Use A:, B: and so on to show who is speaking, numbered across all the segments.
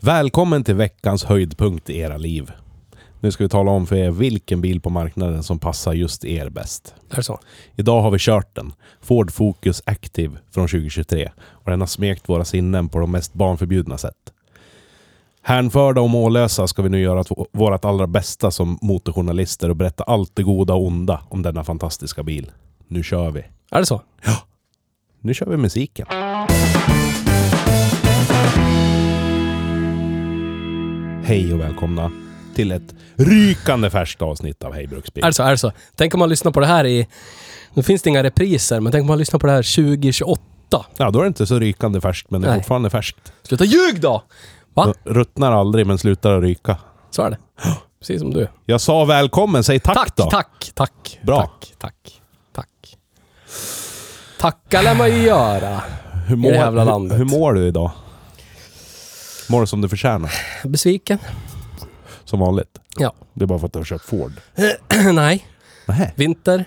A: Välkommen till veckans höjdpunkt i era liv. Nu ska vi tala om för er vilken bil på marknaden som passar just er bäst.
B: Är det så?
A: Idag har vi kört den. Ford Focus Active från 2023. Och den har smekt våra sinnen på de mest barnförbjudna sätt. Hänförda och mållösa ska vi nu göra två- vårat allra bästa som motorjournalister och berätta allt det goda och onda om denna fantastiska bil. Nu kör vi.
B: Är det så?
A: Nu kör vi musiken. Hej och välkomna till ett rykande färskt avsnitt av Hej Bruksbil.
B: Är det så? Är det så? Tänk om man lyssnar på det här i... Nu finns det inga repriser, men tänk om man lyssnar på det här 2028.
A: Ja, då är det inte så rykande färskt, men det är
B: Nej.
A: fortfarande färskt.
B: Sluta ljug då! Va?
A: Det Ruttnar aldrig, men slutar att ryka.
B: Så är det. Precis som du.
A: Jag sa välkommen, säg tack,
B: Tack,
A: då!
B: tack, tack.
A: Bra.
B: Tack, tack, tack. Tacka lär man ju göra.
A: Hur mår,
B: det jävla
A: hur-
B: landet.
A: Hur mår du idag? Mår du som du förtjänar?
B: Besviken?
A: Som vanligt.
B: Ja.
A: Det är bara för att du har köpt Ford.
B: Nej.
A: Nej.
B: Vinter?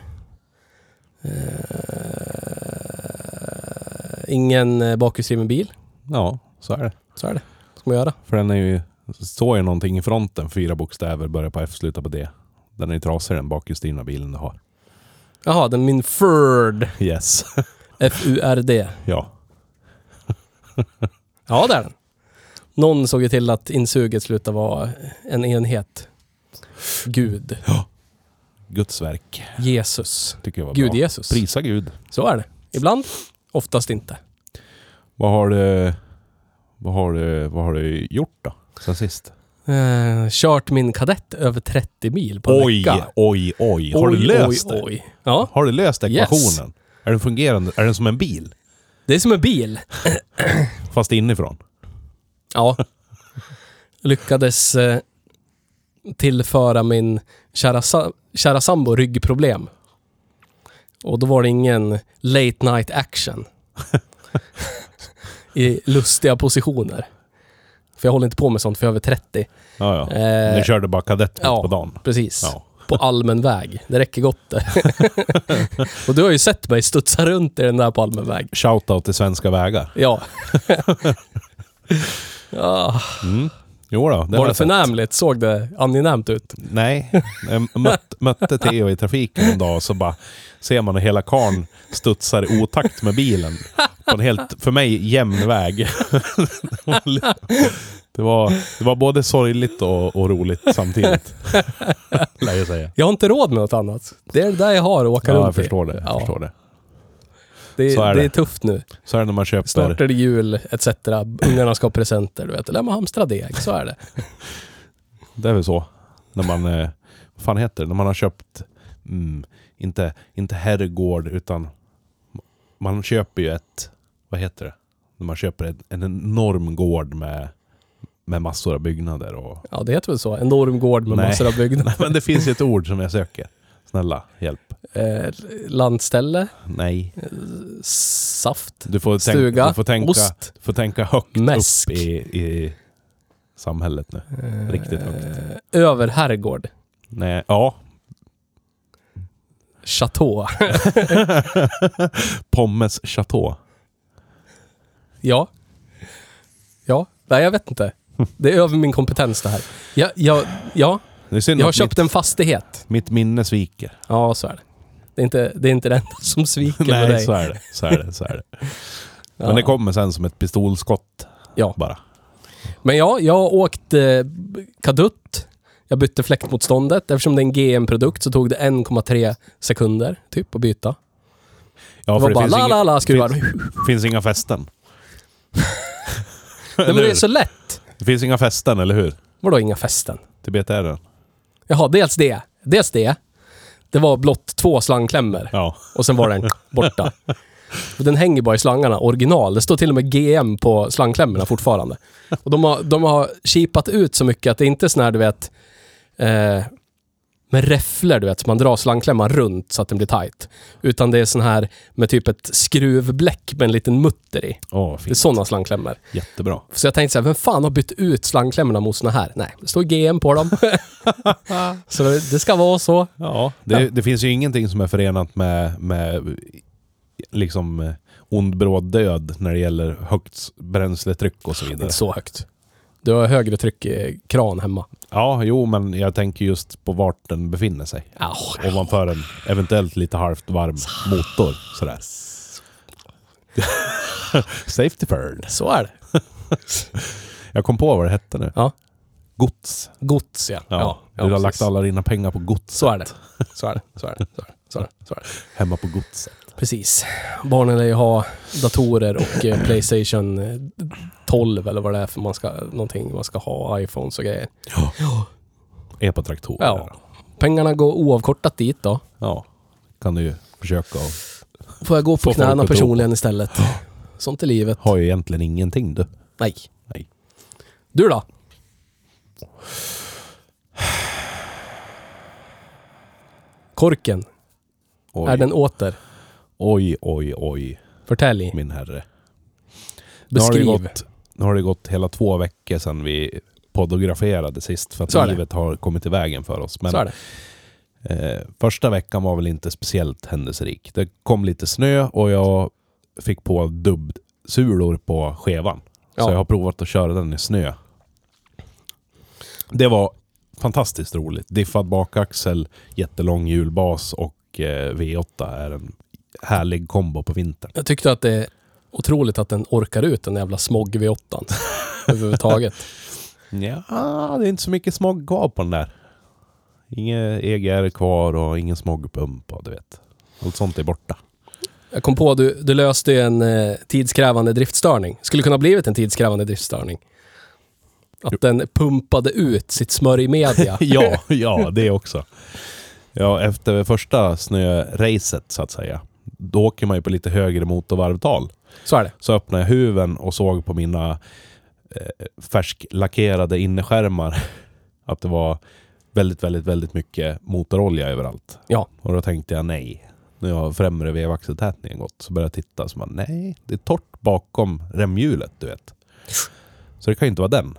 B: Eh, ingen eh, bakhjulsdriven bil.
A: Ja, så är det.
B: Så är det. Vad ska man göra?
A: För den är ju, står ju någonting i fronten, fyra bokstäver, börjar på F, slutar på D. Den är ju trasig den bakhjulsdrivna bilen du har.
B: Jaha, den min Furd.
A: Yes.
B: F-U-R-D.
A: ja.
B: Ja, det är den. Någon såg ju till att insuget slutade vara en enhet. Gud.
A: Guds verk,
B: Jesus.
A: tycker jag var
B: Gud
A: bra.
B: Jesus.
A: Prisa Gud.
B: Så är det. Ibland. Oftast inte.
A: Vad har du... Vad har du, vad har du gjort då? Sen sist?
B: Eh, kört min kadett över 30 mil på en
A: Oj,
B: vecka.
A: oj, oj. Har du
B: Oj,
A: löst
B: oj,
A: det?
B: oj. Ja,
A: Har du löst
B: Yes.
A: ekvationen? Är den fungerande? Är den som en bil?
B: det är som en bil.
A: Fast inifrån?
B: Ja. Lyckades eh, tillföra min kära, sa- kära sambo ryggproblem. Och då var det ingen late night action. I lustiga positioner. För jag håller inte på med sånt för jag är över 30.
A: Ja, ja.
B: Eh,
A: Du körde bara kadett mitt
B: ja.
A: på dagen?
B: Precis.
A: Ja.
B: På allmän väg. Det räcker gott det. Och du har ju sett mig studsa runt i den där på allmän väg.
A: Shoutout till Svenska Vägar.
B: Ja. ja.
A: Jo då, det har
B: Var det
A: jag sett.
B: förnämligt? Såg det angenämt ut?
A: Nej, jag mött, mötte Theo i trafiken en dag och så bara ser man hur hela karn studsar i otakt med bilen. På en helt, för mig, jämn väg. Det var, det var både sorgligt och, och roligt samtidigt. Lär jag säga.
B: Jag har inte råd med något annat. Det är det där jag har att åka
A: Ja,
B: runt
A: jag
B: i.
A: förstår det. Jag
B: Ja.
A: förstår det.
B: Det,
A: Så
B: är
A: är
B: det
A: det.
B: är tufft nu.
A: Så är det när man
B: Snart
A: köper...
B: är det jul etc. Ungarna ska ha presenter, du vet. Lär man hamstra deg, så är det.
A: Det är väl så. När man... eh, Vad fan heter det? När man har köpt... Mm, inte, inte herrgård, utan... Man köper ju ett... Vad heter det? När man köper ett, en enorm gård med, med massor av byggnader och...
B: Ja, det heter väl så. Enorm gård med
A: Nej.
B: massor av byggnader.
A: Men det finns ju ett ord som jag söker. Snälla, hjälp.
B: Eh, landställe,
A: Nej.
B: saft,
A: Du får, tänk,
B: Stuga,
A: du får, tänka,
B: ost.
A: du får tänka högt
B: Mäsk. Eh,
A: upp i, i samhället nu. Riktigt högt.
B: över herrgård,
A: Nej, ja.
B: chateau.
A: Pommes Chateau.
B: Ja. Ja. Nej, jag vet inte. Det är över min kompetens det här. Ja, jag, ja,
A: Det är synd
B: jag har
A: att
B: köpt en fastighet.
A: Mitt minne sviker.
B: Ja, så är det. Det är inte det, är inte det enda som sviker med
A: Nej,
B: dig.
A: så är det. Så är det, så är det. Men
B: Ja.
A: det kommer sen som ett pistolskott
B: Ja.
A: bara.
B: Men ja, jag har åkt eh, kadutt. Jag bytte fläktmotståndet. Eftersom det är en GM-produkt så tog det 1,3 sekunder typ att byta.
A: Ja,
B: Det var
A: för det
B: bara
A: finns,
B: la,
A: inga,
B: la, la, skruvar.
A: finns, finns inga fästen.
B: Nej, men
A: Eller
B: det är
A: hur?
B: så lätt.
A: Det finns inga fästen, eller hur?
B: Vadå inga fästen?
A: Till BTR.
B: Jaha, dels det. Dels det. Det var blott två slangklämmor.
A: Ja.
B: Och sen var den borta. Och den hänger bara i slangarna, original. Det står till och med GM på slangklämmorna fortfarande. Och de har, de har chipat ut så mycket att det inte är sån här, du vet, eh, med räfflor, du vet, så man drar slangklämman runt så att den blir tight. Utan det är sån här med typ ett skruvbläck med en liten mutter i.
A: Åh,
B: Det är
A: fint.
B: såna slangklämmor.
A: Jättebra.
B: Så jag tänkte så här, vem fan har bytt ut slangklämmorna mot såna här? Nej, det står GM på dem. så det ska vara så.
A: Ja, det, det finns ju ingenting som är förenat med, med liksom eh, ond bråd död när det gäller högt bränsletryck och så vidare.
B: Inte så högt. Du har högre tryck i kran hemma.
A: Ja, jo, men jag tänker just på vart den befinner sig.
B: Au.
A: Ovanför en eventuellt lite halvt varm motor. Sådär. Safety bird.
B: Så är det.
A: Jag kom på vad det hette nu.
B: Ja.
A: Gods.
B: Gods, ja.
A: Ja, du har
B: precis.
A: lagt alla dina pengar på gods
B: Så är det. Så är det. Så är det. Så är det. Så är det. Så är det.
A: hemma på godset.
B: Precis. Barnen lär ju ha datorer och eh, Playstation eh, 12 eller vad det är för man ska, någonting man ska ha, Iphones och grejer.
A: Epatraktorer.
B: Ja. Pengarna går oavkortat dit då.
A: ja. Kan du ju försöka och
B: Får jag gå på
A: Får folk
B: knäna
A: att tro på.
B: personligen istället. Sånt är livet.
A: har ju egentligen ingenting du.
B: Nej.
A: Nej.
B: Du då? Korken.
A: Oj,
B: Är den åter?
A: oj, oj, oj,
B: Förtälj.
A: min herre. Nu har, det
B: Beskriv.
A: gått, nu har det gått hela två veckor sedan vi poddograferade sist för att
B: Så är det.
A: livet har kommit i vägen för oss. Men
B: Så är det.
A: Eh, första veckan var väl inte speciellt händelserik. Det kom lite snö och jag fick på dubbsulor på skevan.
B: Ja.
A: Så jag har provat att köra den i snö. Det var fantastiskt roligt. Diffad bakaxel, jättelång hjulbas och eh, V8 är en härlig kombo på vintern.
B: Jag tyckte att det är otroligt att den orkar ut den jävla smog vid åttan. Överhuvudtaget.
A: Ja, det är inte så mycket smog kvar på den där. Inget EGR kvar och ingen smogpump och du vet. Allt sånt är borta.
B: Jag kom på att du, du löste ju en eh, tidskrävande driftstörning. Skulle kunna ha blivit en tidskrävande driftstörning. Att den pumpade ut sitt smörjmedia.
A: ja, ja, det också. Ja, efter första snöracet så att säga, då åker man ju på lite högre motorvarvtal.
B: Så är det.
A: Så öppnade jag huven och såg på mina eh, färsklackerade innerskärmar att det var väldigt, väldigt, väldigt mycket motorolja överallt.
B: Ja.
A: Och då tänkte jag nej. Nu har främre vevaxeltätningen gått. Så började jag titta så bara, nej, det är torrt bakom remhjulet, du vet. Så det kan ju inte vara den.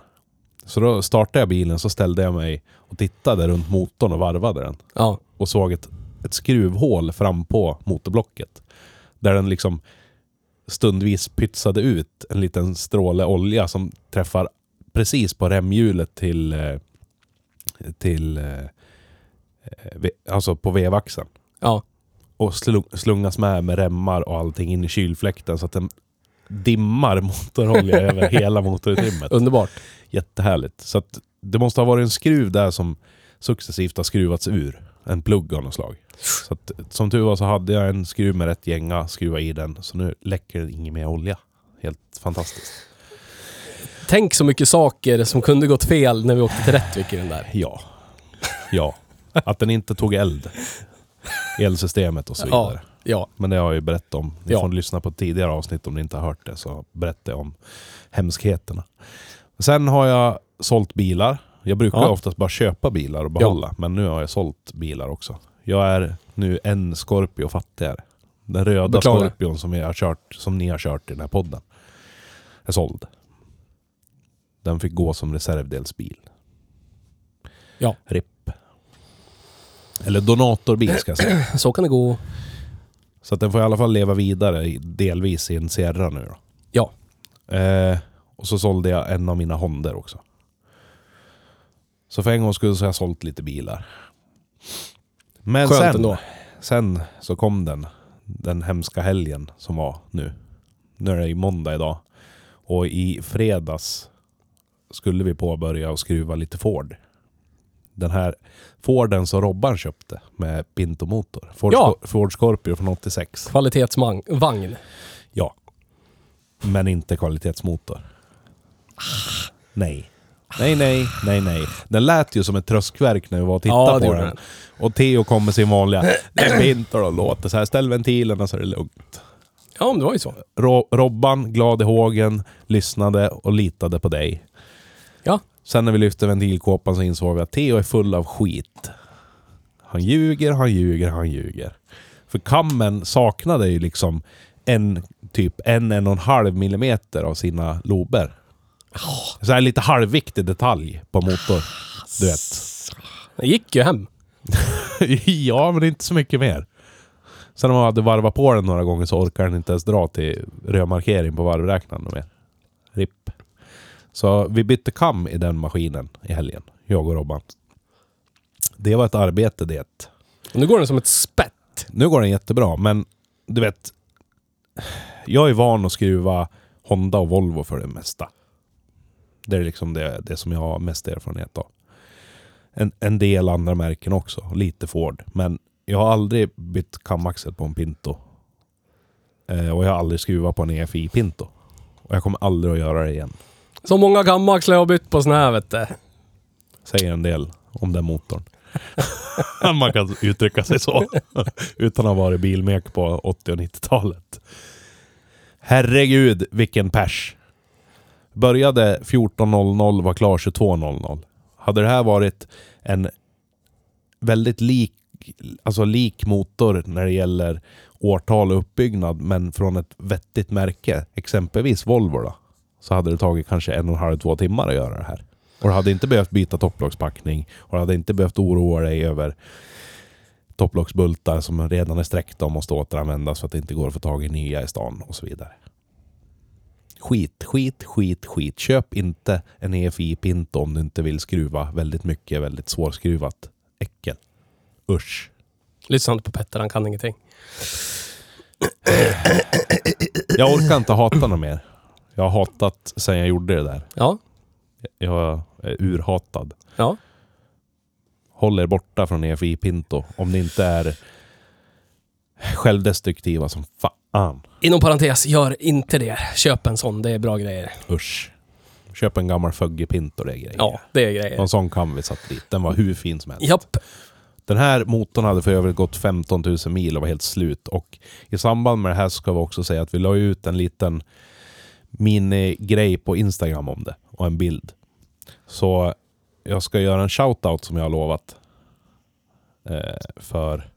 A: Så då startade jag bilen, så ställde jag mig och tittade runt motorn och varvade den.
B: Ja.
A: Och såg ett, ett skruvhål fram på motorblocket. Där den liksom stundvis pytsade ut en liten stråle olja som träffar precis på remhjulet till, eh, till eh, eh, ve- alltså på vevaxeln
B: Ja.
A: och slung, slungas med med remmar och allting in i kylfläkten så att den dimmar motorolja över hela motorutrymmet.
B: Underbart.
A: Jättehärligt. Så att det måste ha varit en skruv där som successivt har skruvats ur. En plugg av något slag. Så att, som tur var så hade jag en skruv med rätt gänga, skruva i den. Så nu läcker den ingen mer olja. Helt fantastiskt.
B: Tänk så mycket saker som kunde gått fel när vi åkte till Rättvik i den där.
A: Ja. Ja. Att den inte tog eld. Elsystemet och så vidare.
B: Ja. Ja.
A: Men det har jag ju berättat om. Ni
B: Ja.
A: får lyssna på ett tidigare avsnitt om ni inte har hört det. Så berättar jag om hemskheterna. Sen har jag sålt bilar. Jag brukar
B: Ja.
A: oftast bara köpa bilar och behålla. Men nu har jag sålt bilar också. Jag är nu en Scorpio fattigare. Den röda
B: Beklagar.
A: Scorpion som, vi har kört, som ni har kört i den här podden. Är såld. Den fick gå som reservdelsbil.
B: Ja.
A: RIP. Eller donatorbil ska jag säga.
B: Så kan det gå.
A: Så att den får i alla fall leva vidare i- delvis i en Sierra nu då.
B: Ja.
A: Eh, och så sålde jag en av mina Honder också. Så för en gångs skull så har jag sålt lite bilar. Men
B: Skönt
A: sen,
B: ändå.
A: sen så kom den. Den hemska helgen som var nu. Nu är det ju måndag idag. Och i fredags skulle vi påbörja och skruva lite Ford. Den här Forden som Robban köpte med Pinto-motor. Ford,
B: Ja.
A: Scor- Ford Scorpio från 86.
B: Kvalitetsvagn.
A: Ja. Men inte kvalitetsmotor. Nej. Nej, nej, nej, nej. Den lät ju som ett tröskverk när vi var och tittade
B: Ja, det
A: på
B: gjorde
A: den.
B: den.
A: Och Theo kom med sin vanliga "Det pintar och låter så här. Ställ ventilerna så är det lugnt.
B: Ja, men det var ju så.
A: Ro- Robban, glad i hågen, lyssnade och litade på dig.
B: Ja.
A: Sen när vi lyfte ventilkåpan så insåg vi att Theo är full av skit. Han ljuger, han ljuger, han ljuger. För kammen saknade ju liksom en, typ en, en och en halv millimeter av sina lober. Så här lite halvviktig detalj på motor. Du vet.
B: Den gick ju hem.
A: ja, men det är inte så mycket mer. Sen när man hade varvat på den några gånger så orkar den inte ens dra till rödmarkering på varvräknaren och mer. RIP. Så vi bytte kam i den maskinen i helgen, jag och Robban. Det var ett arbete det.
B: Och nu går den som ett spett.
A: Nu går den jättebra, men du vet. Jag är van att skruva Honda och Volvo för det mesta. Det är liksom det, det som jag har mest erfarenhet av. En, en del andra märken också, lite Ford. Men jag har aldrig bytt kamaxel på en Pinto. Eh, och jag har aldrig skruvat på en EFI Pinto. Och jag kommer aldrig att göra det igen.
B: Så många gammaxlar jag har bytt på sån här, vet du.
A: Säger en del om den motorn. Man kan uttrycka sig så. Utan att ha varit bilmek på 80 och 90-talet. Herregud, vilken pers. Började 14.00, var klar 22.00. Hade det här varit en väldigt lik, alltså lik motor när det gäller årtal och uppbyggnad, men från ett vettigt märke, exempelvis Volvo då, så hade det tagit kanske en och en halv, två timmar att göra det här. Och du hade inte behövt byta topplockspackning och du hade inte behövt oroa dig över topplocksbultar som redan är sträckta och måste återanvändas för att det inte går att få tag i nya i stan och så vidare. Skit, skit, skit, skit. Köp inte en EFI Pinto om du inte vill skruva väldigt mycket, väldigt svårskruvat. Äckel. Usch.
B: Lyssna inte på Petter, han kan ingenting.
A: Jag orkar inte hata något mer. Jag har hatat sedan jag gjorde det där.
B: Ja,
A: Jag är urhatad.
B: ja.
A: Håll er borta från EFI Pinto om ni inte är självdestruktiva som fan.
B: Inom parentes, gör inte det. Köp en sån, det är bra grejer.
A: Usch. Köp en gammal Fögge Pinto det är grejer.
B: Ja, det är grejer.
A: Någon sån kan vi satt dit. Den var hur fin som helst.
B: Japp.
A: Den här motorn hade för övrigt gått 15 000 mil och var helt slut. Och i samband med det här ska vi också säga att vi la ut en liten minigrej på Instagram om det och en bild. Så jag ska göra en shoutout som jag har lovat. Eh, för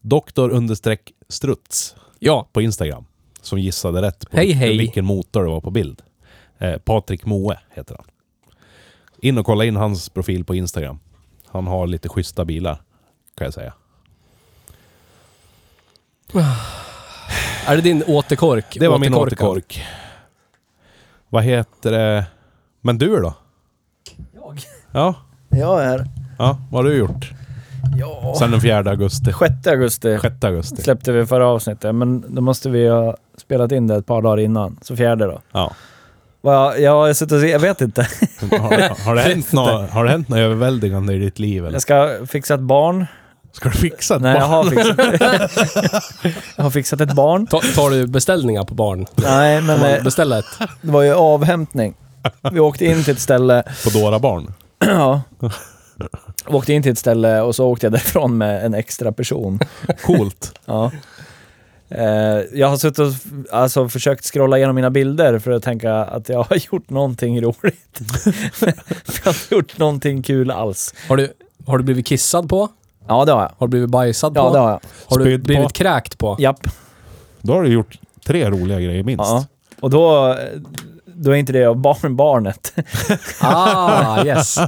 A: doktor understreck struts
B: Ja,
A: på Instagram som gissade rätt på
B: Hej,
A: vilken,
B: hej.
A: vilken motor det var på bild. Eh, Patrik Moe heter han. In och kolla in hans profil på Instagram. Han har lite schyssta bilar, kan jag säga.
B: är det din återkork?
A: Det var min
B: Återkorkad.
A: återkork. Vad heter det? Men du då?
C: Jag?
A: Ja,
C: Jag är...
A: ja vad har du gjort?
C: Ja.
A: Sen den 4 augusti.
C: 6 augusti
A: 6 augusti.
C: släppte vi förra avsnittet, men då måste vi ha spelat in det ett par dagar innan. Så fjärde då.
A: Ja.
C: Va, jag har suttit och... Jag vet inte.
A: Har, har, det hänt nå, har det hänt något överväldigande i ditt liv? Eller?
C: Jag ska fixa ett barn.
A: Ska du fixa ett
C: Nej, jag
A: barn?
C: har fixat... jag har fixat ett barn.
B: Ta, tar du beställningar på barn?
C: Nej, men eh,
B: Man beställer ett.
C: det var ju avhämtning. Vi åkte in till ett ställe
A: På Dora Barn?
C: Ja. Åkte in till ett ställe och så åkte jag därifrån med en extra person.
A: Coolt.
C: Ja. Eh, Jag har suttit och f- alltså, försökt scrolla igenom mina bilder för att tänka att jag har gjort någonting roligt. jag har inte gjort någonting kul alls.
B: Har du, har du blivit kissad på?
C: Ja, det har jag.
B: Har du blivit bajsad
C: Ja,
B: på?
C: det har jag.
B: Har du
A: Spydd på?
B: blivit kräkt på?
C: Japp.
A: Då har du gjort tre roliga grejer minst.
C: Ja. Och då, då är inte det av barn, barnet.
B: Ah, yes.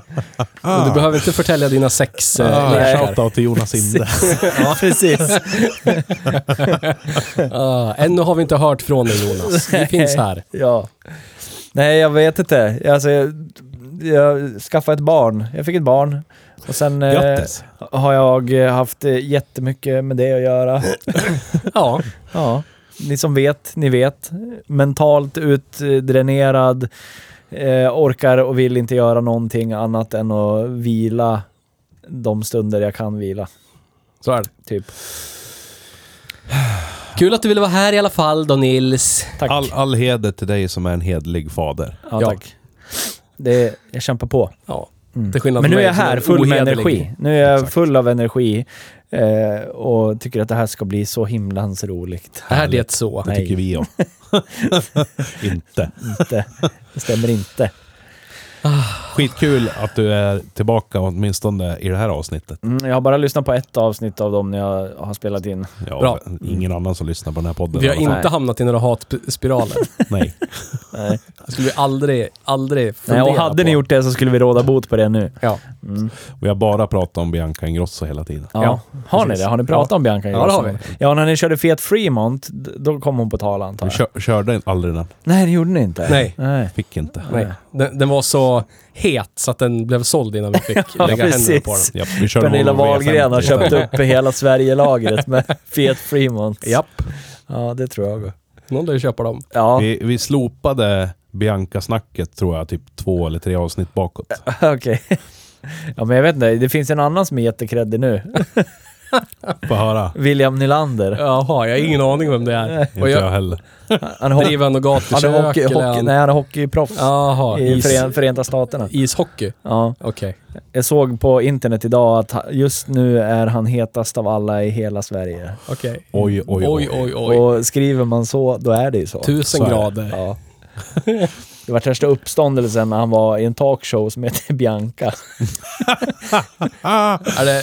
B: Och Du behöver inte förtälja dina sex eh,
A: Ah,
C: nej.
B: lekar.
A: Shoutout till Jonas Inde.
C: Ja, precis.
B: Ah, ännu har vi inte hört från dig Jonas. Vi finns här.
C: Ja. Nej, jag vet inte. Alltså, jag, jag skaffade ett barn. Jag fick ett barn. Och sen eh,
A: Grattis!
C: har jag eh, haft eh, jättemycket med det att göra.
B: Ja,
C: Ja, ni som vet, ni vet. Mentalt utdränerad, eh, orkar och vill inte göra någonting annat än att vila de stunder jag kan vila.
B: så är det.
C: Typ.
B: Kul att du ville vara här i alla fall då Nils.
C: Tack.
A: All, all heder till dig som är en hedlig fader.
C: ja,
B: ja.
C: tack. Det, jag kämpar på.
B: Ja.
C: Mm.
B: Till skillnad
C: Men nu
B: från
C: är
B: mig
C: jag
B: som
C: här full med
B: ohederlig.
C: energi. Nu är jag
A: Exakt.
C: full av energi eh, och tycker att det här ska bli så himlans roligt.
B: Är det så?
A: Det
C: Nej.
A: tycker vi om. Inte.
C: Inte, det stämmer inte.
A: Skitkul att du är tillbaka åtminstone i det här avsnittet.
C: Mm, jag har bara lyssnat på ett avsnitt av dem när jag har spelat in.
A: Ja,
B: Bra.
A: Ingen annan som lyssnar på den här podden.
B: Vi har
A: i alla fall.
B: inte hamnat i några hatspiraler.
A: Nej.
C: Nej.
B: Det skulle vi aldrig, aldrig
C: Nej,
B: fundera
C: och
B: på.
C: hade ni gjort det så skulle vi råda bot på det nu.
B: Ja.
C: Mm.
A: Vi har bara pratat om Bianca Ingrosso hela tiden.
C: Ja.
B: Ja,
C: har ni
B: precis.
C: det? Har ni pratat om Bianca
B: Ja, det har
C: Ingrosso? Ja, när ni körde Fiat Fremont, d- då kom hon på tal antar
A: Vi
C: jag.
A: kör, körde aldrig den.
C: Nej, det gjorde ni inte.
B: Nej.
C: Nej.
A: Fick inte.
B: Nej. Den, den var så het så att den blev såld innan vi fick
C: Ja,
B: lägga händerna på
C: precis.
B: den.
A: Ja, vi körde
C: Pernilla
A: honom på
C: Wahlgren har
A: V50 istället.
C: köpt upp hela Sverige-lagret med Fiat Fremont.
B: Japp,
C: Ja, det tror jag.
B: någon lär ju köpa dem.
C: Ja,
A: Vi, vi slopade Bianca-snacket tror jag, typ två eller tre avsnitt bakåt.
C: okej. Ja, men jag vet inte. Det finns en annan som är jättekreddig nu.
A: Få höra.
C: William Nylander.
B: Jaha, jag har ingen aning vem det är.
A: Inte
B: Och
A: jag
B: jag
A: heller.
C: Han är, hockey,
B: driver han och
C: han är,
B: gatukök
C: hockey,
B: eller
C: hockey,
B: han-
C: nej, han är hockeyproffs
B: Jaha,
C: i
B: is,
C: Fören, Förenta Staterna.
B: ishockey.
C: Ja,
B: Okej.
C: jag såg på internet idag att ha- just nu är han hetast av alla i hela Sverige.
B: Okej.
A: Oj, oj, oj.
B: Oj, oj, oj.
C: Och skriver man så, då är det ju så.
B: Tusen
A: Så är det.
B: grader.
C: Ja. Det var värsta uppståndelsen när han var i en talkshow som hette Bianca.
A: Ah,
B: Är det
C: är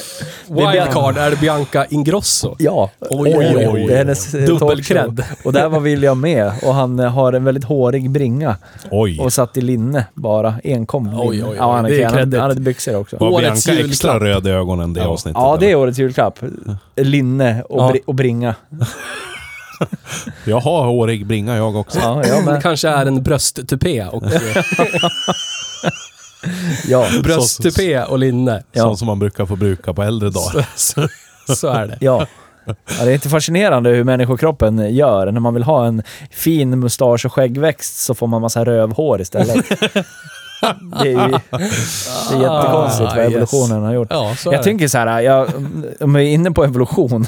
B: wildcard? Är det Bianca Ingrosso?
C: Ja,
B: Oj, oj, oj, oj.
C: det är hennes eh, talkshow.
B: Dubbelkredd.
C: Och där var William med och han eh, har en väldigt hårig bringa
A: oj.
C: och satt i linne bara, enkom. linne.
B: Oj, oj, oj.
C: Ja, han,
B: Det är
C: är han, hade-
B: kreddigt.
C: han hade byxor också.
A: Var
B: Årets
A: Bianca extra
B: julklapp.
A: röd i ögonen det
B: Ja.
A: avsnittet?
C: Ja, det
A: eller?
C: är årets julklapp. Linne och,
B: Ja.
C: bri- och bringa.
A: Jag har hårig bringa jag också.
C: Ja, jag
B: Det
C: med.
B: kanske är en brösttupé och
C: Ja.
B: brösttupé och linne.
C: Ja.
A: Sånt som man brukar få bruka på äldre dagar.
B: Så, så, så är det.
C: Ja. ja, det är inte fascinerande hur människokroppen gör. När man vill ha en fin mustasch och skäggväxt så får man massa rövhår istället. Det är, ju, det är jättekonstigt
B: Ah,
C: vad
B: yes.
C: evolutionen har gjort.
B: Ja, så är
C: Jag
B: det.
C: tänker så här, jag, om vi är inne på evolution.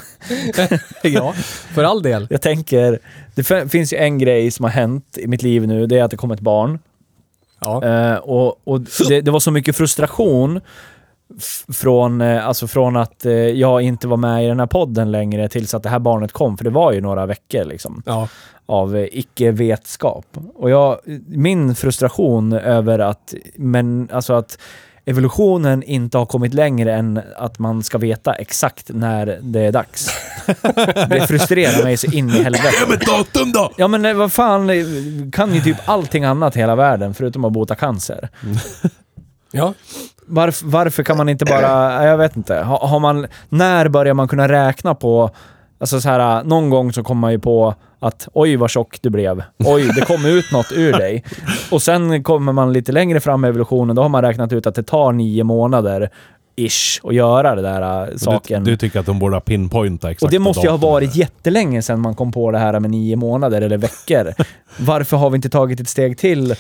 B: ja, för all del.
C: Jag tänker, det fin- finns ju en grej som har hänt i mitt liv nu, det är att det kom ett barn.
B: Ja.
C: Eh, och och det, det var så mycket frustration f- från, eh, alltså från att eh, jag inte var med i den här podden längre tills att det här barnet kom, för det var ju några veckor liksom
B: Ja.
C: av eh, icke-vetskap. Och jag, min frustration över att, men, alltså att evolutionen inte har kommit längre än att man ska veta exakt när det är dags. Det frustrerar mig så in i helvete.
A: Men datum då!
C: Ja men eh, vad fan, eh, kan ju typ allting annat i hela världen förutom att bota cancer.
B: ja.
C: Varf, varför kan man inte bara, jag vet inte. Har, har man, när börjar man kunna räkna på, alltså så här, någon gång så kommer man ju på att oj vad tjock du blev. Oj, det kom ut något ur dig. Och sen kommer man lite längre fram i evolutionen, då har man räknat ut att det tar nio månader ish att göra det där äh,
A: Du,
C: saken.
A: du tycker att de borde ha pinpointat exakt
C: och det måste ju ha
A: datum.
C: varit jättelänge sedan man kom på det här med nio månader eller veckor. Varför har vi inte tagit ett steg till?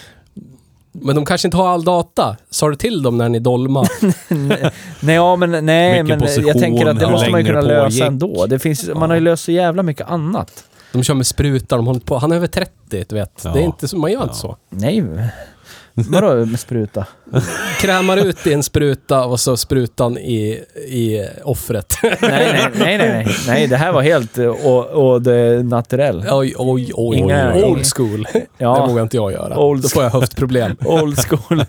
B: Men de kanske inte har all data. Sa du till dem när ni dolma?
C: Nej, ja, men, nej,
A: Mycket
C: men jag
A: position,
C: tänker att det
A: hur
C: måste man ju
A: länge
C: kunna
A: det
C: lösa
A: pågick.
C: ändå. Det finns, Man har ju löst så jävla mycket annat.
B: De kör med spruta, de håller på. Han är över 30, du vet.
A: Ja.
B: Det är inte så, man gör inte
A: Ja.
B: så.
C: Nej. Vadå med spruta?
B: Krämar ut i en spruta och så sprutan i, i offret.
C: Nej, nej, nej, nej, nej. Nej, det här var helt eh, och, och det naturell.
B: oj, oj, oj.
C: Inga-
B: Old school. Det
C: Ja.
B: vågar inte jag göra.
C: Old
B: Då får jag höftproblem.
C: Old school,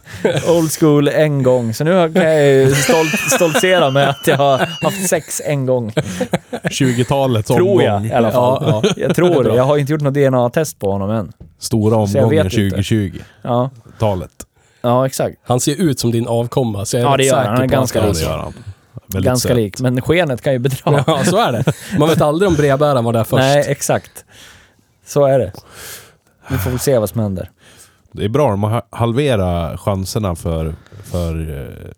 C: old school en gång. Så nu har- kan jag ju stolt, stoltsera med att jag har haft sex en gång.
A: 20-talets
C: Tror
A: omgång.
C: jag i alla fall.
B: Ja, ja.
C: Jag tror det. Jag har inte gjort något DNA-test på honom än.
A: Stora
C: Så jag
A: omgången
C: vet inte.
A: 2020-talet.
C: Ja, ja exakt.
B: Han ser ut som din avkomma, så jag är
C: Ja,
B: rätt
C: det gör han.
B: säker
C: Han är
B: på
C: ganska
B: att
A: Ja,
B: han-
A: det gör han. Väldigt
C: Ganska
A: söt.
C: lik. Men skenet kan ju bedra.
B: Ja, så är det. Man vet aldrig om brevbäraren var där först.
C: Nej, exakt. Så är det. Vi får väl se vad som händer.
A: Det är bra, de har halverat chanserna för, för eh,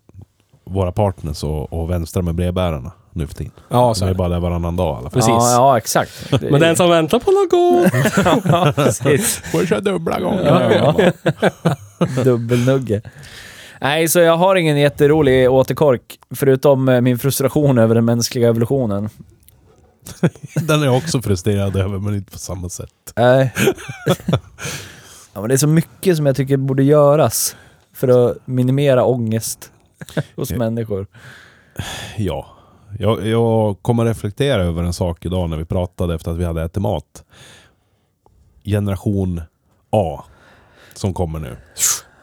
A: våra partners och, och vänstra med brevbärarna nu för tiden.
B: Ja,
A: Så
B: så
A: de
B: är
A: är
B: det.
A: bara där varannan dag i alla fall.
B: Precis.
C: Ja, ja exakt. Det-
B: Men den som väntar på något.
C: ja, precis.
A: Får jag köra dubbla gånger?
C: Ja, ja. Dubbelnugge. Nej, så jag har ingen jätterolig återkork, förutom eh, min frustration över den mänskliga evolutionen.
A: Den är jag också frustrerad över, men inte på samma sätt.
C: Nej. ja, men det är så mycket som jag tycker borde göras För att minimera ångest hos människor.
A: Ja. Jag, jag kommer reflektera över en sak idag när vi pratade efter att vi hade ätit mat. Generation A som kommer nu.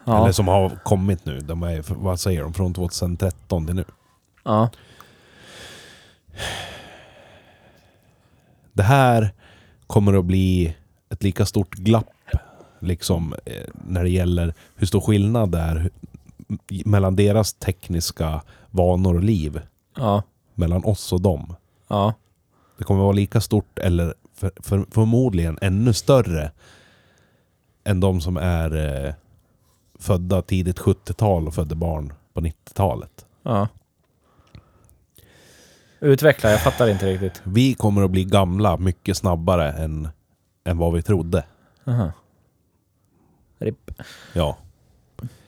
A: Eller
C: Ja.
A: som har kommit nu. De är, vad säger de? Från 2013 till nu.
C: ja.
A: Det här kommer att bli ett lika stort glapp liksom, eh, när det gäller hur stor skillnad det är hu- mellan deras tekniska vanor och liv
C: Ja.
A: mellan oss och dem.
C: Ja.
A: Det kommer att vara lika stort eller för, för, förmodligen ännu större än de som är eh, födda tidigt 70-tal och födde barn på 90-talet.
C: ja. Utveckla, jag fattar inte riktigt.
A: Vi kommer att bli gamla mycket snabbare än, än vad vi trodde.
C: Aha. Ripp.
A: Ja.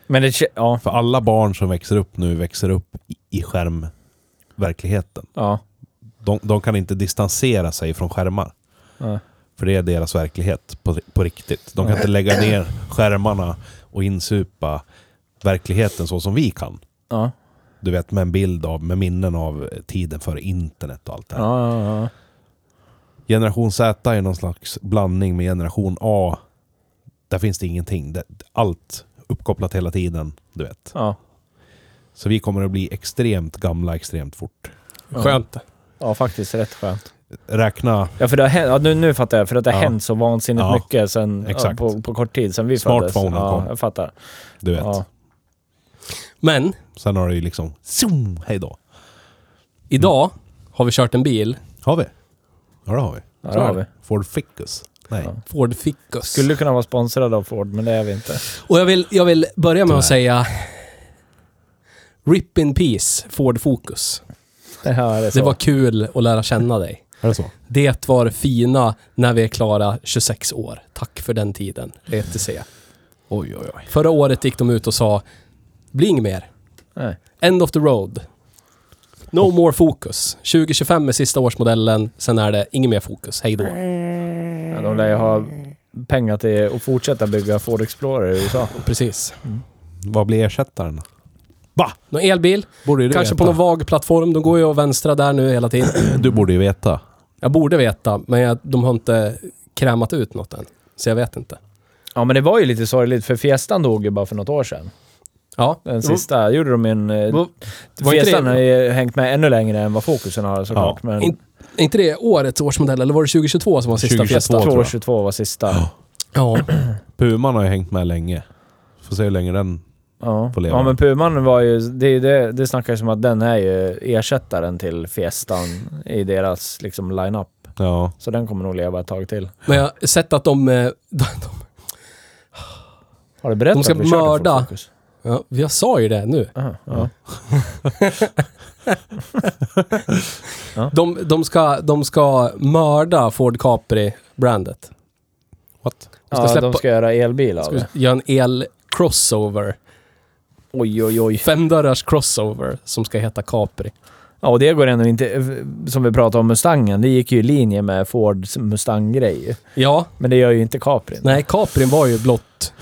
C: Men det... kä- Ja.
A: För alla barn som växer upp nu växer upp i- i skärmverkligheten.
C: Ja.
A: De, de kan inte distansera sig från skärmar.
C: Ja.
A: För det är deras verklighet på, på riktigt. De kan inte lägga ner skärmarna och insupa verkligheten så som vi kan.
C: Ja.
A: Du vet, med en bild av, med minnen av tiden före internet och allt det här.
C: Ja. ja, ja.
A: Generation Z är någon slags blandning med generation A. Där finns det ingenting. Det, allt uppkopplat hela tiden, du vet.
C: ja.
A: Så vi kommer att bli extremt gamla extremt fort.
B: Skönt.
C: Ja, faktiskt rätt skönt.
A: Räkna
C: Ja, för det har hänt, ja, nu, nu fattar jag, för att det har
A: Ja.
C: hänt så vansinnigt
A: Ja.
C: mycket sen, ja,
A: Exakt.
C: på, på kort tid sen vi föddes.
A: Smartphonen
C: ja,
A: kom.
C: Jag fattar.
A: Du vet.
C: Ja.
B: Men
A: Sen har det ju liksom... Zoom! Hej då.
B: idag har vi kört en bil,
A: Har vi? Ja, det har vi.
C: Ja,
B: Så
C: det
B: är
C: har vi.
A: Ford Ficus. Nej.
C: Ja.
B: Ford Ficus.
C: Skulle kunna vara sponsrad av Ford, men det är vi inte.
B: Och jag vill, jag vill börja med att
A: Tyvärr.
B: säga Rip in peace, Ford Focus.
C: Det, här är så.
B: Det var kul att lära känna dig.
A: Är det så?
B: Det var det fina när vi är klara 26 år. Tack för den tiden, ETC.
A: Oj, oj, oj.
B: Förra året gick de ut och sa, bli inget mer.
C: Nej.
B: End of the road. No more fokus. 2025 är sista årsmodellen, sen är det inget mer fokus. Hej då.
C: Ja, de lär ju ha pengar till att fortsätta bygga Ford Explorer i USA.
B: Precis.
A: Vad blir ersättaren?
B: Någon elbil,
A: Borde ju du
B: kanske på
A: veta.
B: någon vag plattform. De går ju och vänstra där nu hela tiden.
A: Du borde ju veta.
B: Jag borde veta, men jag, de har inte krämat ut något än. Så jag vet inte.
C: Ja, men det var ju lite sorgligt, för Fiestan dog ju bara för något år sedan.
B: Ja,
C: Den sista gjorde de ju en... eh,
B: Mm. Var- var inte
C: Fiestan
B: det-
C: har ju hängt med ännu längre än vad fokusen har såklart, men
B: In- är inte det årets årsmodell, eller var det 2022 som var sista
A: 2022.
B: Fiesta?
C: 222 var sista.
B: Ja.
A: Puman har ju hängt med länge. Får se hur länge den...
C: Ja.
A: får leva.
C: ja, men Puman var ju... Det, är ju det, det snackas som att den är ju ersättaren till Fiestan i deras liksom line-up.
A: Ja.
C: Så den kommer nog leva ett tag till.
B: Men jag har sett att de... eh, de, de
C: Har du berättat
B: De ska
C: att du körde
B: mörda.
C: Ford Focus?
B: ja, jag sa ju det nu.
C: Aha, ja.
B: De, de, ska, de ska mörda Ford Capri-brandet.
A: What?
B: De
C: Ja,
B: ska
C: de ska,
B: släppa-
C: göra elbil av
B: Ska
C: det.
B: göra en el-crossover.
C: Oj, oj, oj.
B: Femdörrars crossover som ska heta Capri.
C: Ja, och det går ändå inte... eh, Som vi pratade om Mustangen, det gick ju i linje med Fords Mustang-grej.
B: Ja,
C: Men det gör ju inte Caprin.
B: nej, Caprin var ju blott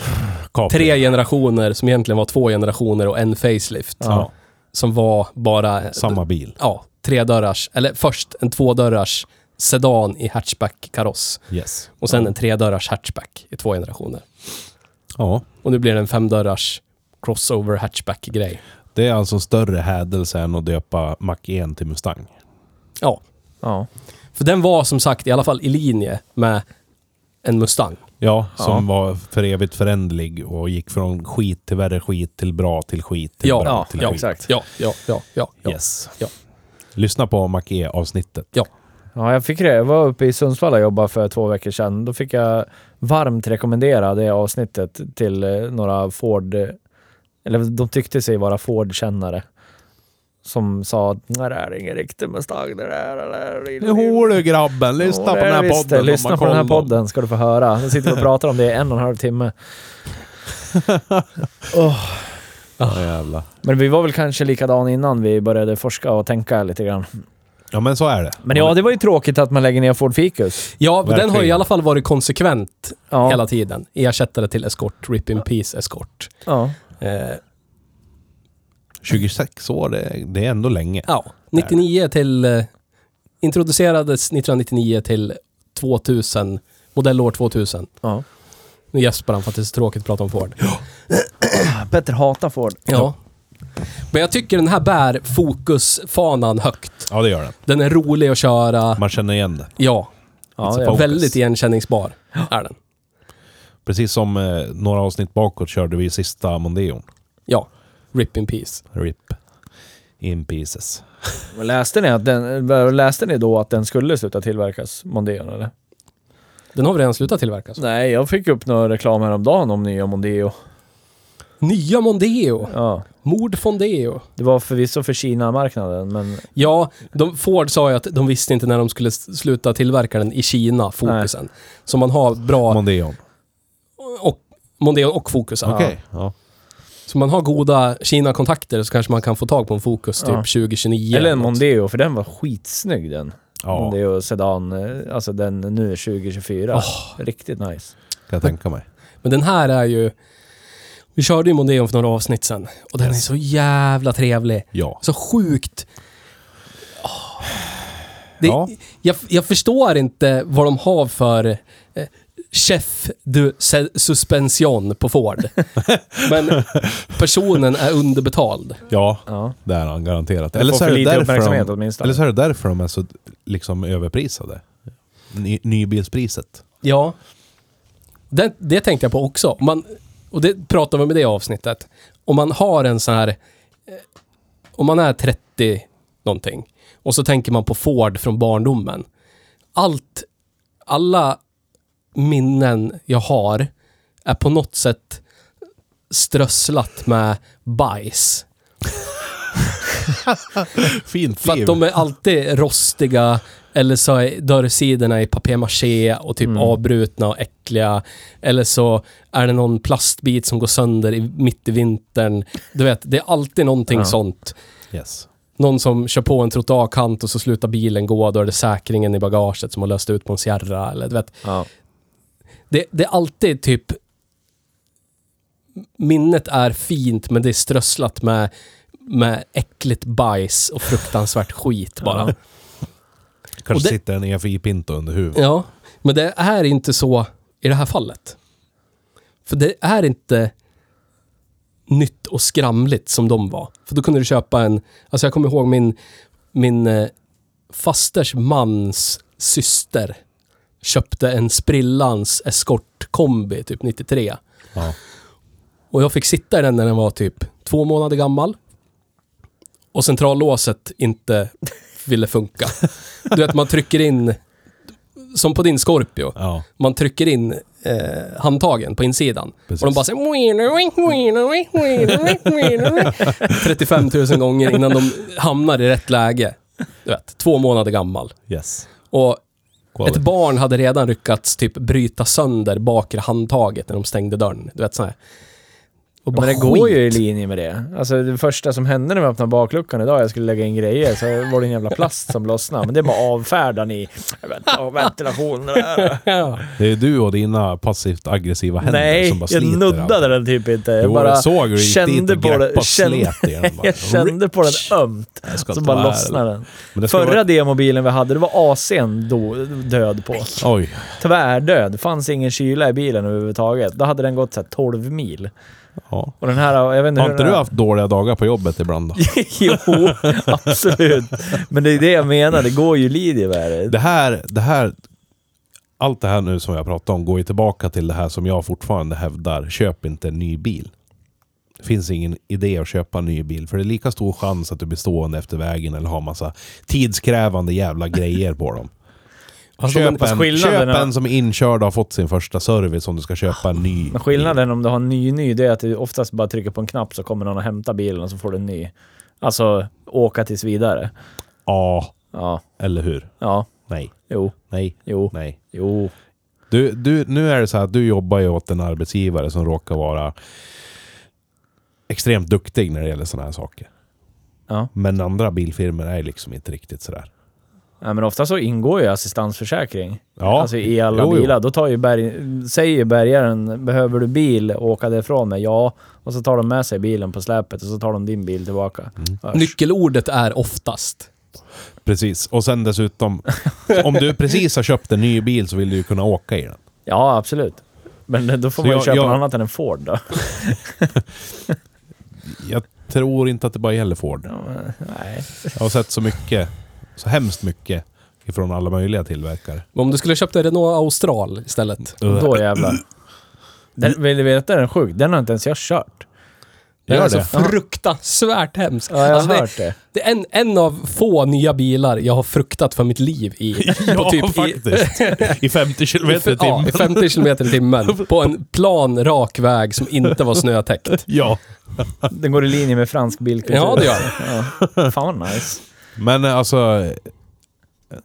A: Capri.
B: tre generationer som egentligen var två generationer och en facelift.
C: Ja.
B: Som var bara...
A: Samma bil.
B: Ja, tredörrars, eller först en tvådörrars sedan i hatchback-kaross.
A: Yes.
B: Och sen en tredörrars hatchback i två generationer.
A: Ja.
B: Och nu blir det en femdörrars crossover hatchback-grej.
A: Det är alltså en större hädelse än att döpa Mac 1 till Mustang.
B: Ja,
C: Ja.
B: för den var som sagt i alla fall i linje med en Mustang.
A: Ja, som
C: Ja.
A: var för evigt föränderlig och gick från skit till värre skit till bra till skit till
B: Ja,
A: bra
C: ja,
A: till
C: ja,
A: skit.
C: exakt.
B: Ja, ja, ja, ja. ja.
A: Yes.
B: Ja.
A: Lyssna på Mac E-avsnittet.
C: Ja, jag fick det. Jag var uppe i Sundsvall och jobbade för två veckor sedan. Då fick jag varmt rekommendera det avsnittet till eh, några Ford... Eller de tyckte sig vara Ford-kännare. Som sa att "Nej, det här är ingen riktig Mustang, det där är...
A: Jo du grabben, lyssna
C: Ja,
A: på
C: det är
A: den här
C: visst det.
A: podden.
C: Lyssna på den här podden ska du få höra. Nu sitter vi och pratar om det i en och en halv timme.
A: Ja, jävlar.
C: Men vi var väl kanske likadan innan vi började forska och tänka lite grann.
A: ja men så är det.
C: Men ja, det var ju tråkigt att man lägger ner Ford Ficus.
B: Ja, men den har ju i
A: Verkligen.
B: alla fall varit konsekvent
C: Ja.
B: hela tiden. Ersättare till eskort, rip in peace eskort.
C: ja.
B: Eh,
A: 26 år, det, det är ändå länge.
B: ja, 99 till... Eh, introducerades 1999 till 2000, modellår 2000.
C: Ja.
B: Nu gäspar han för att det är så tråkigt att prata om Ford.
C: Petter hatar Ford.
B: Ja. Men jag tycker den här bär fokusfanan högt.
A: Ja, det gör den.
B: Den är rolig att köra.
A: Man känner igen det.
B: Ja,
C: Ja,
A: It's a
C: ja.
A: Focus.
B: väldigt igenkänningsbar är den.
A: Precis som eh, några avsnitt bakåt körde vi sista Mondeon.
B: Ja, Rip in Peace.
A: RIP. In pieces.
C: Men läste, ni att den, läste ni då att den skulle sluta tillverkas, Mondeon eller?
B: Den har vi redan slutat tillverka. Alltså.
C: Nej, jag fick upp någon reklam häromdagen om nya Mondeo.
B: Nya Mondeo.
C: Ja.
B: Mord Fondeo.
C: Det var förvisso för Kina-marknaden, men
B: Ja, de, Ford sa ju att de visste inte när de skulle s- sluta tillverka den i Kina, fokusen. Så man har bra...
A: Mondeon.
B: och, Mondeon och fokusen.
A: Okej. Ja.
B: Så man har goda Kina-kontakter så kanske man kan få tag på en Focus typ
C: Ja.
B: 2029.
C: Eller en
B: något.
C: Mondeo, för den var skitsnygg den.
A: Ja, kan
C: Mondeo Sedan, eh, alltså den nu 2024. Riktigt nice.
A: jag tänka mig.
B: Men den här är ju... Vi körde ju Mondeon för några avsnitt sen. Och den är så jävla trevlig.
A: Ja.
B: Så sjukt... Åh. Det,
A: Ja.
B: jag, jag förstår inte vad de har för eh, chef du se- suspension på Ford. Men personen är underbetald.
A: Ja,
C: Ja.
A: det är han garanterat.
C: Den
A: Eller
C: får
A: så är,
C: för
A: det
C: lite
A: därför
C: uppmärksamhet
A: de,
C: åtminstone.
A: eller så är det därför de är så liksom överprisade. Ny, nybilspriset.
B: Ja. Det, det tänkte jag på också. Om Man, och det pratade vi om i det avsnittet. Om man har en sån här... eh, Om man är 30 någonting och så tänker man på Ford från barndomen. Allt... Alla minnen jag har är på något sätt strösslat med bajs.
A: Fint
B: För att
A: liv.
B: de är alltid rostiga eller så är dörrsidorna i papier-maché och typ avbrutna och äckliga. Eller så är det någon plastbit som går sönder i, mitt i vintern. Du vet, det är alltid någonting
C: Ja.
B: sånt.
A: Yes.
B: Någon som kör på en trottoarkant och så slutar bilen gå, då är det säkringen i bagaget som har löst ut på en Sierra. Eller, du vet.
C: Ja.
B: Det, det är alltid typ... Minnet är fint, men det är strösslat med, med äckligt bajs och fruktansvärt skit bara. Och
A: Kanske
B: det-
A: sitter en EFI Pinto under huvudet.
B: Ja, men det är inte så i det här fallet. För det är inte nytt och skramligt som de var. För då kunde du köpa en, alltså jag kommer ihåg min, min eh, fasters mans syster köpte en sprillans eskortkombi typ 93.
A: Ja.
B: Och jag fick sitta i den när den var typ två månader gammal. Och centrallåset inte ville funka. Du vet, man trycker in, som på din Scorpio,
A: Ja.
B: man trycker in eh, handtagen på insidan.
A: Precis.
B: Och de bara säger 35 000 gånger innan de hamnar i rätt läge. Du vet, två månader gammal.
A: Yes.
B: Och
A: Quality.
B: ett barn hade redan lyckats typ bryta sönder bakre handtaget när de stängde dörren. Du vet sån här. Och
C: Men
B: bara
C: det går ju i
B: skit.
C: linje med det. Alltså det första som hände när vi öppnade bakluckan idag, jag skulle lägga in grejer, så var det en jävla plast som lossnade. Men det bara avfärdar ni. Jag vet inte, ventilation.
B: Ja.
A: Det är du och dina passivt aggressiva händer
C: Nej,
A: som bara
C: jag
A: sliter.
C: nuddade
A: allt.
C: den typ inte.
A: Jo,
C: Jag
A: jag
C: bara
A: såg hur du gick dit
C: kände
A: och
C: på
A: greppade
C: det.
A: och
C: Kände,
A: slet i den. Bara,
C: jag kände på den ömt,
A: Jag ska
C: så
A: inte
C: bara
A: vara här.
C: lossnade den.
A: Men det ska
C: Förra
A: vara-
C: demobilen vi hade, det var AC'n då, död på.
A: Oj,
C: Tvärdöd. Fanns ingen kyla i bilen överhuvudtaget. Då hade den gått så här 12 mil.
A: ja.
C: Och den här, jag vet inte
A: Har
C: hur
A: inte
C: den
A: du
C: här-
A: haft dåliga dagar på jobbet ibland då?
C: jo, absolut. Men det är det jag menar, det går ju i linje med det.
A: Det här, det här... Allt det här nu som jag pratar om går ju tillbaka till det här som jag fortfarande hävdar. Köp inte en ny bil. Det finns ingen idé att köpa en ny bil. För det är lika stor chans att du blir stående efter vägen eller har massa tidskrävande jävla grejer på dem.
B: Alltså,
A: Köp,
C: fast
A: en,
C: skillnaden
A: köp
C: är-
A: en som är inkörd och har fått sin första service om du ska köpa en ny.
C: Men skillnaden om du har en ny ny, det är att du oftast bara trycker på en knapp så kommer någon och hämtar bilen och så får du en ny. Alltså, åka tills vidare.
A: Ja,
C: Ja,
A: eller hur?
C: ja,
A: Nej,
C: jo,
A: nej,
C: jo,
A: nej.
C: jo.
A: Du, du, nu är det så här att du jobbar ju åt en arbetsgivare som råkar vara extremt duktig när det gäller sådana här saker.
C: Ja.
A: Men andra bilfirmor är liksom inte riktigt sådär.
C: Ja, men ofta så ingår ju assistansförsäkring.
A: Ja.
C: Alltså i alla
A: Jo, jo.
C: bilar. Då tar ju berg, säger ju bärgaren, behöver du bil och åka därifrån med? Ja. Och så tar de med sig bilen på släpet och så tar de din bil tillbaka. Hörs.
B: Nyckelordet är oftast.
A: Precis. Och sen dessutom, om du precis har köpt en ny bil så vill du ju kunna åka i den.
C: Ja, absolut. Men då får
A: Så
C: man ju
A: jag-
C: köpa
A: jag-
C: något annat än en Ford då.
A: Jag tror inte att det bara gäller Ford.
C: Ja, men, nej.
A: Jag har sett så mycket, så hemskt mycket ifrån alla möjliga tillverkare.
B: Men om du skulle köpt en Renault Austral istället.
C: Då jävlar. Den, vill du veta den är sjuk? Den har inte ens jag kört.
B: Den
A: Gör
B: är så
A: det?
B: fruktansvärt hemsk.
C: Ja, jag har
B: Alltså, det,
C: hört det.
B: det är en, en av få nya bilar jag har fruktat för mitt liv i.
A: Ja,
B: På typ i-
A: faktiskt. I 50 kilometer i
B: Ja,
A: timmen.
B: i 50 kilometer i timmen. På en plan, rak väg som inte var snötäckt.
A: Ja.
C: Den går i linje med fransk bilkultur.
B: Ja, det gör det.
C: Ja. Fan vad nice.
A: Men eh, alltså... eh,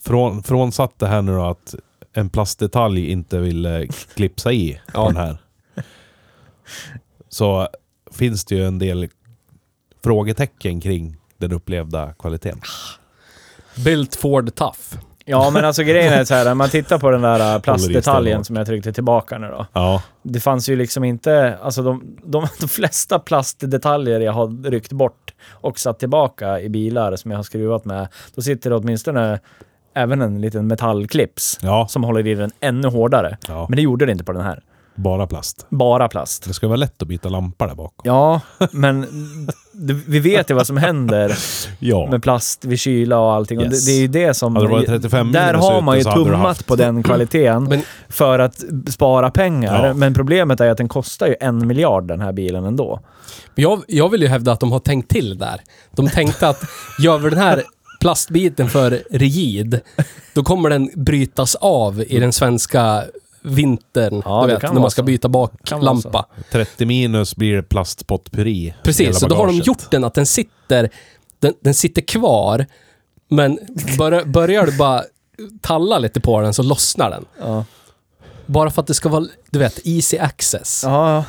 A: Från, frånsatt det här nu då att en plastdetalj inte ville klipsa i på
B: Ja.
A: den här. Så finns det ju en del frågetecken kring den upplevda kvaliteten.
B: Built Ford Tough.
C: Ja, men alltså grejen är så här, när man tittar på den där äh, plastdetaljen
A: stenhårt.
C: som jag tryckte tillbaka nu då.
A: Ja.
C: Det fanns ju liksom inte, alltså de, de, de flesta plastdetaljer jag har ryckt bort och satt tillbaka i bilar som jag har skruvat med, då sitter det åtminstone även en liten metallklips
A: Ja.
C: som håller i den ännu hårdare.
A: ja.
C: Men det gjorde det inte på den här.
A: Bara plast.
C: Bara plast.
A: Det ska vara lätt att byta lampa där bakom.
C: Ja, men d- vi vet ju vad som händer
A: Ja.
C: med plast vid kyla och allting. Och
A: Yes.
C: det, det är ju det som...
A: Hade det varit 35
C: där
A: minus
C: har man ju
A: ute så hade du
C: tummat
A: haft-
C: på den kvaliteten
B: Men-
C: för att spara pengar.
A: Ja.
C: Men problemet är ju att den kostar ju en miljard den här bilen ändå.
B: Men Jag, jag vill ju hävda att de har tänkt till där. De tänkte att gör vi den här plastbiten för rigid, då kommer den brytas av i den svenska vintern.
C: Ja,
B: du
C: det
B: vet,
C: kan
B: när
C: vara
B: man ska
C: så.
B: byta
C: Kan vara så.
B: baklampa.
A: 30 minus blir det plastpotpurri. i hela
B: Precis, så då har de
A: bagaget.
B: gjort den att den sitter, den, den sitter kvar, men börjar, börjar du bara talla lite på den så lossnar den.
C: Ja.
B: Bara för att det ska vara, du vet, easy access.
C: Ja,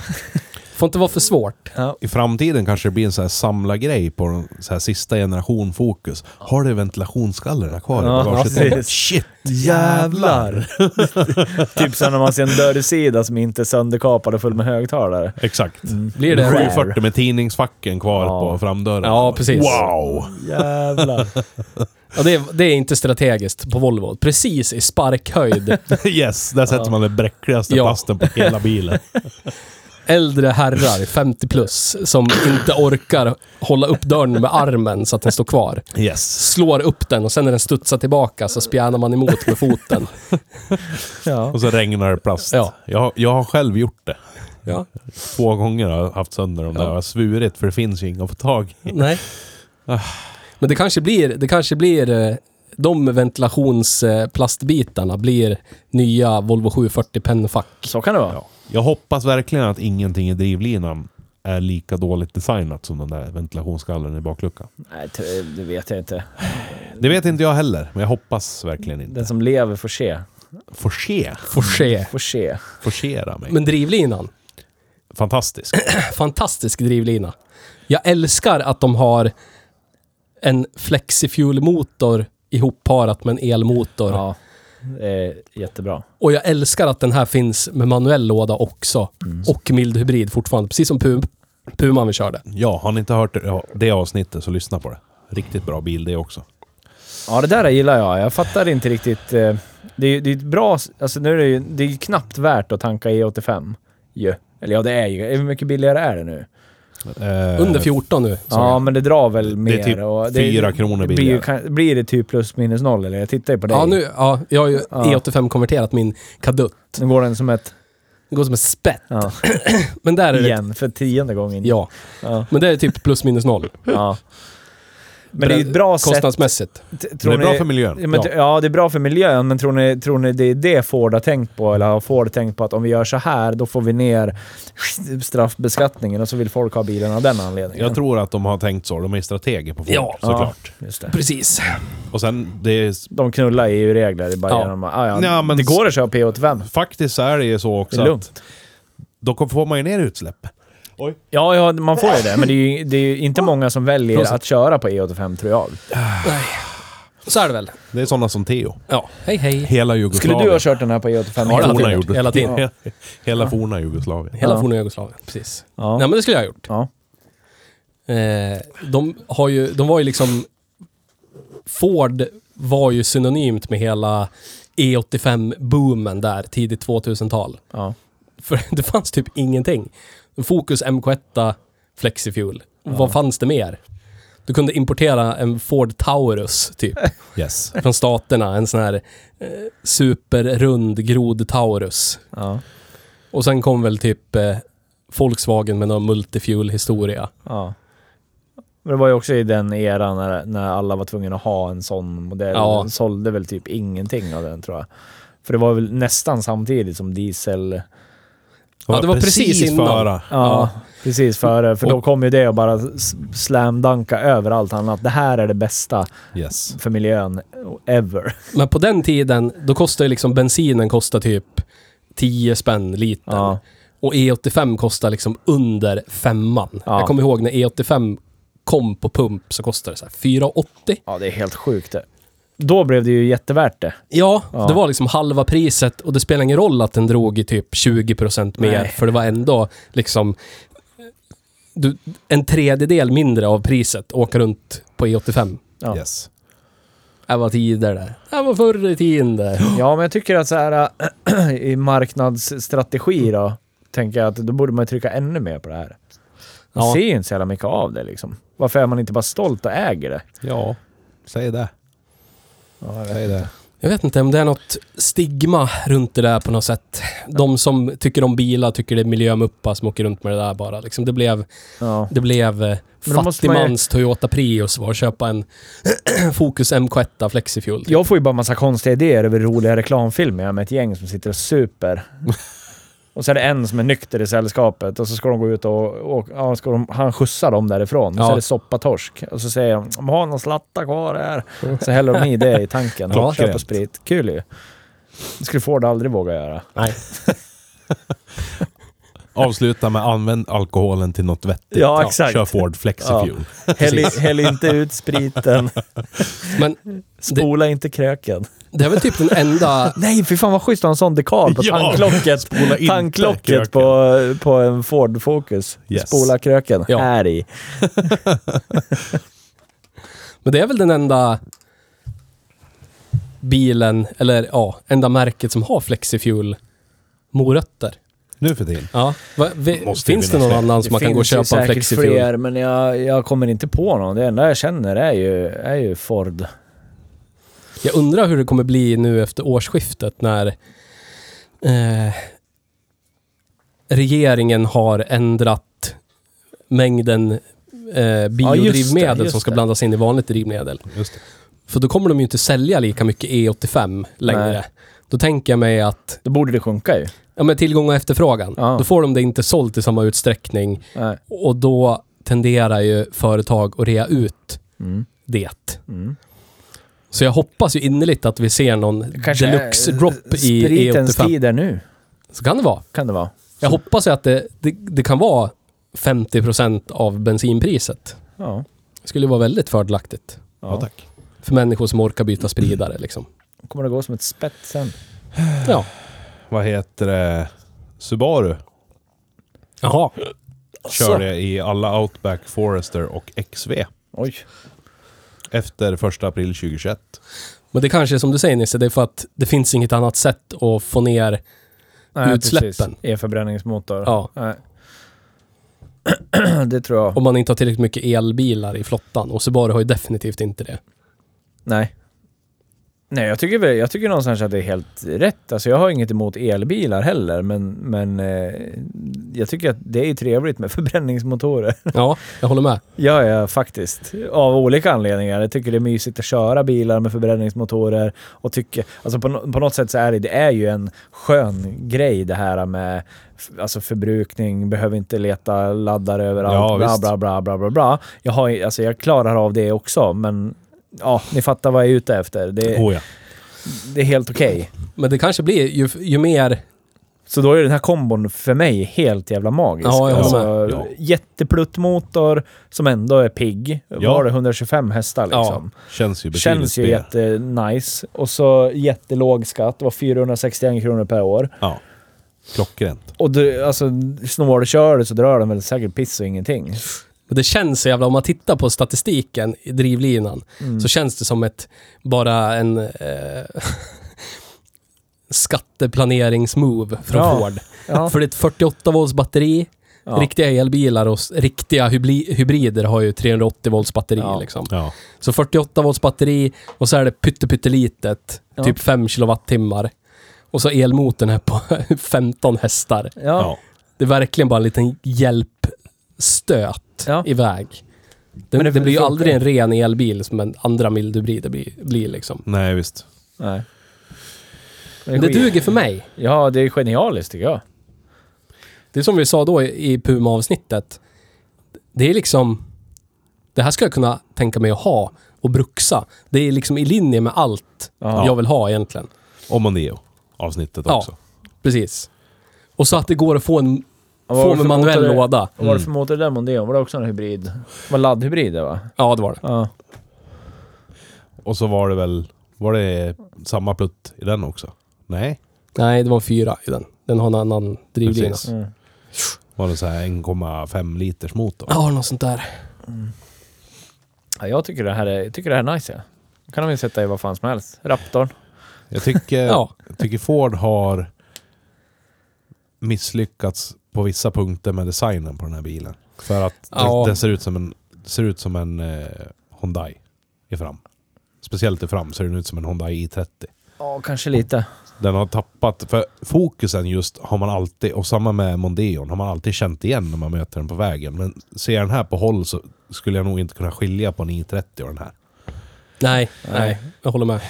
B: Får inte vara för svårt.
C: ja.
A: I framtiden kanske det blir en sån här samlargrej på den så här sista generation fokus. Har du ventilationsgallerna kvar
C: Ja,
A: i bagaget?
C: precis.
A: Shit!
C: Jävlar! typ som när man ser en dörrsida som inte är sönderkapad och full med högtalare.
A: Exakt.
B: Blir Mm. det
C: Rare.
A: 740 med tidningsfacken kvar
C: Ja.
A: på framdörren.
B: Ja, precis.
A: Wow!
C: Jävlar.
B: Ja, det, är, det är inte strategiskt på Volvo. Precis i sparkhöjd.
A: Yes, där sätter man den bräckligaste
B: Ja.
A: plasten på hela bilen.
B: Äldre herrar, 50 plus, som inte orkar hålla upp dörren med armen så att den står kvar.
A: Yes.
B: Slår upp den och sen när den studsar tillbaka så spjärnar man emot med foten.
C: Ja.
A: Och så regnar det plast.
B: Ja.
A: Jag, jag har själv gjort det.
B: Ja,
A: Två gånger har jag haft sönder dem där.
B: Ja.
A: Jag har svurit för det finns ju inga att få tag i.
B: nej. Men det kanske blir, det kanske blir eh, de ventilationsplastbitarna blir nya Volvo 740 pennfack.
C: Så kan det vara.
A: Jag hoppas verkligen att ingenting i drivlinan är lika dåligt designat som den där ventilationsgallern i bakluckan.
C: Nej, t- det vet jag inte.
A: Det vet inte jag heller, men jag hoppas verkligen inte.
C: Den som lever får se.
A: Forse,
B: Får se.
C: Får se.
A: forsera mig.
B: Men drivlinan.
A: Fantastisk.
B: fantastisk drivlina. Jag älskar att de har en flexifuel-motor ihopparat med en elmotor.
C: Ja. Det är jättebra.
B: Och jag älskar att den här finns med manuell låda också. Och mild hybrid fortfarande, precis som Pum Puman vi körde.
A: Ja, har ni inte hört det- det avsnittet så lyssna på det. Riktigt bra bil det också.
C: Ja, det där gillar jag. Jag fattar inte riktigt. eh, Det är ju det är ett bra... Alltså nu är det ju det är ju knappt värt att tanka E85. Ju. Eller ja, det är ju. Hur mycket billigare är det nu?
A: Eh,
B: Under 14 nu. sa
C: ja,
B: jag.
C: men det drar väl mer.
A: är typ
C: och
A: fyra kronor
C: det blir, ju,
A: billigare.
C: kan- blir det typ plus minus noll? Eller jag tittar ju på dig.
B: ja, nu, ja, jag har ju
C: Ja.
B: E85-konverterat min kadutt.
C: nu går den som ett...
B: Det går som ett spett.
C: Ja,
B: Men där är det... typ-
C: igen, för tionde gången.
B: Ja,
C: Ja.
B: men det är typ plus minus noll.
C: ja. Men det är ju ett bra sätt...
B: Kostnadsmässigt.
C: t-
A: Men
C: Tror
A: det är bra
C: ni-
A: för miljön.
C: Ja, men,
B: Ja.
C: ja. det är bra för miljön, men tror ni, tror ni det är det Ford har tänkt på? Eller har Ford tänkt på att om vi gör så här, då får vi ner straffbeskattningen och så vill folk ha bilen av den anledningen?
A: Jag tror att de har tänkt så. De är strateger på Ford,
B: Ja.
A: såklart.
C: Just det.
B: Precis.
A: Och sen, det är,
C: De knullar EU-regler det är bara
B: Ja.
C: genom att ah, ja,
A: Ja, men-
C: det går att köra E P85.
A: faktiskt så är det ju så
C: Det
A: också
C: är
A: att
C: lugnt.
A: då får man ju ner utsläpp.
C: Ja, ja, man får ju det, men det är ju, det är ju inte många som väljer
B: Prosit.
C: att köra på E85 tror jag.
B: Så är det väl.
A: Det är sådana som Theo.
B: Ja, hej hej.
A: Hela
C: Skulle
A: Jugoslavien.
C: du ha kört den här på E E85?
B: Ja,
C: hela
B: det
A: forna
C: tiden?
B: gjort.
A: Jugoslavien.
B: Hela tiden.
A: Hela, forna Jugoslavien.
B: Hela
C: Ja.
B: forna Jugoslavien, precis.
C: Ja.
B: Nej men det skulle jag ha gjort.
C: Ja.
B: Eh, de, har ju, de var ju liksom... Ford var ju synonymt med hela E85-boomen där, tidigt 2000-tal.
C: Ja.
B: För det fanns typ ingenting. Focus MK1, Flexifuel. Vad fanns det mer? Du kunde importera en Ford Taurus, typ,
A: Yes.
B: från staterna. En sån här eh, superrund grod Taurus.
C: Ja.
B: Och sen kom väl typ eh, Volkswagen med någon multifuel-historia.
C: Ja. Men det var ju också i den eran när, när alla var tvungna att ha en sån modell.
B: Ja.
C: Den sålde väl typ ingenting av den tror jag. För det var väl nästan samtidigt som diesel...
B: Ja, det var precis innan.
A: före.
C: Ja, precis före. För då kom ju det och bara s- slamdanka över allt annat. Det här är det bästa
A: Yes.
C: för miljön ever.
B: Men på den tiden, då kostade ju liksom bensinen kostar typ 10 spänn litern.
C: Ja.
B: Och E85 kostar liksom under femman.
C: Ja.
B: Jag kommer ihåg när E85 kom på pump så kostade det så här 4,80.
C: Ja, det är helt sjukt det. Då blev det ju jättevärt det.
B: Ja,
C: Ja.
B: det var liksom halva priset och det spelar ingen roll att den drog i typ 20% mer
C: Nej.
B: för det var ändå liksom du, en tredjedel mindre av priset åka runt på E E85.
C: Ja.
A: Yes.
B: Det var tider där. Det var förr i tiden där.
C: Ja, men jag tycker att så här äh, i marknadsstrategi då, tänker jag att då borde man ju trycka ännu mer på det här. Man
B: Ja.
C: ser ju inte så jävla mycket av det liksom. Varför är man inte bara stolt och äger det?
A: Ja, säg det. Säg det.
B: Jag vet inte om det är något stigma runt det där på något sätt. De som tycker om bilar tycker det är miljömuppar som åker runt med det där bara. Liksom det blev,
C: Ja.
B: det blev eh,
C: Men då måste man ju-
B: fattigmans Toyota Prius var att köpa en Focus MK1 Flexifuel. typ.
C: Jag får ju bara massa konstiga idéer över roliga reklamfilmer med ett gäng som sitter och super. Och så är det en som är nykter i sällskapet och så ska de gå ut och, och ja, ska de, han skjutsar dem därifrån. Och
B: Ja.
C: så är det soppatorsk. Och så säger de “De har någon slatta kvar här”. Så häller de i det i tanken.
A: Ja.
C: Ja, köper sprit. Kul ju. Det skulle Ford aldrig våga göra.
B: Nej.
A: Avsluta med använd alkoholen till något vettigt.
C: Ja, exakt.
A: Kör Ford Flexifuel.
C: Häll, i- häll inte ut spriten.
B: Men
C: Spola inte kröken.
B: det är väl typ den enda...
C: Nej, fy fan vad schysst att ha en sån dekal på
A: Ja,
C: tanklocket.
A: spola inte kröken.
C: Tanklocket på, på en Ford Focus.
A: Yes.
C: Spola kröken.
B: Ja.
C: Här i.
B: Men det är väl den enda bilen, eller ja, enda märket som har Flexifuel morötter.
A: Nu för tiden.
B: Ja. Va, vi,
A: Måste ju
B: finns det
A: finnas
B: någon
A: fler.
B: annan som man kan gå och
C: finns ju
B: köpa en
C: säkert
B: Flexifuel?
C: fler, men jag, jag kommer inte på någon. Det enda jag känner är ju, är ju Ford.
B: Jag undrar hur det kommer bli nu efter årsskiftet när eh, regeringen har ändrat mängden eh, biodrivmedel
C: just
B: som ska
C: det.
B: blandas in i vanligt drivmedel.
A: Just det.
B: För då kommer de ju inte sälja lika mycket E85 längre.
C: Nej.
B: Då tänker jag mig att
C: Då borde det sjunka ju.
B: ja, men tillgång och efterfrågan,
C: Ja.
B: då får de det inte sålt i samma utsträckning
C: Nej.
B: och då tenderar ju företag att rea ut
C: Mm.
B: det.
C: Mm.
B: Så jag hoppas ju innerligt att vi ser någon
C: Kanske
B: deluxe
C: är-
B: drop i E
C: Spritens
B: E85.
C: tid är nu,
B: Så kan det vara.
C: kan det vara.
B: Jag hoppas ju att det, det, det kan vara 50% av bensinpriset.
C: Ja.
B: Det skulle vara väldigt fördelaktigt
A: Ja,
C: ja.
A: tack.
B: för människor som orkar byta spridare. Liksom.
C: Kommer det gå som ett spett sen?
B: Ja.
A: Vad heter det? Subaru
B: Jaha.
C: Alltså.
A: kör det i alla Outback, Forester och XV.
C: Oj.
A: Efter 1 april 2021.
B: Men det kanske är som du säger Nisse, det är för att det finns inget annat sätt att få ner... Utsläppen.
C: precis. E-förbränningsmotor.
B: Ja,
C: Nej. det tror jag.
B: om man inte har tillräckligt mycket elbilar i flottan. Och Subaru har ju definitivt inte det.
C: Nej. Nej, jag tycker, väl- jag tycker någonstans att det är helt rätt. Alltså jag har inget emot elbilar heller, men, men eh, jag tycker att det är trevligt med förbränningsmotorer.
B: Ja, jag håller med.
C: Ja, ja, faktiskt. Av olika anledningar. Jag tycker det är mysigt att köra bilar med förbränningsmotorer. Och tycker, alltså på, nå- på något sätt så är det, det är ju en skön grej det här med f- alltså förbrukning, behöver inte leta laddare överallt,
A: Ja,
C: bla,
A: visst.
C: bla bla bla bla bla. Jag, har, ju- alltså, jag klarar av det också, men ja, ni fattar vad jag är ute efter. Det,
A: Oh ja.
C: det är helt okej.
B: Men det kanske blir, ju, ju mer
C: Så då är den här kombon för mig helt jävla magisk.
B: Ja, jag
A: håller
C: alltså,
A: med. Ja.
C: Jättepluttmotor som ändå är pigg.
A: Ja.
C: Var det 125 hästar liksom?
A: Känns ju betydligt
C: Känns ju
A: B.
C: jättenice. Och så jättelåg skatt. Det var 461 kronor per år.
A: Ja. Klockrent.
C: Och du, alltså, snålkör du så drar den väl säkert piss och ingenting.
B: Men det känns så jävla, om man tittar på statistiken i drivlinan,
C: Mm.
B: så känns det som ett, bara en eh, skatteplaneringsmove från
C: Ja.
B: Ford.
C: Ja.
B: För det är ett 48 volts batteri,
C: Ja.
B: riktiga elbilar och s- riktiga hybli- hybrider har ju 380 volts batteri
C: Ja.
B: liksom.
A: Ja.
B: Så 48 volts batteri och så är det pytte, pyttelitet,
C: Ja.
B: typ 5 kilowattimmar. Och så elmotorn här på 15 hästar.
C: Ja.
A: Ja.
B: Det är verkligen bara en liten hjälpstöt
C: Ja.
B: iväg. Det,
C: Men
B: det,
C: det
B: blir ju
C: funkar.
B: aldrig en ren elbil som en andra mild hybrid blir, blir liksom.
A: Nej, visst.
C: Nej.
B: Men det duger för mig.
C: Ja, det är genialiskt tycker jag.
B: Det är som vi sa då i, i Puma-avsnittet. Det är liksom... Det här ska jag kunna tänka mig att ha och bruxa. Det är liksom i linje med allt
C: Ja.
B: jag vill ha egentligen.
A: Och Mondeo. Avsnittet
B: Ja.
A: också.
B: Precis. Och så att det går att få en,
C: Ja, vad
B: få
C: var
B: en
C: det för
B: manuell
C: motor?
B: låda.
C: Vad var det för motor där Mondeon? Var det också en hybrid? Det var laddhybrider va?
B: Ja, det var det.
C: Ja.
A: Och så var det väl... Var det samma plutt i den också? Nej.
B: Nej, det var en fyra i den. Den har en annan drivlina.
A: Precis.
C: Mm.
A: Var det så här 1,5 liters motor?
B: Ja, något sånt där.
C: ja jag tycker det här är, jag tycker det här är nice ja. Då kan de ju sätta i vad fan som helst. Raptorn.
A: Jag tycker,
B: Ja.
A: jag tycker Ford har misslyckats på vissa punkter med designen på den här bilen. För att
B: Ja.
A: den, den ser ut som en, ser ut som en eh, Hyundai i fram. Speciellt i fram ser den ut som en Hyundai i30.
C: Ja, kanske lite.
A: Den har tappat, för fokusen just har man alltid, och samma med Mondeon, har man alltid känt igen när man möter den på vägen. Men ser jag den här på håll så skulle jag nog inte kunna skilja på en i30 och den här.
B: Nej, nej,
C: Nej.
B: jag håller med.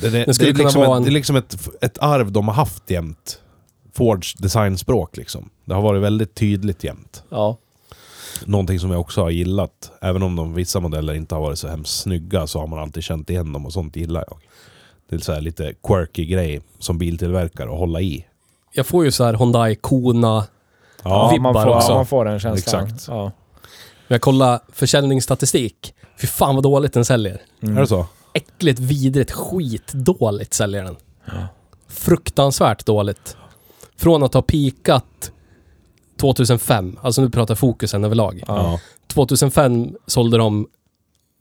A: Det, det,
B: Det
A: det,
B: skulle
A: är
B: kunna
A: liksom
B: vara
A: ett,
B: en-
A: det är liksom ett, ett arv de har haft jämt. Fords designspråk liksom. Det har varit väldigt tydligt jämt.
C: Ja.
A: Någonting som jag också har gillat. Även om de, vissa modeller inte har varit så hemskt snygga så har man alltid känt igen dem och sånt gillar jag. Det är så här lite quirky grej som biltillverkare att hålla i.
B: Jag får ju så här Hyundai Kona.
A: Ja,
B: Vibbar
C: man får,
B: också.
C: Ja, man får den känslan.
A: Exakt.
C: Ja.
B: Jag kollar försäljningsstatistik. Fy fan vad dåligt den säljer.
A: är det så?
B: Äckligt, vidrigt, skitdåligt säljer den. Fruktansvärt dåligt. Från att ha peakat 2005, alltså nu pratar fokusen överlag.
A: Ja.
B: 2005 sålde de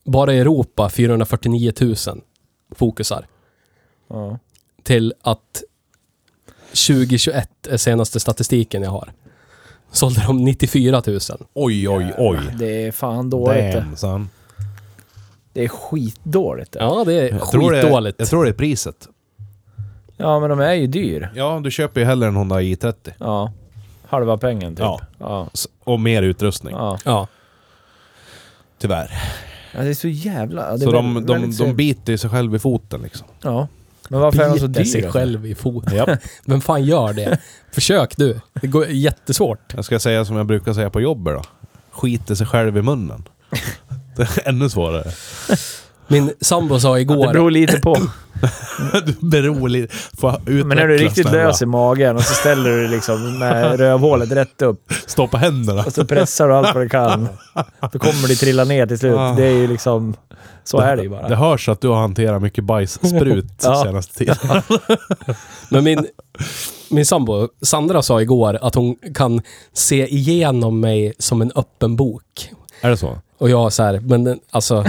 B: bara i Europa 449 000 fokusar.
C: Ja.
B: till att 2021 är senaste statistiken jag har. Sålde de 94 000.
A: Oj, oj, oj.
C: Det är fan dåligt det.
A: Damn, son.
C: Det är skitdåligt det.
B: Ja, det är
A: Jag tror det,
B: skitdåligt.
A: jag tror det är priset.
C: Ja, men de är ju dyr.
A: Ja, du köper ju hellre en Honda i30.
C: Ja. Halva pengen typ.
A: Ja.
C: Ja.
A: S- Och mer utrustning,
C: ja.
B: Ja,
A: tyvärr.
C: Ja, det är så jävla... Det är
A: Så de,
C: väldigt-
A: de,
C: väldigt
A: de
C: synd.
A: biter ju sig själv i foten liksom.
C: Ja. Men varför är de så
B: biter sig
C: dyra?
B: själv i foten. Vem fan gör det? Försök du. Det går jättesvårt.
A: Jag ska säga som jag brukar säga på jobbet då. Skiter sig själv i munnen. Det är ännu svårare.
B: Min sambo sa
C: Det
B: igår...
C: beror lite på.
A: Du beror lite... Får utveckla,
C: Men är du riktigt
A: snälla.
C: lös i magen och så ställer du liksom med rövhålet rätt upp
A: Stoppa händerna.
C: och så pressar du allt vad du kan. Då kommer det trilla ner till slut.
A: Ah.
C: Det är ju liksom... Så är det ju
A: Det
C: bara.
A: hörs att du har hanterat mycket bajssprut
C: Ja.
A: senaste tiden.
B: Men min, min sambo, Sandra, sa igår att hon kan se igenom mig som en öppen bok.
A: Är det så?
B: Och jag så här, men den- alltså...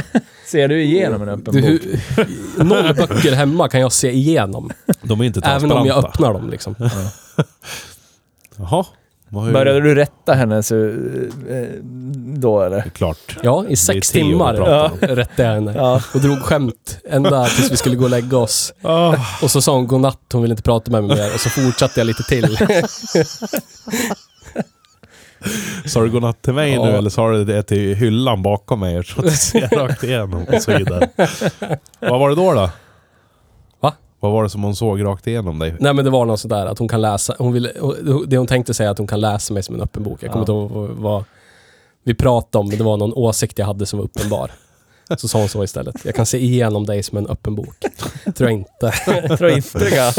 C: Ser du igenom en öppen
B: Du,
C: bok?
B: hur, noll böcker hemma kan jag se igenom.
A: De är inte
B: Även
A: transparenta.
B: om jag öppnar dem liksom.
A: Jaha. Vad är-
C: Började du rätta henne så, eh, då eller?
A: Det är Klart.
B: Ja, i sex
A: Det är Theo vi
B: timmar
A: pratar om.
B: rättade jag henne.
C: Ja.
B: Och drog skämt ända tills vi skulle gå och lägga oss.
A: Ah,
B: Och så sa hon godnatt, hon ville inte prata med mig mer. Och så fortsatte jag lite till.
A: sa du godnatt till mig
B: Ja.
A: nu eller sa du det till hyllan bakom mig så att du ser rakt igenom och så vidare. Vad var det då då?
B: Va?
A: Vad var det som hon såg rakt igenom dig?
B: Nej men det var något sådär att hon kan läsa, hon ville, det hon tänkte säga är att hon kan läsa mig som en öppen bok. Jag kommer inte ihåg vad- vad vi pratade om, men det var någon åsikt jag hade som var uppenbar. Så sa hon så istället. Jag kan se igenom dig som en öppen bok. Tror jag inte.
C: Tror inte det.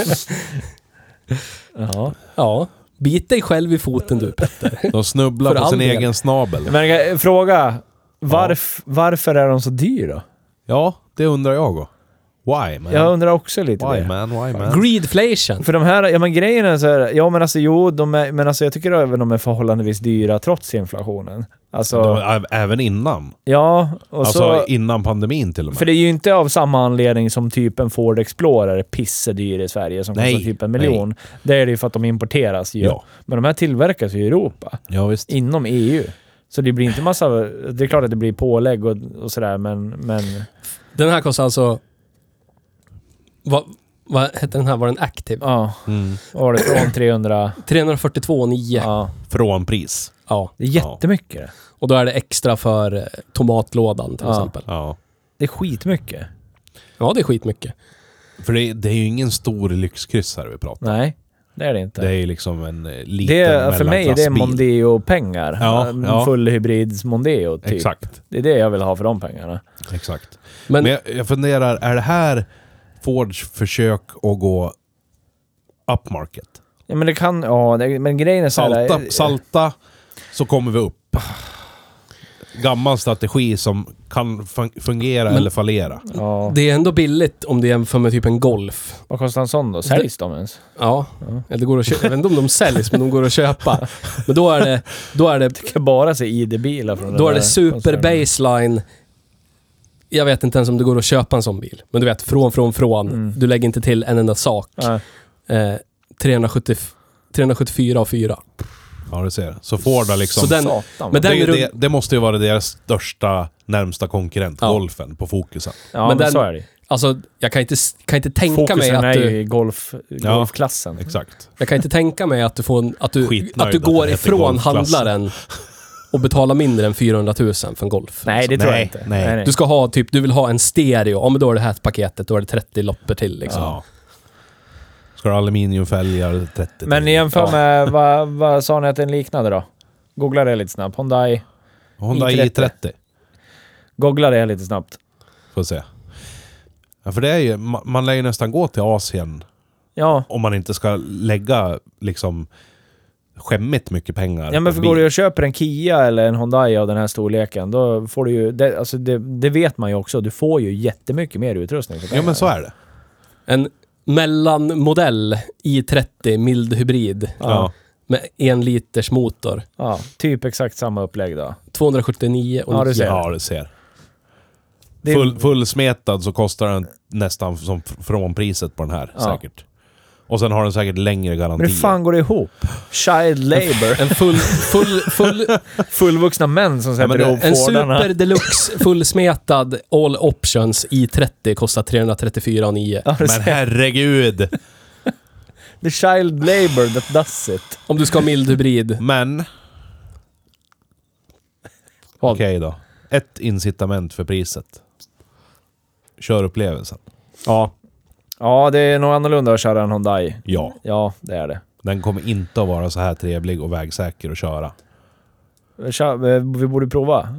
C: Ja.
B: Ja, bit dig själv i foten du Petter.
A: De snubblar
B: För
A: på
B: all
A: sin
B: del.
A: egen snabel.
C: Men eh, fråga. Varf, Varför är de så dyra då?
A: Ja, det undrar jag också. Why man?
C: Jag undrar också lite
A: why
C: det.
A: man? Why man?
B: Greedflation.
C: För de här, ja men grejen är så här, ja men alltså jo, de är, men alltså jag tycker även de är förhållandevis dyra trots inflationen. Alltså,
A: De, ä- även innan.
C: ja, och
A: alltså
C: så...
A: innan pandemin till och med.
C: För det är ju inte av samma anledning som typ en Ford Explorer är pissedyr i Sverige som
A: Nej,
C: kostar typ en miljon. Det är det ju för att de importeras ju.
A: Ja.
C: Men de här tillverkas ju i Europa,
A: Ja, visst.
C: inom EU. Så det blir inte massa... Det är klart att det blir pålägg och, och sådär, men... men
B: Den här kostar alltså... Vad, vad hette den här? Var den aktiv?
C: ja,
A: Mm.
C: vad var det från 300...
B: 342,9. Ja.
C: Ja.
A: Från pris.
C: Det är jättemycket det.
B: Och då är det extra för eh, tomatlådan till
C: Ja.
B: exempel.
A: Ja.
C: Det är skitmycket.
B: Ja, det är skitmycket.
A: För det, det är ju ingen stor lyxkryss här vi pratar
C: Nej, det är det inte.
A: Det är ju liksom en eh, liten
C: Det är, för mig det är
A: mellanklassbil.
C: Mondeo-pengar.
A: Ja,
C: Ja,
A: ja.
C: Fullhybrids Mondeo, typ.
A: Exakt.
C: Det är det jag vill ha för de pengarna.
A: Exakt.
B: Men,
A: Men jag, jag funderar, är det här Fords försök att gå upmarket?
C: Ja, men det kan... Ja, det, eh, men grejen är så här-
A: Salta, salta, så kommer vi upp. Gammal strategi som kan fun- fungera
B: Men-
A: eller fallera.
C: Ja.
B: det är ändå billigt om du jämför med typ en Golf.
C: Vad kostar en sån då? Säljs de ens?
B: Ja, eller det går att köpa. Jag vet inte om de säljs, men de går att köpa. Men då är det, då är det,
C: Jag kan bara se ID-bilar från den
B: då är
C: där
B: det super
C: koncernen.
B: baseline. Jag vet inte ens om det går att köpa en sån bil. Men du vet, från, från, från.
C: Mm.
B: Du lägger inte till en enda sak.
C: Ja.
B: Eh, 370, 374 och 4.
A: Ja, du ser. Så Ford har liksom...
B: Så den-
C: Satan.
B: men
A: det,
B: den
A: är ju
B: är rund-
A: det, det måste ju vara deras största närmsta konkurrent,
B: Ja.
A: golfen, på fokusen.
C: ja,
B: men
C: men
B: den-
C: så är det
B: Alltså, jag kan inte, s- kan inte tänka mig
C: Fokusen
B: att
C: är
B: du...
C: ju i golf, golfklassen.
A: Exakt.
B: Jag kan inte tänka mig att du, får en, att du,
A: Skitnöjd
B: att du
A: att den
B: går
A: heter
B: ifrån
A: golfklassen.
B: handlaren och betalar mindre än 400 000 för en Golf.
C: Nej, det tror
A: Nej,
C: jag inte.
A: nej.
B: Du ska ha typ, du vill ha en stereo. Ja, men då är det här paketet. Då är det 30 loppor till liksom.
A: Ja. Ska du ha aluminiumfälgar, 30
C: Men jämför
B: Ja.
C: med... Vad, vad sa ni att den liknade då? Googla det lite snabbt. Hyundai.
A: Honda
C: i 30.
A: i30.
C: Googla det lite snabbt.
A: Får se. Ja, för det är ju, ma- man lär ju nästan gå till Asien
C: Ja.
A: om man inte ska lägga liksom skämmigt mycket pengar.
C: Ja men
A: på
C: för
A: bil.
C: går du och köper en Kia eller en Hyundai av den här storleken, då får du ju... Det, alltså det, det vet man ju också, du får ju jättemycket mer utrustning för
A: Ja men så är det.
B: En mellanmodell i30 mild hybrid
A: Ja.
B: med en liters motor.
C: Ja, typ exakt samma upplägg då.
B: 279 och
C: Ja, du
A: Ja,
C: ser.
A: du ser.
C: Det,
A: Full, fullsmetad så kostar den nästan som fr- från priset på den här
C: Ja.
A: säkert. Och sen har den säkert längre
C: men
A: garantier.
C: hur fan går det ihop? Child labor.
B: En full, full, full,
C: Fullvuxna män som
A: men
C: sätter
A: det-
C: ihop
B: en
C: Fordarna.
B: super deluxe fullsmetad all options i30 kostar 334,9.
C: Ja, du
A: Men
C: ser.
A: herregud!
C: The child labor that does it.
B: Om du ska ha mild hybrid.
A: Men...
B: Vad?
A: Okej då. Ett incitament för priset. Kör upplevelsen.
B: Ja.
C: Ja, det är nog annorlunda att köra en Hyundai.
A: Ja.
C: Ja, det är det.
A: Den kommer inte att vara så här trevlig och vägsäker att köra.
C: Kör, eh, vi borde prova.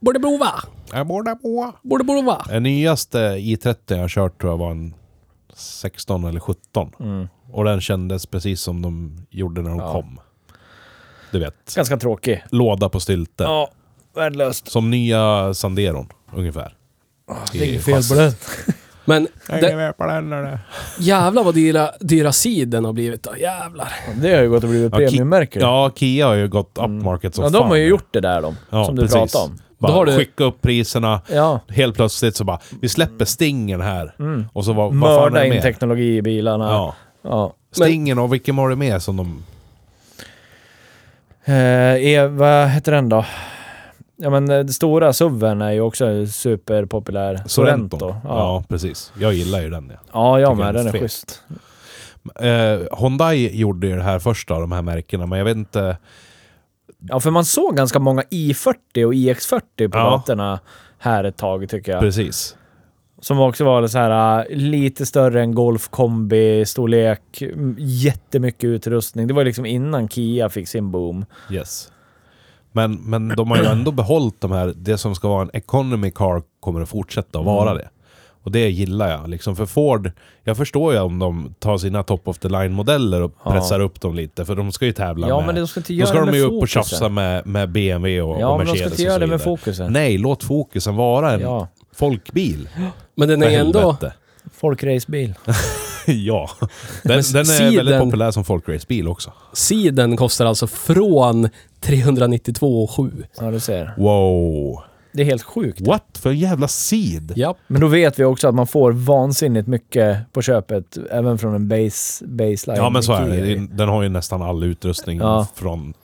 B: Borde prova.
A: Jag borde på.
B: Borde prova.
A: Den nyaste i30 jag har kört tror jag var en 16 eller 17.
C: Mm.
A: Och den kändes precis som de gjorde när de
C: Ja.
A: kom. Du vet,
C: Ganska tråkig.
A: låda på stylte.
C: Ja, värdelöst.
A: Som nya Sanderon ungefär.
C: Ah,
A: Det är
B: Men det,
A: Det... Det...
B: jävlar vad dyra, dyra siden har blivit då. Jävlar.
C: Det har ju gått och blivit
A: Ja, ki-
C: premiummärke. Mm.
A: Ja, Kia har ju gått upmarket som
C: Ja,
A: fan.
C: de har ju gjort det där de,
A: Ja,
C: som du
A: precis.
C: pratade om.
A: Bara
B: Då har du-
A: skicka upp priserna.
C: Ja.
A: Helt plötsligt så bara, vi släpper stingen här. Och så vad, vad fan är
C: Mm. Mörda
A: det
C: in
A: med?
C: teknologi i bilarna. Ja.
A: Ja. Stingen och vilken var det med som de...
C: Eh, e, vad heter den då? Ja men eh, den stora SUVen är ju också superpopulär.
A: Sorrento.
C: Ja,
A: Ja.
C: ja.
A: precis. Jag gillar ju den. Ja.
C: jag
A: Tycker
C: med.
A: den är
C: Den är
A: fet.
C: schysst.
A: Eh, Hyundai gjorde ju det här första av de här märkena, men jag vet inte...
C: Ja, för man såg ganska många i40 och iX40 på
A: Ja.
C: gatorna här ett tag tycker jag.
A: Precis.
C: Som också var så här eh, lite större än Golf kombi, storlek, m- jättemycket utrustning. Det var ju liksom innan Kia fick sin boom.
A: Yes. Men, men
C: Mm.
A: de har ju ändå behållit de här, det som ska vara en economy car kommer att fortsätta att vara det. Och det gillar jag. Liksom för Ford, jag förstår ju om de tar sina top of the line-modeller och
C: Ja.
A: pressar upp dem. lite, för de ska ju tävla
C: Ja,
A: med...
C: men de ska inte
A: Då
C: göra
A: ska
C: det
A: de
C: med
A: ju upp och
C: fokusen.
A: tjafsa med, med BMW och,
C: Ja,
A: och
C: men de
A: Mercedes
C: ska inte
A: och så
C: göra det med
A: vidare.
C: fokusen.
A: Nej, låt fokusen vara en
C: Ja,
A: folkbil.
B: Men den
A: för
B: är ändå...
A: helvete.
C: folkracebil.
A: ja. Den,
B: Men
A: den är väldigt
B: siden-
A: populär som folkracebil också.
B: Siden kostar alltså från 392,7.
C: Ja, du ser.
A: Wow.
C: Det är helt sjukt.
A: What för en jävla sid?
B: Japp.
C: Men då vet vi också att man får vansinnigt mycket på köpet, även från en base, baseline.
A: Ja men så är
C: Kia.
A: det. Den har ju nästan all utrustning
C: Ja.
A: från,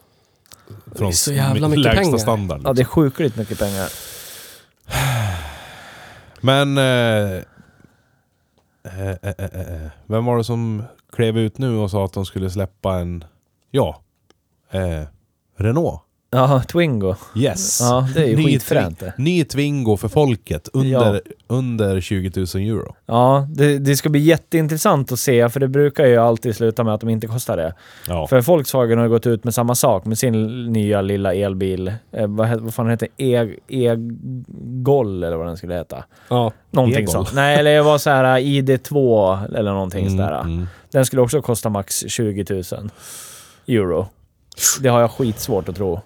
B: Det är
A: från
B: så jävla mycket
A: lägsta
B: pengar.
A: standard. liksom.
C: Ja, det är sjukligt mycket pengar.
A: Men... Eh, eh, eh, eh, eh. Vem var det som klev ut nu och sa att de skulle släppa en... Ja. Eh, Renault.
C: Ja, Twingo.
A: Yes.
C: Ja, det är ju
A: Ny
C: skitfränt det.
A: Ny Twingo för folket under, under 20 000 euro.
C: Ja, det, det ska bli jätteintressant att se, för det brukar ju alltid sluta med att de inte kostar det.
A: Ja.
C: För Volkswagen har ju gått ut med samma sak med sin l- nya lilla elbil. Eh, vad, he- vad fan heter den? E-Goll eller vad den skulle heta.
B: Ja.
C: Någonting
A: E-Gol.
C: sånt. Nej, eller det var så här eh, ID2 eller någonting sådär.
A: mm.
C: Den skulle också kosta max 20 000 euro. Det har jag skitsvårt att tro.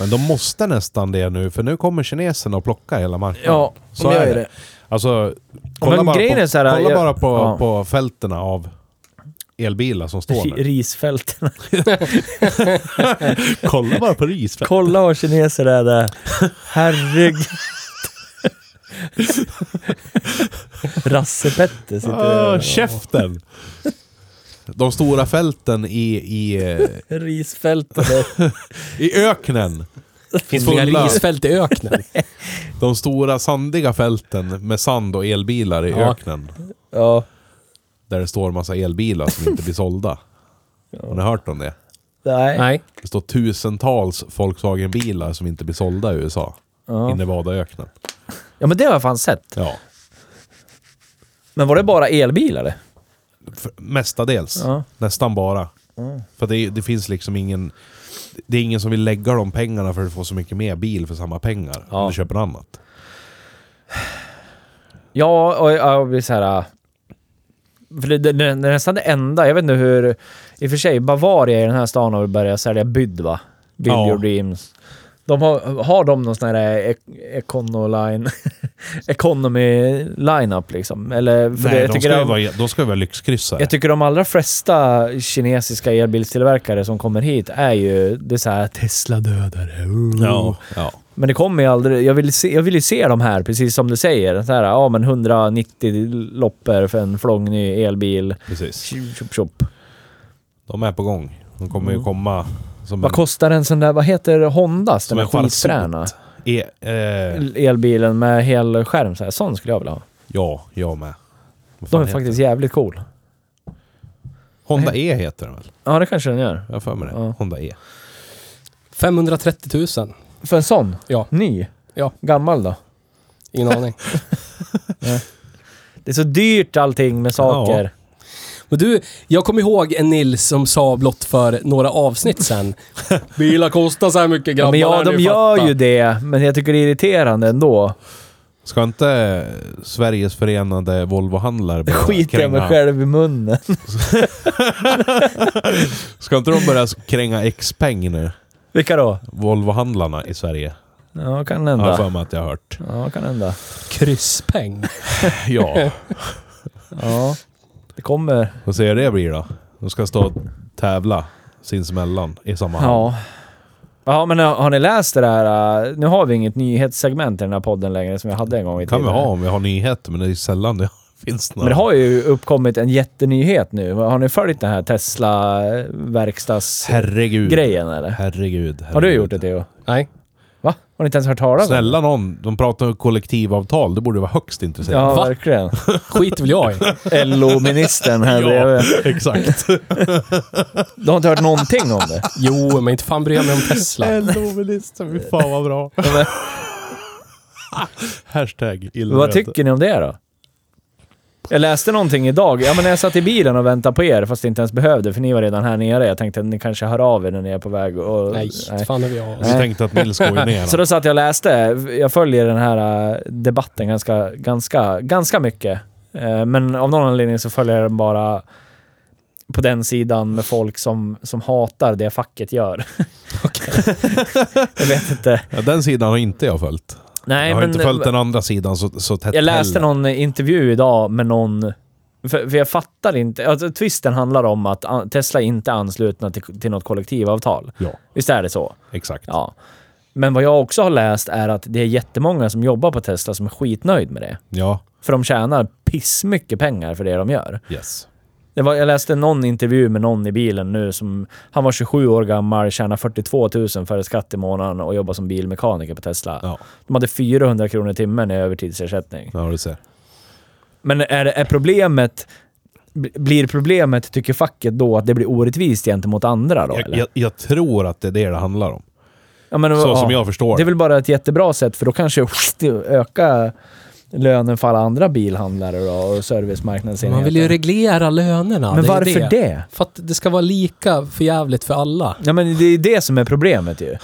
A: Men de måste nästan det nu, för nu kommer kineserna och plocka hela marknaden. så är det. Alltså, kolla,
C: men
A: bara,
C: grejen
A: på,
C: är så här,
A: kolla
C: jag-
A: bara på,
C: ja.
A: på fälterna av elbilar som står där.
C: Risfälten.
A: kolla bara på risfält.
C: Kolla vad kineser är där. Herregud. Rasse-Petter sitter där.
A: Ah, käften! De stora fälten i, i, eh,
C: Ah, Risfälten.
A: i öknen.
B: Finns det inga
A: Fulla-
B: risfält i öknen?
A: De stora sandiga fälten med sand och elbilar i
B: Ja.
A: öknen.
C: Ja.
A: Där det står en massa elbilar som inte blir sålda. Har ni hört om det?
C: Nej.
B: Nej.
A: Det står tusentals Volkswagen-bilar som inte blir sålda i USA.
C: Ja.
A: I Nevadaöknen.
C: ja, men det har jag fan sett.
A: Ja.
C: Men var det bara elbilar det?
A: För, mestadels.
C: Ja. Mm.
A: Nästan bara. För det, det finns liksom ingen... Det är ingen som vill lägga de pengarna för att få så mycket mer bil för samma pengar.
C: Ja.
A: Om du köper annat.
C: Ja, och jag blir så här... äh, För det, det, det är nästan det enda. Jag vet inte hur... I och för sig, Bavaria i den här stan har börjat sälja byd va? Build
A: Ja.
C: your dreams. De har, har de någon sån här e econoline, economy lineup liksom? Eller, för
A: Nej,
C: det, jag,
A: de,
C: tycker
A: ska ju
C: de,
A: vara, de ska ju vara lyxkryssare.
C: jag tycker de allra flesta kinesiska elbilstillverkare som kommer hit är ju... Det är så här Tesla dödare. ooh.
A: ja. ja.
C: Men det kommer ju aldrig... Jag vill, se, jag vill ju se de här, precis som du säger. Så här, ja men 190 loppor för en flångny elbil.
A: Precis.
C: Tjup, tjup, tjup.
A: De är på gång. De kommer ju komma som
C: Mm. Vad
A: en...
C: kostar en sån där... Vad heter Hondas?
A: Som
C: Den där
A: en farsot.
C: skitfräna
A: E, eh,
C: elbilen med hel skärm. Så här. Sån skulle jag vilja ha.
A: ja, jag med. Vad fan
C: De är
A: heter
C: faktiskt
A: den?
C: jävligt cool.
A: Honda E heter den väl?
C: Ja, det kanske den gör.
A: Jag har för mig det.
C: Ja.
A: Honda E.
B: 530 000.
C: För en sån?
B: Ja.
C: Ny?
B: Ja.
C: Gammal då?
B: Ingen aning.
C: Det är så dyrt allting med saker.
B: Men du, jag kommer ihåg en Nils som sa blott för några avsnitt sen. Bilar kostar så här mycket grabbar.
C: men ja,
B: lär
C: de
B: ni
C: gör
B: fatta."
C: ju det. Men jag tycker det är irriterande ändå.
A: Ska inte Sveriges förenade Volvo-handlare börja
C: Skiter jag mig
A: kränga-
C: själv i munnen.
A: Ska inte de börja kränga Xpeng nu?
C: Vilka då?
A: Volvo-handlarna i Sverige.
C: Ja, kan
A: Har jag
C: hända.
A: för mig att jag har hört.
C: Ja, kan hända.
B: Krysspeng.
A: Ja.
C: Ja, det kommer.
A: Vad säger det blir då? De ska stå och tävla sinsemellan i samma hand.
C: Ja. Ja, men har har ni läst det där? eh, Nu har vi inget nyhetssegment i den här podden längre som vi hade en gång i
A: Det kan
C: tiden.
A: vi ha om vi har nyheter, men det är sällan det finns några.
C: Men det har ju uppkommit en jättenyhet nu. Har ni följt den här Tesla-verkstadsgrejen
A: Herregud.
C: eller?
A: Herregud.
C: Har du
A: herregud.
C: gjort det Theo?
B: Nej.
C: Va? Har ni inte ens hört talas om det?
A: Snälla någon, de pratar om kollektivavtal. Det borde vara högst intresserande.
C: Ja,
B: Va?
C: verkligen.
B: Skit vill jag i.
C: LO-ministern här bredvid.
A: exakt.
C: Du har inte hört någonting om det?
B: Jo, men inte fan bryr jag mig om Tesla.
A: LO-ministern, fy fan vad bra. Hashtag illa
C: Vad
A: rädd.
C: tycker ni om det då? Jag läste någonting idag. Ja, men jag satt i bilen och väntade på er, fast inte ens behövde, för ni var redan här nere. Jag tänkte att ni kanske hör av er när ni är på väg. Och,
B: Nej, fan är vi av.
A: Jag tänkte att Nils går ju ner.
C: Så då satt jag och läste. Jag följer den här eh, debatten ganska, ganska, ganska mycket. Eh, Men av någon anledning så följer jag den bara på den sidan med folk som, som hatar det facket gör. jag vet inte.
A: Ja, den sidan har inte jag följt.
C: Nej,
A: jag har
C: men eh,
A: inte följt den andra sidan så, så tätt
C: jag läste
A: heller.
C: någon intervju idag med någon... För, för jag fattar inte. Alltså, twisten handlar om att an- Tesla inte är anslutna till, till något kollektivavtal.
A: Ja,
C: Visst är det så?
A: exakt.
C: Ja. Men vad jag också har läst är att det är jättemånga som jobbar på Tesla som är skitnöjd med det.
A: Ja,
C: För de tjänar pissmycket pengar för det de gör.
A: yes.
C: Det var, jag läste någon intervju med någon i bilen nu som... Han var 27 år gammal, tjänar 42 000 före skatt i månaden och jobbar som bilmekaniker på Tesla.
A: Ja,
C: De hade 400 kronor i timmen i övertidsersättning.
A: ja du ser.
C: Men är, är problemet... b- Blir problemet, tycker facket då, att det blir orättvist gentemot andra då?
A: Jag,
C: eller?
A: jag, jag tror att det är det det handlar om.
C: Ja, men,
A: Så
C: ja.
A: som jag förstår
C: Det
A: det.
C: är väl bara ett jättebra sätt för då kanske öka lönen för alla andra bilhandlare då, och servicemarknadsenheter.
B: Man vill ju reglera lönerna.
C: Men
B: det är
C: varför det?
B: För att det ska vara lika för jävligt för alla.
C: Ja men det är det som är problemet ju.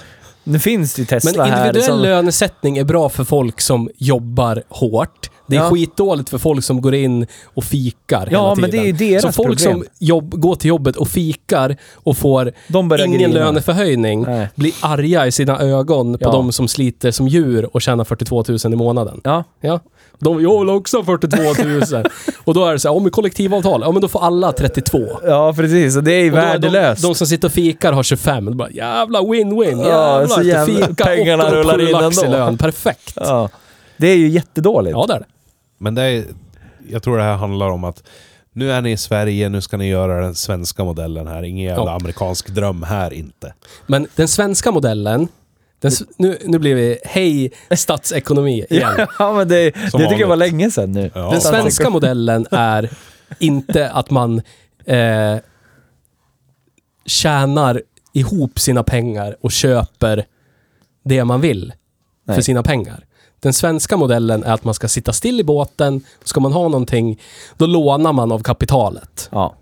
C: Nu finns det ju
B: Men
C: Tesla här liksom.
B: individuell
C: som...
B: lönesättning är bra för folk som jobbar hårt. Det är
C: Ja.
B: skitdåligt för folk som går in och fikar hela
C: Ja
B: tiden.
C: men det är ju deras
B: Så folk
C: problem.
B: som jobb, går till jobbet och fikar och får
C: De börjar
B: ingen
C: grina.
B: löneförhöjning
C: Nej.
B: blir arga i sina ögon på
C: Ja.
B: de som sliter som djur och tjänar 42 000 i månaden.
C: Ja.
B: Ja. De, jag vill också ha 42 000. och då är det så här, om kollektivavtal, ja men då får alla 32.
C: ja precis, och det är ju
B: Och då är
C: värdelöst.
B: De, de som sitter och fikar har 25. Då bara, jävla win-win.
C: Ja,
B: Jävlar,
C: så
B: så
C: jävla-
B: fika
C: pengarna
B: och
C: rullar in
B: lax i
C: ändå.
B: lön. Perfekt. Ja,
C: ja. Det är ju jättedåligt.
B: det är det.
A: Men det är, jag tror det här handlar om att nu är ni i Sverige, nu ska ni göra den svenska modellen här. Ingen jävla
B: Ja.
A: amerikansk dröm här inte.
B: Men den svenska modellen, den, s- nu, nu blir vi, hej statsekonomi igen.
C: Ja men det, det
A: Som
C: tycker jag var
A: vanligt.
C: länge sedan nu.
A: Ja.
B: Den
A: fan.
B: svenska modellen är inte att man eh, tjänar ihop sina pengar och köper det man vill för
C: Nej.
B: sina pengar. Den svenska modellen är att man ska sitta still i båten, ska man ha någonting, då lånar man av kapitalet.
C: Ja.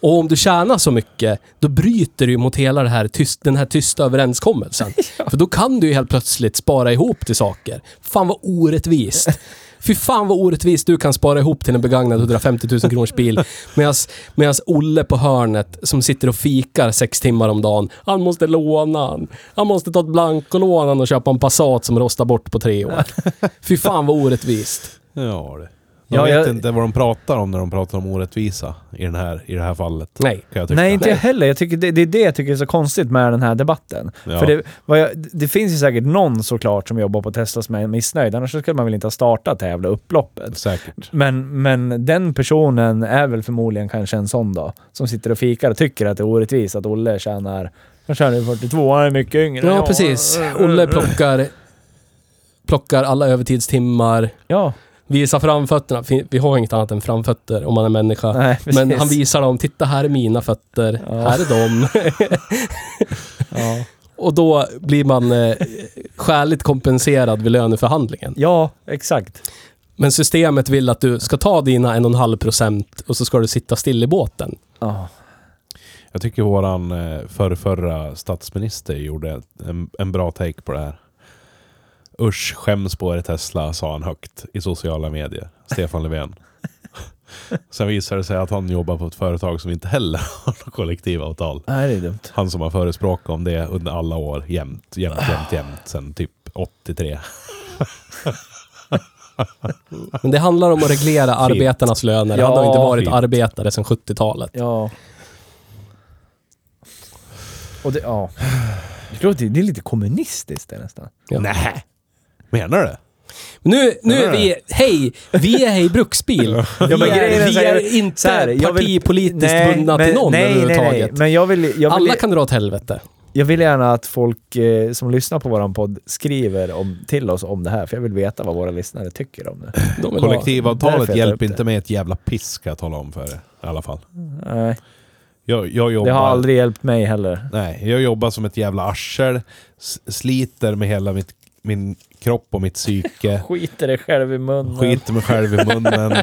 B: Och om du tjänar så mycket, då bryter du ju mot hela det här tyst, den här tysta överenskommelsen. För då kan du ju helt plötsligt spara ihop till saker. Fan vad orättvist. Fy fan vad orättvist du kan spara ihop till en begagnad 150 000 kronors bil. Medan Olle på hörnet som sitter och fikar sex timmar om dagen. Han måste låna. han. Han måste ta ett blankolån han och köpa en Passat som rostar bort på tre år. Fy fan vad orättvist.
A: Ja, det. De
C: Ja,
A: vet
C: jag-
A: inte vad de pratar om när de pratar om orättvisa i, den här, i det här fallet.
B: Nej.
A: Kan jag tycka.
C: Nej, inte jag heller. Jag tycker det, det är det jag tycker är så konstigt med den här debatten.
A: Ja.
C: För det, vad jag, det finns ju säkert någon såklart som jobbar på Tesla som är missnöjd, annars så skulle man väl inte ha startat det här jävla upploppet.
A: Säkert.
C: Men, men den personen är väl förmodligen kanske en sån då, som sitter och fikar och tycker att det är orättvist att Olle tjänar han tjänar ju 42, han är mycket yngre. eh,
B: Ja, precis. Olle plockar, plockar alla övertidstimmar.
C: Ja,
B: Visar framfötterna. Fin- Vi har inget annat än framfötter om man är människa.
C: nej, precis.
B: Men han visar dem. Titta, här är mina fötter.
C: Ja.
B: Här är de.
C: ja.
B: Och då blir man eh, skäligt kompenserad vid löneförhandlingen.
C: ja, exakt.
B: Men systemet vill att du ska ta dina 1,5 procent och så ska du sitta still i båten.
C: Ja.
A: Jag tycker våran eh, förrförra statsminister gjorde en, en bra take på det här. Usch, skäms på er Tesla, sa han högt i sociala medier. Stefan Löfven. Sen visade det sig att han jobbar på ett företag som inte heller har något kollektivavtal.
C: Nej, det är dumt.
A: Han som har förespråkat om det under alla år, jämt, jämt, jämt,
C: Ah.
A: jämt, sen typ 83.
B: Men det handlar om att reglera arbetarnas löner. Han har
C: Ja,
B: inte varit
A: fint.
B: arbetare sedan 70-talet.
C: Ja. Och det, ja. Det, låter, det är lite kommunistiskt det nästan.
B: Ja.
A: Nej. Menar du det?
B: Nu, nu
A: Ja,
B: är vi, hej, vi är Hej Bruksbil. Vi
C: men grejen
B: är,
C: är
B: vi
C: så här-
B: är inte
C: så här, jag vill-
B: partipolitiskt bundna till någon överhuvudtaget.
C: Men jag vill, jag, vill,
B: Alla kan dra åt helvete.
C: jag vill gärna att folk eh, som lyssnar på våran podd skriver om, till oss om det här, för jag vill veta vad våra lyssnare tycker om det.
B: De vill ha-
C: därför jag
A: Kollektivavtalet
C: tar
A: hjälper
C: upp det.
A: inte med ett jävla piss ska jag tala om för er. I alla fall.
C: Nej,
A: Jag, jag jobbar...
C: det har aldrig hjälpt mig heller.
A: Nej, jag jobbar som ett jävla arsel. s- Sliter med hela mitt min kropp och mitt psyke.
C: Skiter dig själv i munnen.
A: Skiter mig själv i munnen.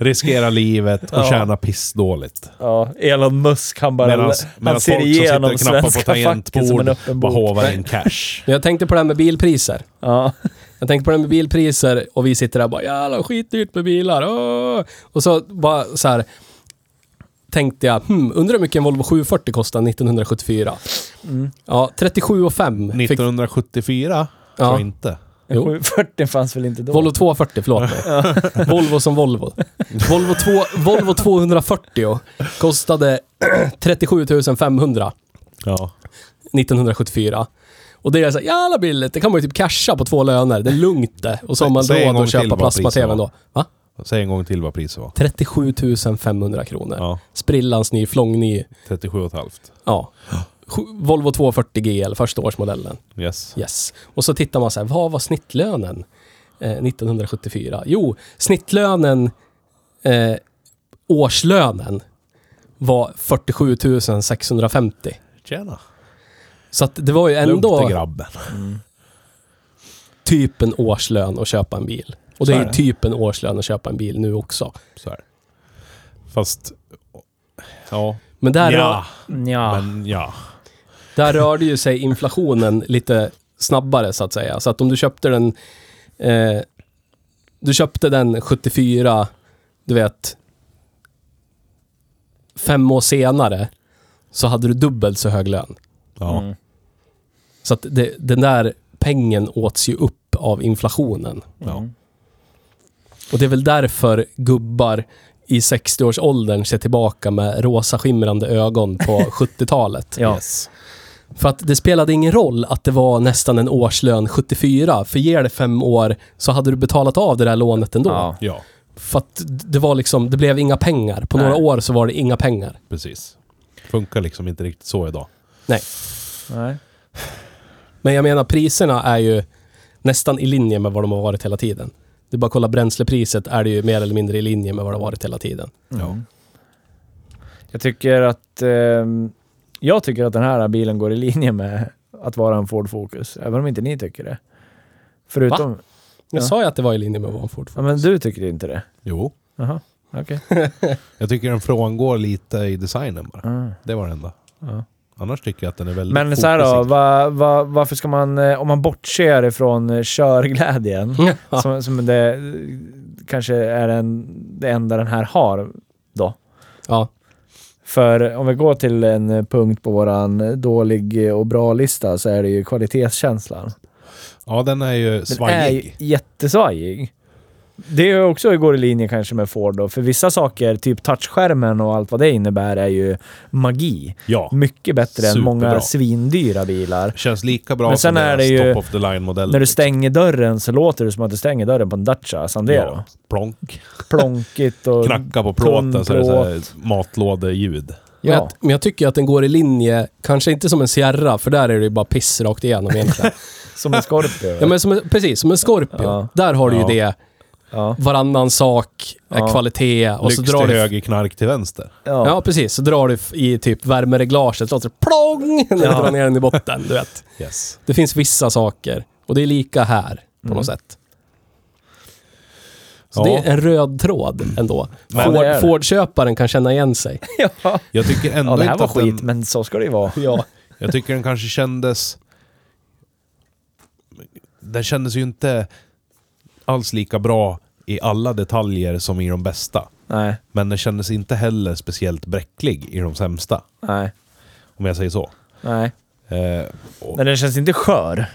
A: Riskerar livet och
C: Ja.
A: tjänar pissdåligt.
C: Ja, Elon Musk han bara...
A: Medans-
C: han
A: medans
C: ser
A: folk som sitter
C: igenom
A: och knappar på
C: svenska facket som
A: tangentbord
C: en öppen
A: Bara
C: bok.
A: hovar in cash.
B: Men jag tänkte på det här med bilpriser.
C: Ja.
B: Jag tänkte på det här med bilpriser och vi sitter där och bara jävlar skitdyrt med bilar. Åh! Och så bara så här tänkte jag, hmm, undrar hur mycket en Volvo 740 kostade 1974?
C: Mm.
B: Ja, 37,5. Fick,
A: 1974? Tror
B: ja,
A: jag inte.
B: Jo.
C: 740 fanns väl inte då?
B: Volvo 240, förlåt mig. Volvo som Volvo. Volvo, 2, Volvo 240 kostade 37 500
A: Ja.
B: 1974. Och det är så här, jävla billigt, det kan man ju typ casha på två löner, det är lugnt det. Och så har man
A: Säg en
B: råd
A: gång
B: att
A: till
B: köpa
A: vad
B: plasma-tvn
A: priset
B: då. Va?
A: Säg en gång till vad priset var.
B: 37 500 kronor.
A: Ja,
B: Sprillans ny, flångny.
A: 37 och ett halvt.
B: Ja. Sju- Volvo 240 GL, första årsmodellen.
A: Yes.
B: Yes. Och så tittar man så här, vad var snittlönen eh, 1974? Jo, snittlönen, eh, årslönen, var 47 650.
A: Tjena.
B: Så att det var ju
A: Lugnt i
B: ändå
A: grabben.
B: typ en årslön att köpa en bil. Och
A: Så
B: det
A: är
B: är ju
A: det.
B: typ en årslön att köpa en bil nu också.
A: Så här. Fast... Ja.
B: Men där, rör,
A: Ja.
C: Ja.
A: Men ja.
B: där rörde ju sig inflationen lite snabbare så att säga. Så att om du köpte den... Eh, du köpte den 74, du vet, fem år senare så hade du dubbelt så hög lön.
A: Ja.
C: Mm.
B: Så att det, den där pengen åts ju upp av inflationen.
A: Ja.
C: Mm.
B: Och det är väl därför gubbar i 60-årsåldern ser tillbaka med rosa skimrande ögon på 70-talet.
C: Ja.
A: Yes.
B: För att det spelade ingen roll att det var nästan en årslön 74, för ger det fem år så hade du betalat av det där lånet ändå.
C: Ja.
A: Ja,
B: För att det var liksom, det blev inga pengar. På
C: Nej.
B: några år så var det inga pengar.
A: precis. Funkar liksom inte riktigt så idag.
C: Nej.
B: Men jag menar priserna är ju nästan i linje med vad de har varit hela tiden. Det är bara att kolla bränslepriset är det ju mer eller mindre i linje med vad det har varit hela tiden.
A: Ja.
C: Mm. Jag tycker att... ehm, jag tycker att den här bilen går i linje med att vara en Ford Focus, även om inte ni tycker det. Förutom...
B: Jag
C: Ja.
B: sa ju att det var i linje med vad en Ford
C: Ja, men du tycker inte det?
A: Jo.
C: Jaha, okej.
A: Jag tycker den frångår lite i designen bara.
C: Mm.
A: Det var det enda.
C: Ja.
A: Annars tycker jag att den är väldigt
C: Men så här då,
A: fokuserad.
C: va, va, varför ska man, eh, om man bortser ifrån eh, körglädjen,
B: Ja.
C: som, som det eh, kanske är en, det enda den här har då.
B: Ja.
C: För om vi går till en eh, punkt på våran dålig eh, och bra-lista så är det ju kvalitetskänslan.
A: Ja, den är ju
C: Den är ju
A: svajig.
C: jättesvajig. Det är också går i linje kanske med Ford då, för vissa saker, typ touchskärmen och allt vad det innebär, är ju magi.
A: Ja.
C: Mycket bättre än många
A: Superbra.
C: svindyra bilar.
A: Känns lika bra
C: Men
A: som
C: sen är
A: deras
C: det ju-
A: top of the liksom. line-modell.
C: När du stänger dörren så låter det som att du stänger dörren på en Dacia Sandero.
A: Ja, plonk.
C: Plonkigt och...
A: Knacka på
C: tunn
A: plåten så är det så här matlådeljud.
B: Men,
C: Ja.
B: jag, men jag tycker att den går i linje, kanske inte som en Sierra, för där är det ju bara piss rakt igenom egentligen.
C: Som en Scorpio.
B: ja, men som en, precis, som en Scorpio.
C: Ja.
B: Där har du ju
A: Ja.
B: det,
C: ja.
B: varannan sak är
C: Ja.
B: kvalitet och
A: Lyx
B: så
A: till
B: drar du...
A: höger, knark till vänster.
C: Ja.
B: Ja, precis. Så drar du f- i typ värmereglaget, låter det plong när du
C: Ja.
B: drar ner den i botten, du vet.
A: Yes.
B: Det finns vissa saker och det är lika här på
C: Mm.
B: något sätt. Så
A: Ja.
B: det är en röd tråd ändå.
C: Ja, det är
B: Ford,
C: det.
B: Ford-köparen kan känna igen sig.
C: ja.
A: Jag tycker ändå
C: ja, det här
A: inte
C: var
A: att
C: skit,
A: den,
C: men så ska det ju vara.
B: Ja.
A: Jag tycker den kanske kändes... Den kändes ju inte alls lika bra i alla detaljer som i de bästa.
C: Nej,
A: Men den kändes inte heller speciellt bräcklig i de sämsta.
C: nej,
A: Om jag säger så.
C: nej.
A: Eh, och,
C: Men den känns inte skör.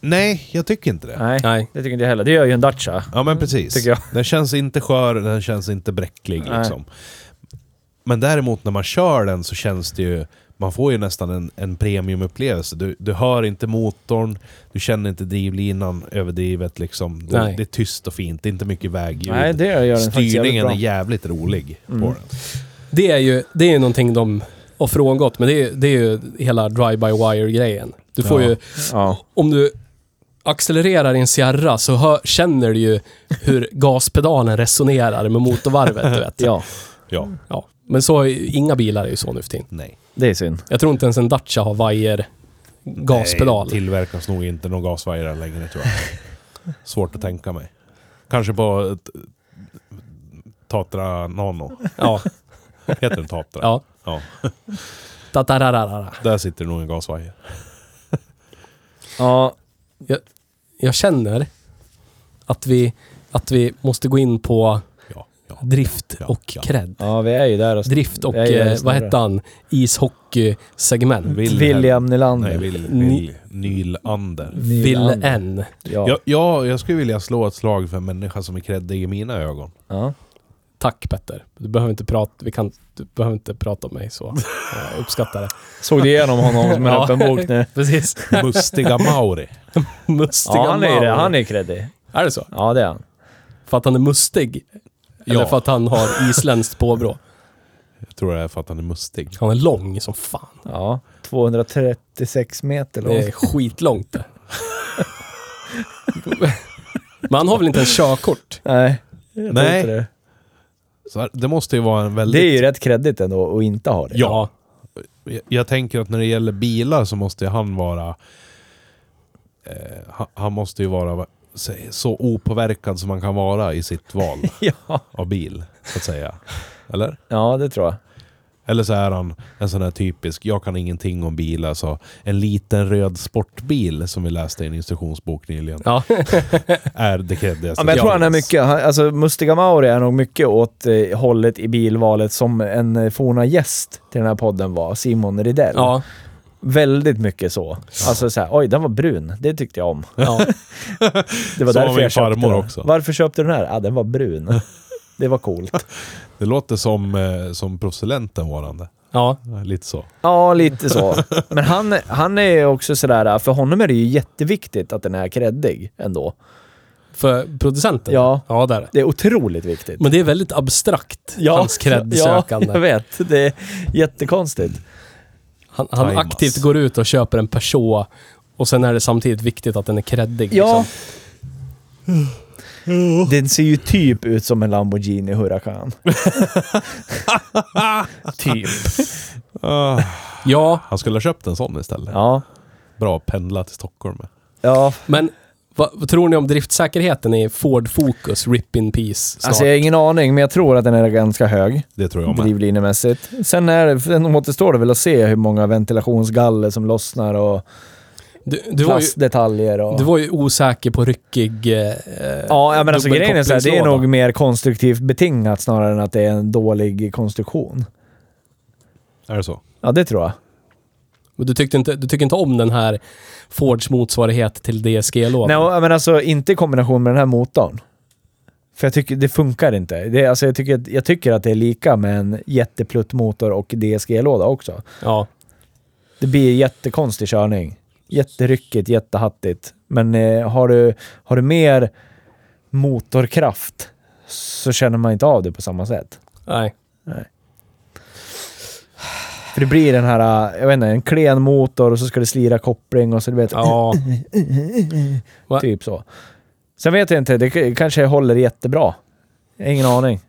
A: nej, jag tycker inte det.
C: Nej,
B: Nej.
C: det tycker inte jag heller. Det gör ju en Dacia.
A: Ja men precis.
C: Mm, Tycker jag.
A: Den känns inte skör, den känns inte bräcklig
C: Nej.
A: liksom. Men däremot när man kör den så känns det ju... Man får ju nästan en, en premiumupplevelse. Du, du hör inte motorn, du känner inte drivlinan överdrivet liksom. Det,
B: Nej.
A: det är tyst och fint, det är inte mycket vägljud.
C: Nej, det gör den faktiskt jävligt
A: Styrningen
C: bra. Mm.
A: är jävligt rolig på den.
B: Det är ju det är ju någonting de har frångått, men det är, det är ju hela drive-by-wire-grejen. Du får
A: Ja.
B: ju,
C: Ja.
B: om du accelererar i en Sierra så hör, känner du ju hur gaspedalen resonerar med motorvarvet, du vet.
C: ja,
A: Ja,
B: Ja. Men så är ju, inga bilar är ju så nu för tiden.
A: nej.
C: det är synd.
B: Jag tror inte ens en Dacia har vajer gaspedal.
A: Nej, tillverkas nog inte någon gasvajrar längre tror jag. Svårt att tänka mig. Kanske på ett- Tatra Nano.
B: Ja,
A: Heter den Tatra?
B: ja.
A: Ja.
B: Tatarararara.
A: Där sitter det nog en gasvajer.
C: Ja,
B: Jag känner att vi, att vi måste gå in på
A: Ja, ja.
B: drift
A: Ja,
B: och
A: ja.
B: cred.
C: ja, vi är ju där. och-
B: Drift och,
C: Jag gillar
B: eh,
C: det
B: vad
C: snarare.
B: hette han, ishockeysegment.
A: Wilhelm-
C: Mm. William Nylander.
A: Nej, Will, Will, Nylander.
B: Vill en.
C: Ja.
A: Ja, ja, jag skulle vilja slå ett slag för en människa som är kreddig i mina ögon.
C: Ja.
B: Tack Petter. Du behöver inte prata, vi kan, du behöver inte prata om mig så. Jag uppskattar det.
C: Såg du igenom honom som en
B: Ja.
C: öppen bok nu?
B: Precis.
A: Mustiga Mauri.
B: Mustiga
C: Ja, han är ju det.
B: Mauri.
C: Han är ju kreddig.
B: Är det så?
C: Ja, det är han.
B: För att han är mustig? Eller
A: Ja.
B: för att han har isländskt påbrå?
A: Jag tror det är för att han är mustig.
B: Han är lång som fan.
C: Ja. 236 meter lång.
B: Det är skitlångt det. Men han har väl inte ens körkort?
C: Nej. jag tror
A: Nej.
C: inte Det.
A: Så här, det måste ju vara en väldigt...
C: det är ju rätt kreddigt ändå att inte ha det.
B: Ja.
A: Jag- Jag tänker att när det gäller bilar så måste ju han vara... Eh, han, han måste ju vara va- så- så opåverkad som man kan vara i sitt val
C: Ja,
A: av bil, så att säga. Eller?
C: ja det tror jag.
A: Eller så är han en sån här typisk, jag kan ingenting om bilar, så en liten röd sportbil som vi läste i en instruktionsbok nyligen
B: ja.
A: är det kreddigaste.
C: Ja, men jag tror han är
A: som finns.
C: mycket, han, alltså Mustiga Mauri är nog mycket åt eh, hållet i bilvalet som en eh, forna gäst till den här podden var, Simon Rydell.
B: ja.
C: Väldigt mycket så. Alltså såhär, oj den var brun, det tyckte jag om.
B: ja.
C: Det var
A: Så var
C: därför
A: min
C: jag köpte
A: farmor
C: den.
A: också.
C: Varför köpte du den här? Ja, den var brun. Det var coolt.
A: Det låter som, eh, som proffscelenten varande.
B: ja.
A: Lite så.
C: Ja, lite så. Men han, han är ju också sådär, för honom är det ju jätteviktigt att den är kreddig ändå.
B: För producenten?
C: Ja.
B: Ja, där.
C: Det är otroligt viktigt.
B: Men det är väldigt abstrakt, hans
C: Ja, jag
B: cred-sökande.
C: vet. Det är jättekonstigt.
B: han han
A: Timas.
B: aktivt går ut och köper en Peugeot och sen är det samtidigt viktigt att den är creddig.
C: Ja.
B: Liksom.
C: Den ser ju typ ut som en Lamborghini Huracan. typ.
A: Ah,
B: ja,
A: han skulle ha köpt en sån istället.
C: Ja.
A: Bra att pendla till Stockholm med.
C: Ja,
B: men vad, vad tror ni om driftsäkerheten i Ford Focus RIP in Peace snart?
C: alltså jag har ingen aning, men jag tror att den är ganska hög
A: Det tror jag med.
C: drivlinemässigt. Sen är det, sen återstår det väl att se hur många ventilationsgaller som lossnar och
B: du, du, var ju,
C: plastdetaljer och...
B: du var ju osäker på ryckig... Eh,
C: Ja, ja, men alltså
B: dubbel
C: grejen är så här, det är
B: kopplingslåda.
C: nog mer konstruktivt betingat snarare än att det är en dålig konstruktion.
A: Är det så?
C: Ja, det tror jag.
B: men du, tyckte inte, du tycker inte om den här Fords motsvarighet till DSG-lådan?
C: Nej, och- men alltså inte i kombination med den här motorn. För jag tycker det funkar inte. Det, är- alltså, jag, tycker, att- jag tycker att det är lika med en jättepluttmotor och DSG-låda också.
B: Ja.
C: Det blir jättekonstig körning. Jätteryckigt, jättehattigt. Men eh, har, du, har du mer motorkraft så känner man inte av det på samma sätt.
B: Nej.
C: För det blir den här, eh, jag vet inte, en klen motor och så ska det slira koppling och så du vet,
B: Ja. Va?
C: typ så. Sen vet jag inte, det k- kanske håller jättebra. Jag har ingen aning.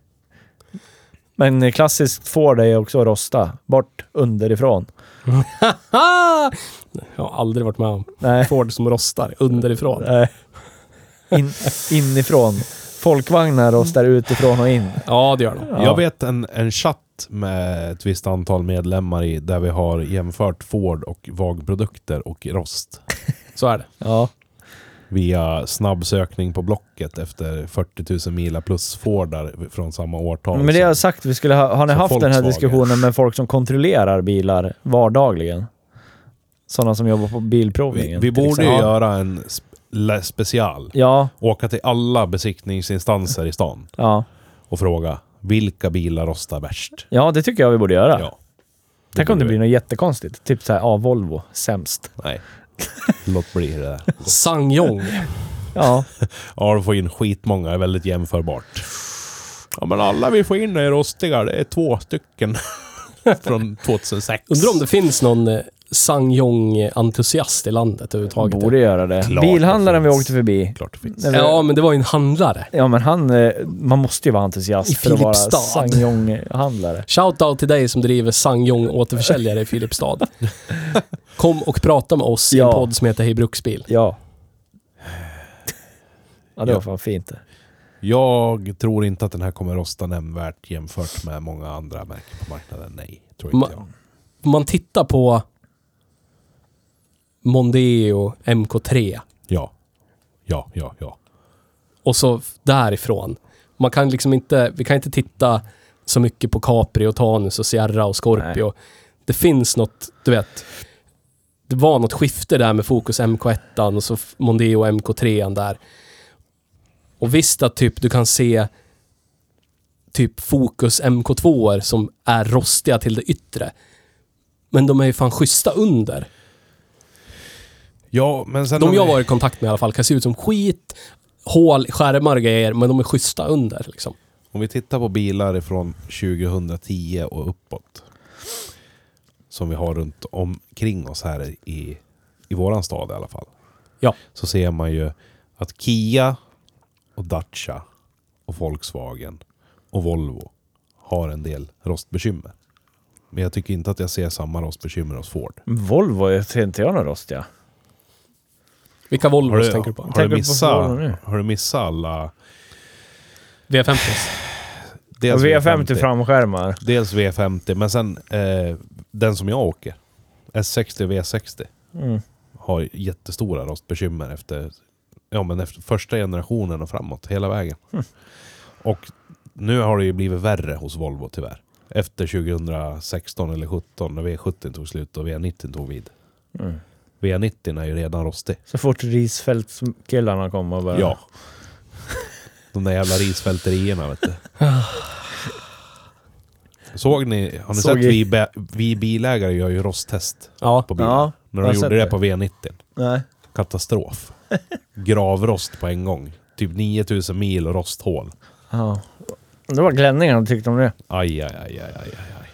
C: Men klassiskt Ford är också att rosta. Bort underifrån.
B: Ah! Jag har aldrig varit med om
C: Nej.
B: Ford som rostar underifrån.
C: nej. In, inifrån. Folkvagnar rostar utifrån och in.
B: Ja, det gör de.
C: Ja.
A: Jag vet en, en chatt med ett visst antal medlemmar i där vi har jämfört Ford och VAG-produkter och rost
B: Så är det.
C: Ja.
A: via snabbsökning på Blocket efter 40 000 mila plus Fordar från samma årtal.
C: Men det har jag sagt, vi skulle ha, har ni
A: Så
C: haft den här
A: Volkswagen.
C: diskussionen med folk som kontrollerar bilar vardagligen? Sådana som jobbar på
A: vi,
C: bilprovningen.
A: vi
C: till
A: borde ju
C: exempel.
A: göra
C: alltså liksom. Ja.
A: en sp- le- special.
C: Ja,
A: Åka till alla besiktningsinstanser i stan
C: ja.
A: och fråga vilka bilar rostar värst?
C: Ja, det tycker jag vi borde göra.
A: Ja.
C: Tänk om
A: borde
C: det blir
A: vi.
C: något jättekonstigt. Typ såhär, ja, Volvo, sämst.
A: Nej. Låt bli det där.
B: Sangyong.
C: Ja.
A: Ja, de får in skitmånga. är väldigt jämförbart. Ja, men alla vi får in är rostiga. Det är två stycken. Från 2006.
B: Undrar om det finns någon eh, Sangyong-entusiast i landet överhuvudtaget.
C: Borde göra det.
A: Klart det
C: Bilhandlaren vi
A: finns.
C: åkte förbi.
A: Klart det finns.
C: Nej, men-
B: Ja, men det var ju en handlare.
C: Ja, men han... eh, Man måste ju vara entusiast
B: I
C: för att vara
B: Filipstad.
C: Sangyong-handlare.
B: Shoutout till dig som driver Sangyong återförsäljare i Filipstad. Kom och prata med oss i en
C: Ja.
B: podd som heter Hej Bruksbil.
C: Ja. Ja, det
A: Ja.
C: var fan fint det.
A: Jag tror inte att den här kommer rosta nämnvärt jämfört med många andra märken på marknaden. Nej, tror inte
B: Ma-
A: jag.
B: Om man tittar på Mondeo MK3
A: Ja. Ja, ja, ja.
B: och så f- därifrån. Man kan liksom inte, vi kan inte titta så mycket på Capri och Tanus och Sierra och Scorpio. Det finns något, du vet. Det var något skifte där med fokus MK1 och så f- Mondeo MK3 där. Och visst att typ du kan se typ fokus MK2 som är rostiga till det yttre. Men de är ju fan schyssta under.
A: Ja, men sen...
B: De
A: har
B: jag
A: vi-
B: var i kontakt med i alla fall kan se ut som skit, hål, skärmar och grejer, men de är schyssta under liksom.
A: Om vi tittar på bilar från 2010 och uppåt. Som vi har runt omkring oss här i, i våran stad i alla fall.
B: Ja.
A: Så ser man ju att Kia och Dacia och Volkswagen och Volvo har en del rostbekymmer. Men jag tycker inte att jag ser samma rostbekymmer hos Ford.
C: Volvo, jag ser inte jag någon rost, ja.
B: Vilka
A: Har
B: Volvos
A: du,
B: tänker du på?
A: Har
C: Tänker du
A: du,
C: på
A: missat,
C: Volvo nu?
A: har du missat alla...
B: V50?
A: Dels
C: Och V50 framskärmar.
A: Dels V50, men sen eh, den som jag åker, S60 och V60,
C: Mm.
A: har jättestora rostbekymmer efter, ja, men efter första generationen och framåt, hela vägen.
C: Hm.
A: Och nu har det ju blivit värre hos Volvo tyvärr. Efter 2016 eller 2017 när V70 tog slut och V90 tog vid.
C: Mm.
A: V90 är ju redan rostig.
C: Så fort Risfältskillarna kom och bara...
A: Ja. De där jävla risfälterierna vet du. Såg ni, har ni
C: Såg
A: sett
C: i-
A: vi, bä- vi bilägare gör ju rosttest
B: Ja.
A: på bilen?
C: Ja.
A: När
C: jag har
A: de gjorde
C: sett
A: det
C: det.
A: på V90.
C: Nej.
A: Katastrof. Gravrost på en gång. Typ 9000 mil och rosthål.
C: Ja. Det var klänningarna tyckte om det.
A: Aj, aj, aj, aj, aj, aj, aj.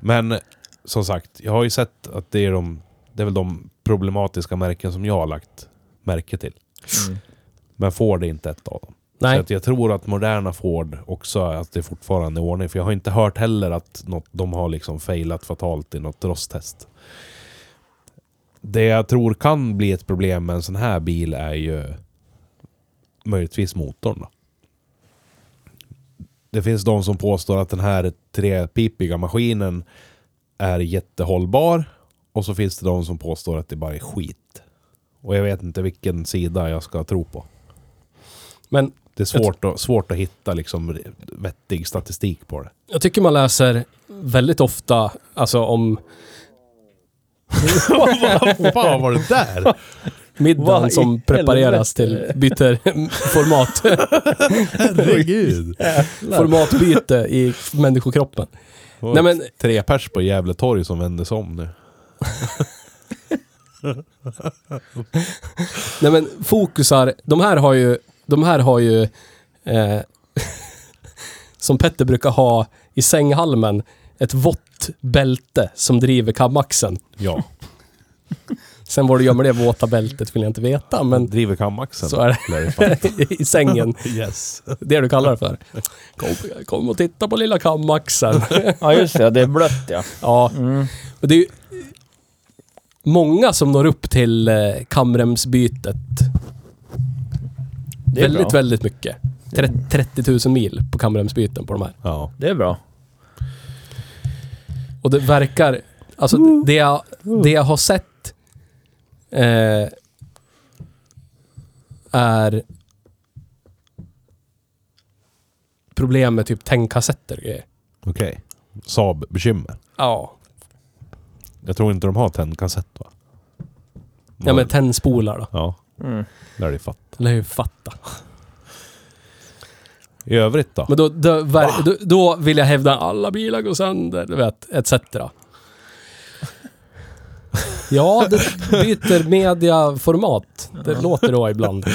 A: Men som sagt, jag har ju sett att det är de, det är väl de problematiska märken som jag har lagt märke till.
C: Mm.
A: Men Ford är inte ett av dem. Så
B: Nej.
A: att jag tror att moderna Ford också, att det är fortfarande i ordning. För jag har inte hört heller att något, de har liksom failat fatalt i något rosttest. Det jag tror kan bli ett problem med en sån här bil är ju möjligtvis motorn. Då. Det finns de som påstår att den här trepipiga maskinen är jättehållbar. Och så finns det de som påstår att det bara är skit. Och jag vet inte vilken sida jag ska tro på.
B: Men
A: Det är svårt, att, svårt att hitta liksom vettig statistik på det.
B: jag tycker man läser väldigt ofta, alltså om
A: Vad fan var det där?
B: middagen
C: Vad i
B: som prepareras till, byter format,
A: Herregud.
B: formatbyte i människokroppen. Nej men,
A: Tre pers på Gävle torg som vändes om nu.
B: nej men fokusar, de här har ju, de här har ju, eh, som Petter brukar ha i sänghalmen, ett vått bälte som driver kamaxen.
A: Ja,
B: Sen var det gör med det våta bältet vill jag inte veta, men
A: driver kamaxen.
B: så är det
A: Lär det fan.
B: i sängen.
A: Yes.
B: Det du kallar det för. Kom, kom och titta på lilla kammaxen.
C: Ja, just det. Det är blött ja.
B: Ja,
C: Mm.
B: och det är ju många som når upp till eh, kamremsbytet.
C: Det är
B: Väldigt,
C: bra.
B: väldigt mycket. Tre- 30 000 mil på kamremsbyten på de här.
A: Ja.
C: Det är bra.
B: Och det verkar... Alltså det jag, det jag har sett eh, är problem med typ tändkassetter och grejer.
A: Okej. Saab-bekymmer.
B: Ja.
A: Jag tror inte de har tändkassett va?
B: Ja men tändspolar då.
A: Ja,
C: Mm.
A: lär det fatt.
B: Lär ju fatta.
A: I övrigt då?
B: Men då, då, ver- då, då vill jag hävda alla bilar går sönder, du vet, etc. Ja, det byter mediaformat. Det låter då ibland.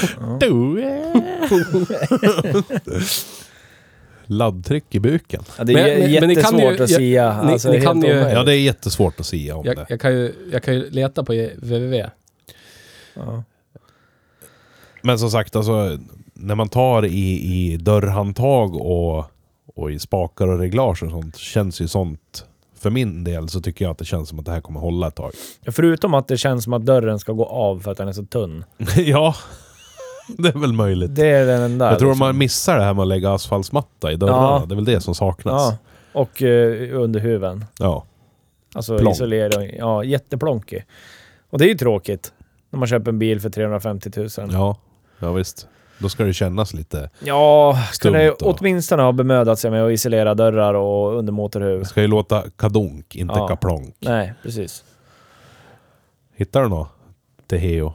A: Laddtryck i buken.
C: Ja, det är
B: Men- men- men ni kan
C: jättesvårt
B: ju-
C: att
B: ja,
C: sia.
B: ni-
C: alltså,
B: ni
C: helt
B: kan ju-
C: omöjligt.
A: Ja, det är jättesvårt att säga om
B: Jag,
A: det.
B: jag, kan ju, jag kan ju leta på E. www.
C: Ja.
A: Men som sagt, alltså, när man tar i, i dörrhandtag och, och i spakar och reglage och sånt, känns ju sånt... För min del så tycker jag att det känns som att det här kommer hålla ett tag.
C: Förutom att det känns som att dörren ska gå av för att den är så tunn.
A: ja, det är väl möjligt.
C: Det är den enda.
A: jag tror
C: liksom.
A: man missar det här med att lägga asfaltsmatta i dörrarna.
C: Ja.
A: Det är väl det som saknas.
C: Ja. Och eh, underhuven.
A: Ja.
C: Alltså
A: Plonk.
C: isolering. Ja, jätteplonkig. Och det är ju tråkigt. När man köper en bil för 350 000.
A: Ja.
C: Ja,
A: ja. visst. Då ska det kännas lite... Stumt
C: kunde ju
A: och-
C: åtminstone ha bemödat sig med att isolera dörrar och
A: Det
C: undermotorhuv.
A: ska ju låta kadonk, inte
C: Ja.
A: kaplonk.
C: Nej, precis.
A: Hittar du något till Heo?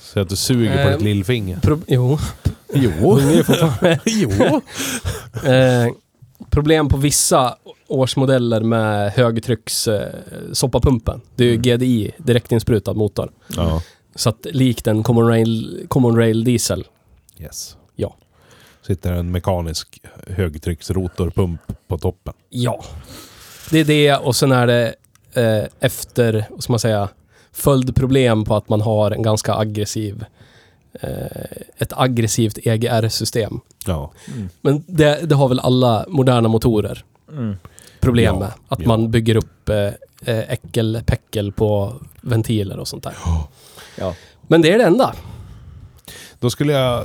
A: Så att du suger på
B: Ehm.
A: ditt lillfinger.
B: Pro jo. Oh.
A: Jo. jo.
B: Eh, problem på vissa årsmodeller med högtrycks eh, soppapumpen. Det är ju GDI, direktinsprutad motor.
A: Ja.
B: Så att likt en common rail, common rail diesel.
A: Yes.
B: Ja.
A: Sitter en mekanisk högtrycksrotorpump på toppen.
B: Ja. Det är det och sen är det eh, efter, vad ska man säga, följdproblem på att man har en ganska aggressiv eh, ett aggressivt EGR-system.
A: Ja.
B: Men det, det har väl alla moderna motorer.
C: Mm.
B: problem
A: Ja,
B: med. Att
A: ja.
B: man bygger upp eh, eh, äckelpäckel på ventiler och sånt där.
C: Ja.
B: Men det är det enda.
A: Då skulle jag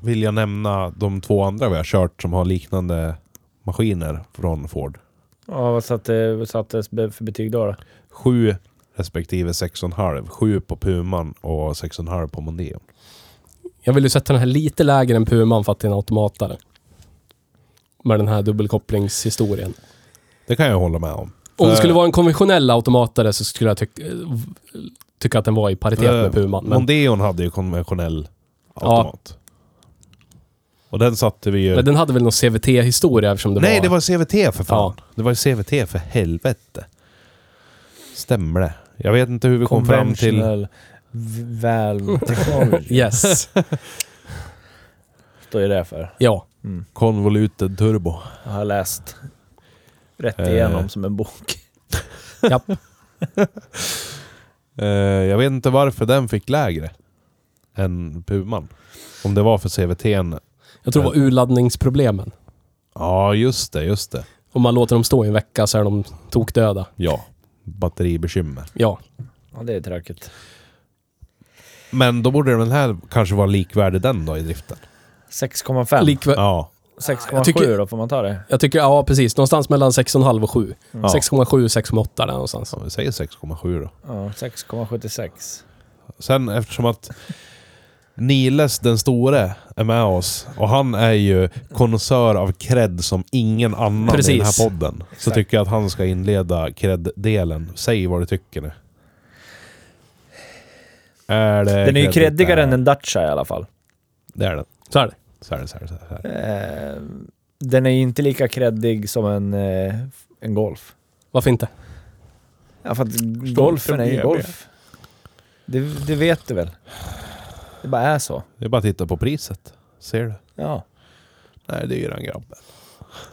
A: vilja nämna de två andra vi har kört som har liknande maskiner från Ford.
C: Ja, vad satte- vad sattes be- för betyg då? då?
A: 7 respektive 6,5. 7 på Puman och 6,5 på Mondeon.
B: Jag vill ju sätta den här lite lägre än Puman för att det är en automatare. Med den här dubbelkopplingshistorien.
A: Det kan jag hålla med om.
B: Om det
A: Eh,
B: skulle vara en konventionell automatare så skulle jag tyck- eh, v- tycka att den var i paritet med
A: Eh,
B: Puman. Men,
A: Mondeon hade ju konventionell
B: Ja.
A: automat. Och den satte vi ju...
B: men den hade väl någon CVT-historia eftersom det
A: Nej,
B: var...
A: det var CVT för fan.
B: Ja.
A: Det var ju CVT för helvete. Stämmer det? Jag vet inte hur vi kom fram till...
C: Conventional v- valve technology.
B: Yes.
C: Står ju det för.
B: ja.
C: Mm.
A: Convoluted turbo.
C: Jag har läst rätt
A: Eh.
C: igenom som en bok.
B: Japp.
A: Eh, jag vet inte varför den fick lägre än Puman. Om det var för CVT'n.
B: Jag tror det var urladdningsproblemen.
A: Ja, just det, just det.
B: Om man låter dem stå i en vecka så är de tokdöda.
A: Ja, batteribekymmer.
B: Ja.
C: Ja, det är tråkigt.
A: Men då borde den här kanske vara likvärdig den då i driften.
C: 6,5.
B: Likvä-
A: Ja.
C: 6,7
B: Jag tycker-
C: då, får man ta det?
B: Jag tycker, ja precis. Någonstans mellan 6,5 och 7.
A: ja.
B: 6,7, 6,8 där någonstans.
A: Om vi säger 6,7 då.
C: Ja, 6,76.
A: Sen eftersom att Niles den store är med oss och han är ju konnässör av cred som ingen annan i den
B: Precis.
A: här podden. Så
C: Exakt.
A: tycker jag att han ska inleda cred-delen. Säg vad du tycker nu. Är det
C: Den är
A: creddigt
C: ju creddigare
A: där?
C: än en Dacia i alla fall.
A: Det är den.
B: Så är det.
A: Så är det, så är det, så är det. Så är det.
C: Eh, den är ju inte lika creddig som en, eh, en Golf.
B: Varför inte?
C: Ja, för att golfen är ju
A: GB.
C: Golf. Det, det vet du väl? Det bara är så.
A: det är bara att titta på priset. Ser du?
C: Ja.
A: Nej, det är ju den grabben.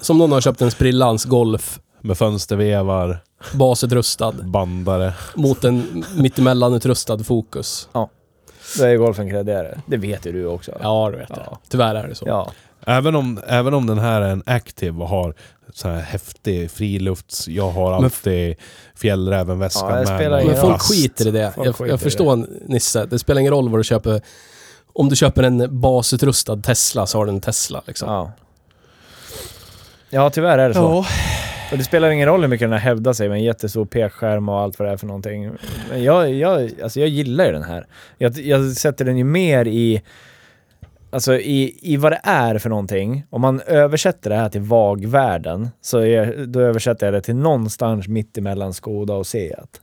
B: Som någon har köpt en sprillans Golf,
A: Med fönstervevar,
B: basutrustad,
A: bandare.
B: mot en mittemellan-utrustad Focus.
C: Då är ju golfen creddigare. Det vet ju du också.
B: Ja, du vet det.
C: Ja.
B: Tyvärr är det så.
C: Ja.
A: Även om, även om den här är en Active och har så här häftig frilufts... Jag har
B: Men-
A: alltid fjällrävenväskan
C: Ja, det spelar
A: mig.
B: Men
C: Ja.
B: folk
A: Fast-
B: skiter i det.
C: Folk
B: Jag,
C: skiter i
B: jag förstår Nisse. Det spelar ingen roll vad du köper. Om du köper en basutrustad Tesla så har du en Tesla liksom.
C: Ja. Ja, tyvärr är det så.
A: Ja.
C: Och det spelar ingen roll hur mycket den här hävdar sig med en jättestor pekskärm och allt vad det är för någonting. Men jag, jag, alltså jag gillar ju den här. Jag, jag sätter den ju mer i, alltså i, i vad det är för någonting. Om man översätter det här till vagvärlden, så är, då översätter jag det till någonstans mitt emellan Skoda och Seat.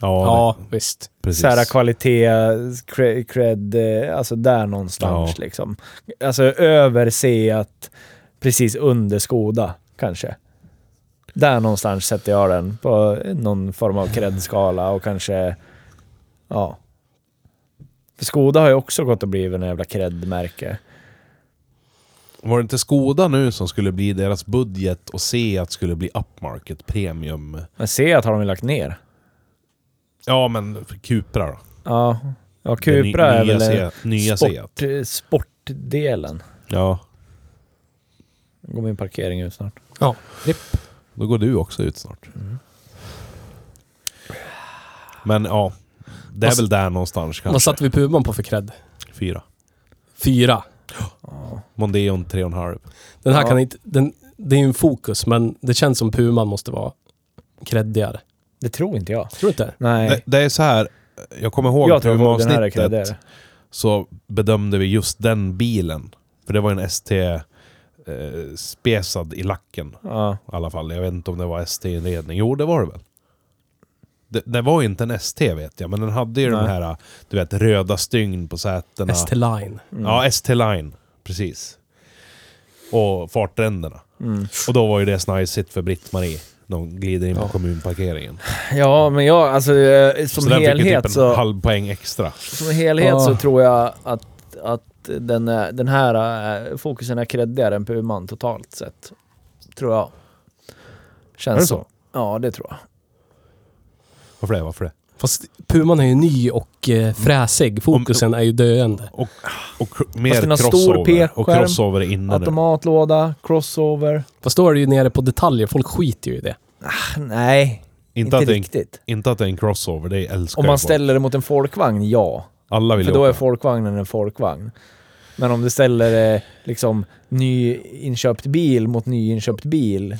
A: Ja,
B: Ja, visst.
A: precis.
C: Så här kvalitet, cre- cred, eh, alltså där någonstans
A: Ja.
C: liksom. Alltså över Seat, precis under Skoda kanske. Där någonstans sätter jag den på någon form av cred-skala och kanske, ja. För Skoda har ju också gått och blivit en jävla cred-märke.
A: Var det inte Skoda nu som skulle bli deras budget och se att skulle bli upmarket premium?
C: Men Seat har de ju lagt ner.
A: Ja, men för Cupra då.
C: Ja, ja
A: Den ny-
C: Cupra är
A: nya
C: väl eh,
A: Seat, nya Seat.
C: sport, eh, sportdelen.
A: Ja,
C: Nu går min parkering ut snart.
B: Ja.
A: då går du också ut snart.
C: Mm.
A: Men ja, det är
C: Alltså-
B: Vad-
A: väl där någonstans kanske.
B: Vad satte vi Puman på för cred?
A: Fyra.
B: Fyra.
A: Mondeon 3,5.
B: Den här
C: Ja.
B: kan inte... Den, det är ju en fokus, men det känns som Puman måste vara creddigare.
C: Det tror inte jag.
B: Tror du inte?
C: Nej.
A: Det, det är så här, jag kommer ihåg
C: jag tror att den här är
A: Puma-avsnittet.
C: kreddigare.
A: så bedömde vi just den bilen. För det var en ST eh, spesad i lacken
C: Ja.
A: i alla fall. Jag vet inte om det var ST-inredning. Jo, det var det väl. Det, det var ju inte en ST vet jag, men den hade ju de
C: Nej.
A: här du vet, röda stygn på sätena.
B: ST-Line.
C: Mm.
A: Ja, ST-line. Precis. Och fartränderna.
C: Mm.
A: Och då var ju det snajsigt för Britt-Marie. när hon glider in på kommunparkeringen.
C: ja, men jag, alltså eh, som
A: så den fick ju
C: helhet
A: typ en
C: så...
A: halv poäng extra.
C: Som helhet så
B: Ah.
C: tror jag att, att den, är, den här eh, fokusen är creddigare än Puman totalt sett. Tror jag. Känns
A: Är det
C: så.
A: så?
C: Ja, det tror jag.
A: Varför det? Varför det?
B: Fast Puman är ju ny och
C: Mm.
B: eh, fräsig. Fokusen är ju döende.
A: Och, och
C: Fast den
A: mer
C: har stor
A: crossover. Och
C: P-skärm,
A: crossover är inne nu.
C: Automatlåda, crossover.
B: Fast då är det ju nere på detaljer. Folk skiter ju i det.
C: Nej,
A: Inte,
C: inte,
A: att det är en,
C: riktigt.
A: inte att det är en crossover, det älskar
C: Om man
A: jag folk.
C: ställer det mot en folkvagn, ja.
A: Alla vill
C: För
A: ju
C: då
A: åka.
C: är folkvagnen en folkvagn. Men om du ställer eh, liksom nyinköpt bil mot nyinköpt bil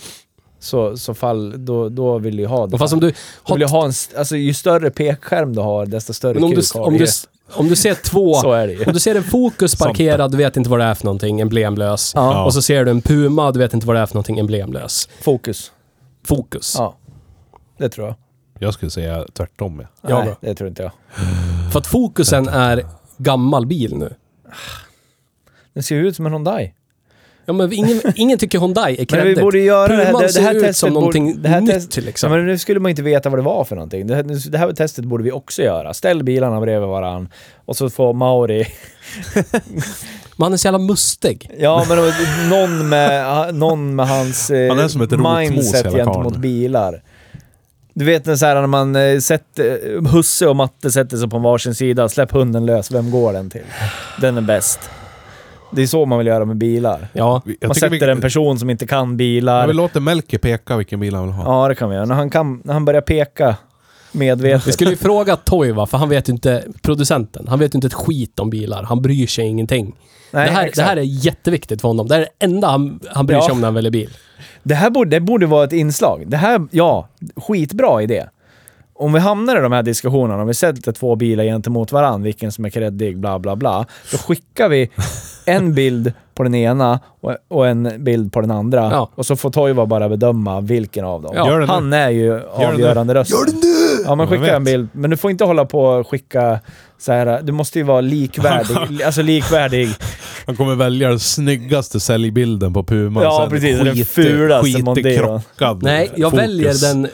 C: så, så fall, då, då vill du ju ha det.
B: Och fast om du...
C: Du vill ju ha en, st- alltså ju större pekskärm du har, desto större
B: Men om du,
C: kuk har
B: om,
C: ju.
B: du, om du ser två...
C: Så är det ju.
B: Om du ser en Fokus parkerad, du vet inte vad det är för någonting, emblemlös.
C: Ja.
B: Och så ser du en Puma, du vet inte vad det är för någonting, emblemlös.
C: Fokus.
B: Fokus.
C: Ja. Det tror jag.
A: Jag skulle säga tvärtom. Ja.
B: Ja,
C: Nej,
B: då.
C: det tror inte jag.
B: För att Fokusen är gammal bil nu.
C: Den ser ju ut som en Hyundai.
B: Ja, men ingen, ingen tycker Hyundai är
C: Men vi
B: kreddig.
C: borde göra det här.
B: Puman
C: Det, det här
B: ser ut som
C: testet
B: någonting
C: borde, det här
B: nytt
C: test-
B: liksom.
C: Ja, men nu skulle man inte veta vad det var för någonting. Det här, det här testet borde vi också göra. Ställ bilarna bredvid varann och så får Mauri...
B: Men han är så jävla mustig.
C: Ja, men någon med, någon med hans eh,
A: Han är som ett rotmos,
C: mindset
A: hela
C: gentemot
A: karln.
C: bilar. Du vet när, så här, när man eh, sätter, husse och matte sätter sig på varsin sida, släpp hunden lös, vem går den till? Den är bäst. Det är så man vill göra med bilar.
B: Ja.
A: Jag tycker
C: man sätter
A: vi,
C: en person som inte kan
A: Jag vill
C: bilar.
A: låta Melker peka vilken bil han vill ha.
C: Ja, det kan vi göra. När han, kan, när han börjar peka
B: Vi
C: medvetet.
B: skulle ju fråga Toiva, för han vet ju inte, producenten, han vet ju inte ett skit om bilar. Han bryr sig ingenting.
C: Nej,
B: det, här, det
C: exakt.
B: här är jätteviktigt för honom. Det här är det enda han, han bryr sig
C: Ja.
B: om när han väljer bil.
C: Det här borde, det borde vara ett inslag. Det här, ja, skitbra idé. Om vi hamnar i de här diskussionerna, om vi sätter två bilar gentemot varandra, vilken som är kreddig, bla bla bla. Då skickar vi en bild på den ena och, och en bild på den andra.
B: Ja.
C: Och så får Toivo bara bedöma vilken av dem.
B: Ja.
A: Gör det nu.
C: Han är ju
A: nu.
C: avgörande röst. Gör det nu! Ja, men
A: Jag vet.
C: skicka en bild. Men du får inte hålla på och skicka så här. du måste ju vara likvärdig. alltså likvärdig.
A: Han kommer välja den snyggaste säljbilden på Puma.
C: Ja,
A: sen
C: precis, den fulaste Mondeo.
A: krockad
B: Nej, jag
A: fokus.
B: väljer den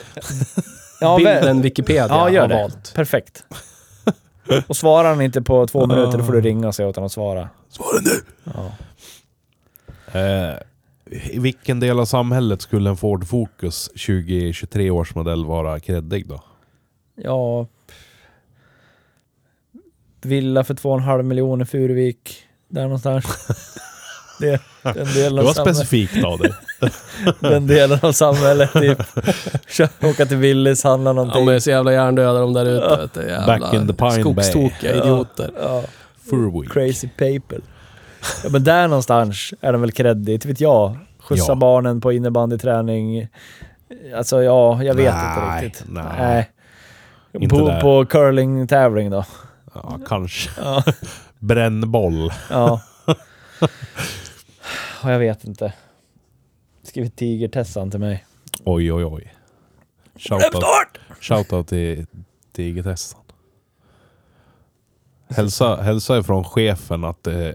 C: Ja, väl-
B: bilden Wikipedia
C: Ja, gör
B: har
C: det.
B: valt.
C: Perfekt. Och svarar han inte på två minuter, då får du ringa och säga åt honom att svara.
A: Svara nu!
C: Ja.
A: Eh, I vilken del av samhället skulle en Ford Focus 2023 års modell vara kreddig då?
C: Ja... Villa för 2,5 miljoner, Furuvik. Där någonstans. Det, den,
A: Det
C: delen av
A: var
C: samhället,
A: specifikt av dig.
C: den delen av samhället, typ. Kö- Åka till Willys, handla
B: De
C: någonting.
B: är så jävla hjärndöda de där ute. vet du. Jävla
A: Back in the Pine Bay.
B: skogstokiga idioter.
C: Ja,
A: Furweek.
C: crazy people. Ja, men där någonstans är den väl kreddig, inte vet jag. Skjutsa
A: Ja.
C: barnen på innebandyträning. Alltså ja, jag vet
A: Nej,
C: inte riktigt.
A: nej. Inte
C: Bo
A: där.
C: på curling-tävling då.
A: Ja, kanske.
C: Mm. Ja.
A: Brännboll.
C: Ja. Och jag vet inte. Skrivit tigertessan till mig.
A: Oj, oj, oj. Shoutout, shoutout till, till IGT-hässan. Hälsa, hälsa ifrån chefen att eh,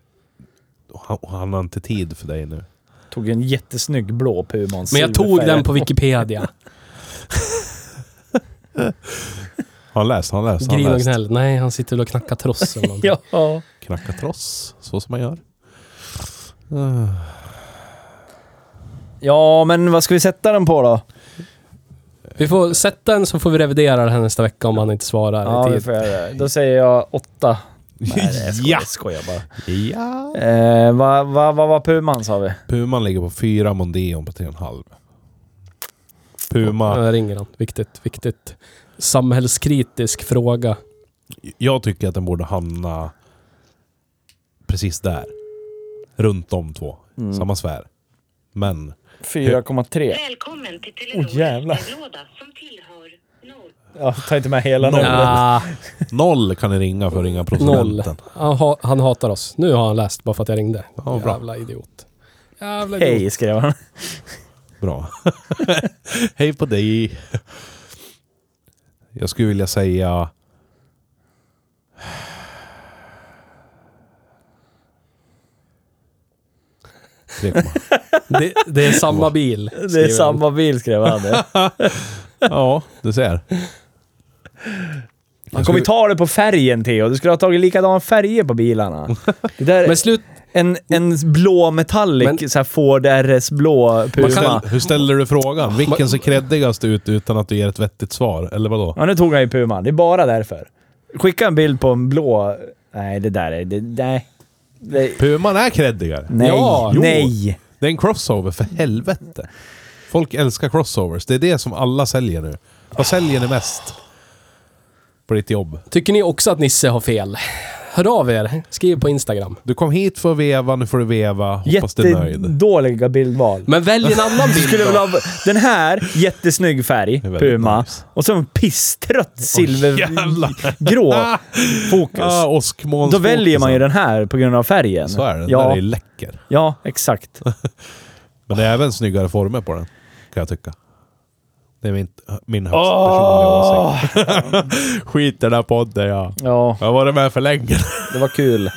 A: han, han har inte tid för dig nu.
C: Tog en jättesnygg blå Puman.
B: Men jag tog den på Wikipedia.
A: Har han läst? Har han läst? Har
B: Grin
A: han
B: och
A: läst?
B: gnäll. Nej, han sitter väl och knackar tross eller någonting.
C: Ja.
A: Knacka tross, så som man gör.
C: Ja, men vad ska vi sätta den på då?
B: Vi får sätta den så får vi revidera den här nästa vecka om han inte svarar
C: Ja,
B: i
C: vi
B: tid.
C: får göra det. Då säger jag åtta. Nej, jag skojar,
A: ja!
C: jag skojar bara.
A: ja!
C: Eh, vad va, va var Puman sa vi?
A: Puman ligger på fyra, Mondeon på tre och en halv. Puma.
B: Jag ringer han. Viktigt, viktigt. Samhällskritisk fråga.
A: Jag tycker att den borde hamna precis där. Runt de två. Samma sfär. Men
C: 4,3.
D: Välkommen till Telenors
C: Åh, jävlar.
D: brevlåda som tillhör noll.
C: Ja, ta inte med hela
A: Noll.
C: numret.
B: Ah,
A: noll kan ni ringa för att ringa
B: noll.
A: producenten.
B: Han, ha, han hatar oss. Nu har han läst bara för att jag ringde.
A: Ja, bra.
B: Jävla idiot. Jävla idiot.
C: Hej, skrev han.
A: Bra. Hej på dig. Jag skulle vilja säga... Tre komma.
B: Det, det är samma bil.
C: Det
B: skriver
C: är
B: han.
C: samma bil, skrev han. det.
A: Ja, du ser.
C: Han kommer ju ta det på färgen, Theo. Du skulle ha tagit likadana färger på bilarna. Det där
B: Men slut...
C: En, en blå metallic,
B: Men-
C: så här Ford RS blå Puma.
B: Man kan-
A: Hur ställer du frågan? Vilken ser kreddigast ut utan att du ger ett vettigt svar? Eller vadå?
C: Ja, nu tog han ju Puma. Det är bara därför. Skicka en bild på en blå... Nej, det där är... Det, nej. Det,
A: Puman är kreddigare.
C: nej.
B: Ja,
A: jo.
C: nej.
A: Det är en crossover, för helvete. Folk älskar crossovers. Det är det som alla säljer nu. Vad säljer ni mest? På ditt jobb.
B: Tycker ni också att Nisse har fel? Hör av er. Skriv på Instagram.
A: Du kom hit för att veva, nu får du veva. Hoppas du är nöjd.
C: Jättedåliga bildval.
B: Men välj en annan
C: Du skulle
B: bil
C: väl
B: då.
C: ha den här, jättesnygg färg,
A: Det är väldigt
C: Puma.
A: nice.
C: Och så en pisstrött
A: jävlar.
C: silvergrå fokus.
A: Ah, åskmolnsfokusen.
C: Då väljer man ju den här på grund av färgen.
A: liksom. Så är det. Den
C: Ja,
A: där är läcker.
C: ja exakt.
A: Men det är även snyggare former på den, kan jag tycka. Det är min, min högst personliga
C: Åh!
A: åsikt. Skit i den här podden, ja.
C: Ja,
A: Jag har varit med för länge.
C: det var kul.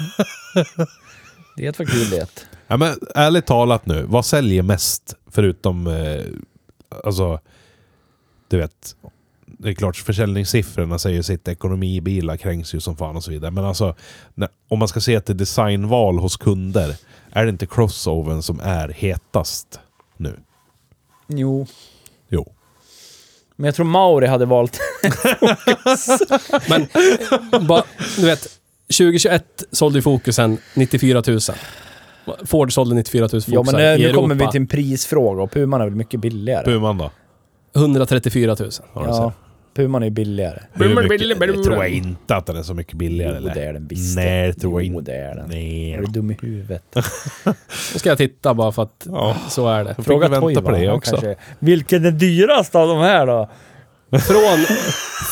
C: Det var kul det.
A: Ja, men ärligt talat nu, vad säljer mest förutom... Eh, alltså, du vet. Det är klart, försäljningssiffrorna säger sitt. Ekonomibilar kränks ju som fan och så vidare. Men alltså, när, om man ska se till designval hos kunder. Är det inte crossovern som är hetast nu?
C: Jo,
A: Jo.
C: men jag tror Mauri hade valt...
B: Men bara, du vet, 2021 sålde ju Fokusen 94 000. Ford sålde 94 000 Focusar
C: Ja, men eh,
B: i
C: nu
B: Europa.
C: kommer vi till en prisfråga och Puman är väl mycket billigare?
A: Puman då?
B: 134 000.
A: Har du
C: Ja,
A: sett?
C: Puman är billigare.
A: Hur mycket, det tror jag inte att den är så mycket billigare.
C: Jo, det är den visst.
A: Nej, det tror jag
C: Jo,
A: inte.
C: det är den.
A: Nej.
C: Är du dum i huvudet?
B: Nu ska jag titta bara för att
A: Ja.
B: så är det.
A: Fråga
C: Fick
A: vänta
C: Toivo,
A: på det
C: han
A: också.
C: kanske- Vilken är dyrast av de här då?
B: Från,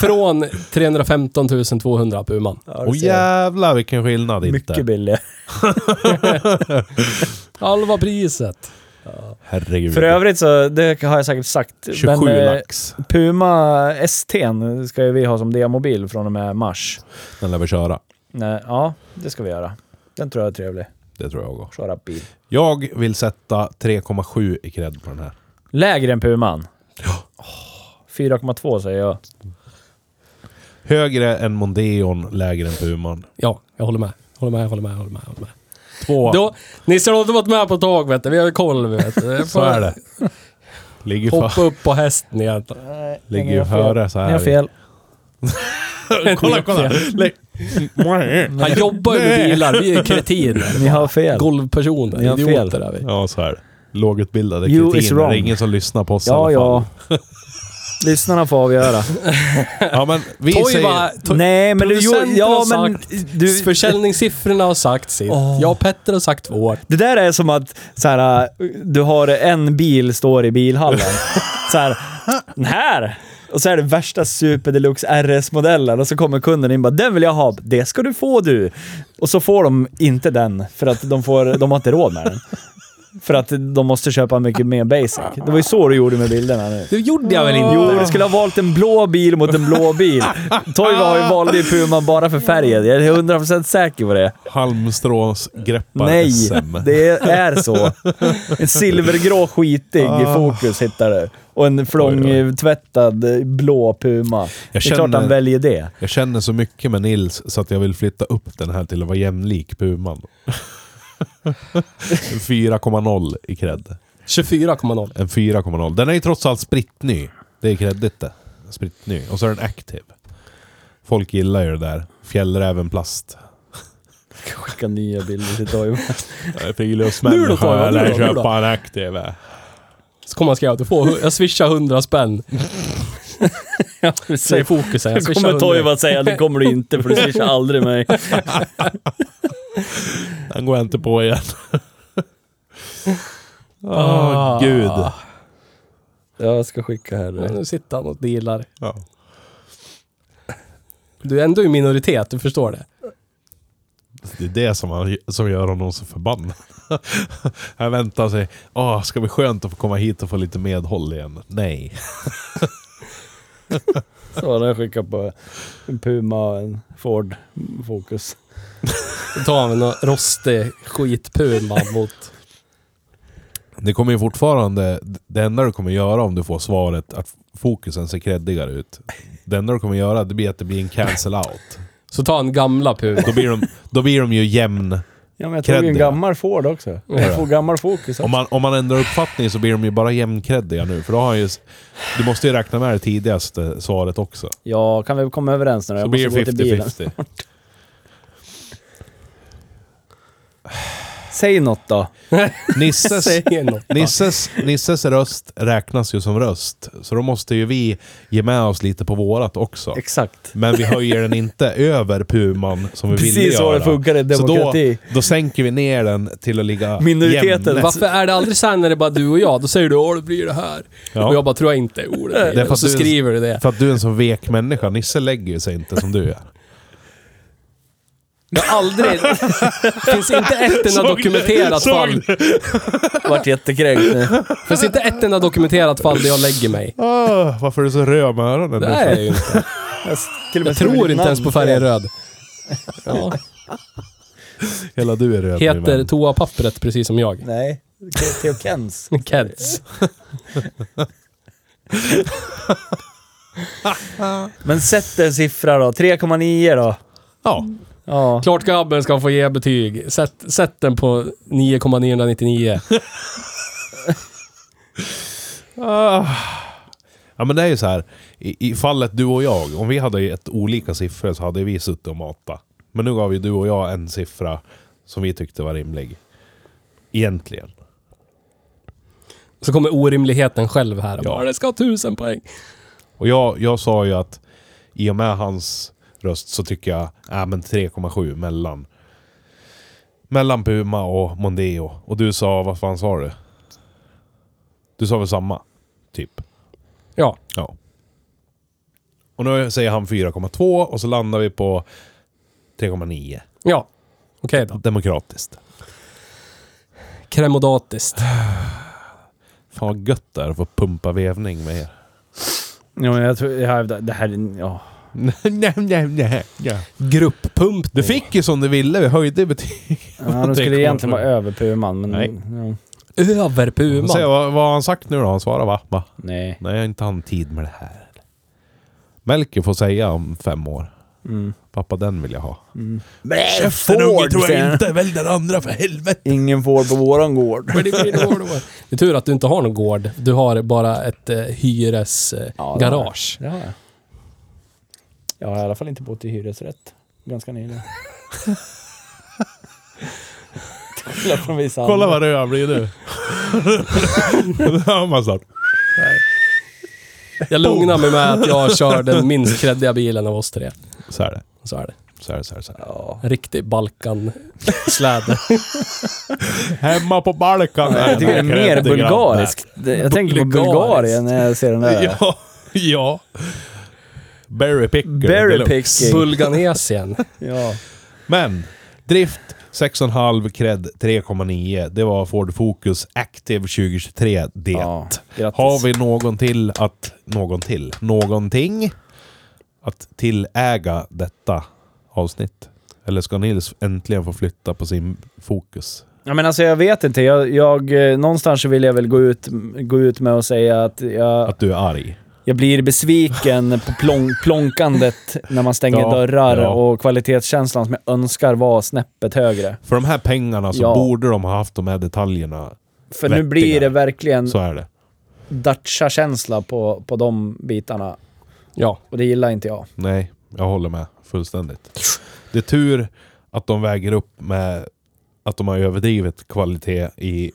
B: från 315 200 Puman.
C: Ja, du
A: Åh
C: ser.
A: jävlar vilken skillnad inte.
C: mycket billigare.
B: Halva priset.
A: Herregud.
C: För övrigt så, det har jag säkert sagt.
A: 27
C: men, eh,
A: lax.
C: Puma ST'n ska ju vi ha som demobil från och med mars.
A: Den lär vi köra.
C: Nej, ja, det ska vi göra. Den tror jag är trevlig.
A: Det tror jag också.
C: Köra bil.
A: Jag vill sätta 3,7 i cred på den här.
C: Lägre än Puman. Åh, 4,2 säger jag.
A: Högre än Mondeon, lägre än Puman.
B: Ja, jag håller med. Håller med, håller med, håller med. Håller med.
A: Två,
B: Då, Nisse har inte varit med på ett tag vet du. Vi har ju koll vet du. Jag
A: så
B: får
A: är det. Ligger,
B: Hoppa
A: för,
B: upp på hästen egentligen.
A: ligger ju före så
C: Ni har
A: här.
C: fel.
A: kolla, kolla. Lägg-
B: Han jobbar ju med bilar. Vi är kretiner.
C: Ni har fel.
B: Golvpersoner.
C: Ni har fel.
B: Idioter är vi.
A: ja, så här. Lågutbildade
C: You is
A: kretiner. Det
C: wrong.
A: är ingen som lyssnar på oss
C: Ja,
A: i alla
C: ja.
A: fall.
C: Lyssnarna får avgöra.
A: Ja, ja. men vi
B: Toiva,
A: säger...
B: to-
C: Nej, men du...
B: Producenten
C: Ja,
B: har
C: men du,
B: Försäljningssiffrorna har sagt sitt. Jag och Petter har sagt vårt.
C: Det där är som att så här, du har en bil står i bilhallen. så här, den här! Och så är det värsta super deluxe RS-modellen och så kommer kunden in och bara “Den vill jag ha, det ska du få du!” Och så får de inte den för att de, får, de har inte råd med den. För att de måste köpa mycket mer basic. Det var ju så du gjorde med bilderna nu.
B: Det gjorde jag väl inte?
C: Jo, du skulle ha valt en blå bil mot en blå bil. Toivo har ju valt i Puma bara för färgen. Jag är 100% säker på det.
A: Halmstrås greppar
C: Nej,
A: SM.
C: det är så. En silvergrå skitig i
A: Ah.
C: fokus hittar du. Och en flångtvättad eh, blå Puma.
A: Jag
C: Det är klart
A: känner-
C: han väljer det.
A: Jag känner så mycket med Nils så att jag vill flytta upp den här till att vara jämlik Puman. En 4,0 i cred.
B: 24,0.
A: En 4,0. Den är ju trots allt sprittny. Det är creddigt det. Sprittny. Och så är den active. Folk gillar ju det där. Fjällräven plast.
C: Skicka nya bilder till Toivo.
A: Friluftsmänniska.
B: Nu då, Toivo, nu då,
A: Eller
B: nu då.
A: köpa en active.
B: Så kommer han skriva att du får, jag swishar 100 spänn. Säg fokus här, jag
C: Jag
B: swishar
C: kommer
B: 100.
C: Toivo att säga, det kommer du inte för du swishar aldrig mig.
A: Den går jag inte på igen. Åh,
B: Ah.
A: gud.
C: Jag ska skicka här.
B: Ja, Nu sitter han och dealar.
A: Ja.
B: Du är ändå i minoritet, du förstår det.
A: Det är det som, han, som gör honom så förbannad. Han väntar sig. Åh, ska bli skönt att få komma hit och få lite medhåll igen. Nej.
C: Så den skickar på en Puma och en Ford Focus.
B: Då tar han en rostig skitpuma mot...
A: Det kommer ju fortfarande... Det enda du kommer göra om du får svaret att fokusen ser creddigare ut. Det enda du kommer göra det blir att det blir en cancel out.
B: Så tar han gamla puma.
A: Då blir de, då blir de ju jämn.
C: Ja men jag
A: Cred,
C: tog en
A: ja.
C: gammal Ford också. Jag får gammal Focus
A: Om
C: också.
A: man, om man ändrar uppfattning så blir de ju bara jämncreddiga nu. För då har han ju... s- Du måste ju räkna med det tidigaste svaret också.
C: Ja, kan vi komma överens nu då?
A: Så
C: Jag
A: blir
C: måste gå till
A: det
C: bilen.
A: 50-50.
C: Säg något då.
A: Nisses,
B: Säger något.
A: Nisses, Nisses röst räknas ju som röst. Så då måste ju vi ge med oss lite på vårat också.
C: Exakt.
A: Men vi höjer den inte över puman som vi ville
C: Precis
A: göra.
C: så det funkar i demokrati.
A: Så då, då sänker vi ner den till att ligga
C: Minoriteten.
A: jämn.
B: Varför är det aldrig så här när det är bara du och jag? Då säger du åh det blir det här.
A: Ja.
B: Och jag bara tror jag inte. Oh, det blir
A: Det är
B: det.
A: för
B: Och så
A: att du-
B: skriver du det.
A: För att du är en så vek människa. Nisse lägger ju sig inte som du är.
B: Jag har aldrig... Det finns inte ett enda dokumenterat
A: såg
B: fall.
C: Vart jättekränkt nu.
B: Det finns inte ett enda dokumenterat fall där jag lägger mig.
A: Ah, varför är du så röd med öronen?
B: Det
A: nu?
B: är jag ju inte.
C: Jag, till och med
B: Jag tror
C: skriver
B: inte ens
C: namn
B: på färgen röd. Ja.
A: Hela du är röd. min
B: Heter
A: vän.
B: toapappret precis som jag.
C: Nej, Ke- Theo Kens.
B: Keds.
C: Men sätt en siffra då. 3,9 då.
A: Ja.
C: Ja.
B: Klart Gabben ska få ge betyg. Sätt, sätt den på 9,999.
A: Ja men det är ju så här. I, I fallet du och jag, om vi hade gett olika siffror så hade vi suttit och matat. Men nu gav ju du och jag en siffra som vi tyckte var rimlig. Egentligen.
B: Så kommer orimligheten själv här.
A: Ja.
B: Ja. Det ska ha tusen poäng.
A: Och jag, jag sa ju att i och med hans röst så tycker jag äh, men 3,7 mellan. Mellan Puma och Mondeo. Och du sa, vad fan sa du? Du sa väl samma? Typ.
B: Ja.
A: Ja. Och nu säger han 4,2 och så landar vi på 3,9.
B: Ja. Okej då.
A: Demokratiskt.
B: Kremodatiskt.
A: Fan vad gött det är att få pumpa vevning med er.
C: Ja, men jag tror... Jag hävdar... Det här är... Ja.
A: nej, nej, nej. Ja.
B: Grupppump.
A: Du fick ju som du ville, vi höjde betyg.
C: ja de skulle egentligen vara över Puman, men...
A: Nej.
C: Ja.
B: Över
A: Säg,
B: Puman.
A: vad, vad har han sagt nu då? Han svarar va? va?
C: Nej.
A: Nej, jag har inte han tid med det här. Melker får säga om fem år.
C: Mm.
A: Pappa, den vill jag ha.
C: Nej,
A: inte. Välj den andra för helvete.
C: Ingen får på våran gård.
B: Men det blir då, då. Det är tur att du inte har någon gård. Du har bara ett eh,
C: Ja, det har jag.
B: hyresgarage.
C: Det har jag. Jag har i alla fall inte bott i hyresrätt ganska nyligen. Till skillnad från vissa
A: Kolla
C: andra.
A: vad röd han blir nu. det hör man snart.
B: jag lugnar mig med att jag kör den minst kreddiga bilen av oss tre.
A: Så är det.
B: Så är det.
A: Så är det, så är det, så är det.
C: Ja.
B: En riktig Balkan-släde.
A: Hemma på Balkan.
C: Jag tycker det är mer bulgariskt. Jag tänker på
B: Bulgariskt.
C: Bulgarien när jag ser den där.
A: Ja. ja. Berry picker.
C: Berry
A: deluxe.
C: picking.
B: Bulganesien.
C: Ja.
A: Men. Drift 6,5 cred 3,9. Det var Ford Focus Active 2023 det.
C: Ja, grattis.
A: Har vi någon till att... Någon till? Någonting? Att tilläga detta avsnitt? Eller ska Nils äntligen få flytta på sin fokus?
C: Ja, men alltså jag vet inte. Jag, jag, eh, någonstans så vill jag väl gå ut, gå ut med och säga att jag,
A: Att du är arg?
C: Jag blir besviken på plon- plonkandet när man stänger
A: Ja,
C: dörrar
A: ja.
C: och kvalitetskänslan som jag önskar var snäppet högre.
A: För de här pengarna så
C: Ja.
A: borde de ha haft de här detaljerna.
C: För nu blir det
A: Vettigare.
C: verkligen
A: Så är det.
C: Dacia-känsla på, på de bitarna.
B: Ja,
C: Och det gillar inte jag.
A: Nej, jag håller med fullständigt. Det är tur att de väger upp med att de har överdrivit kvalitet i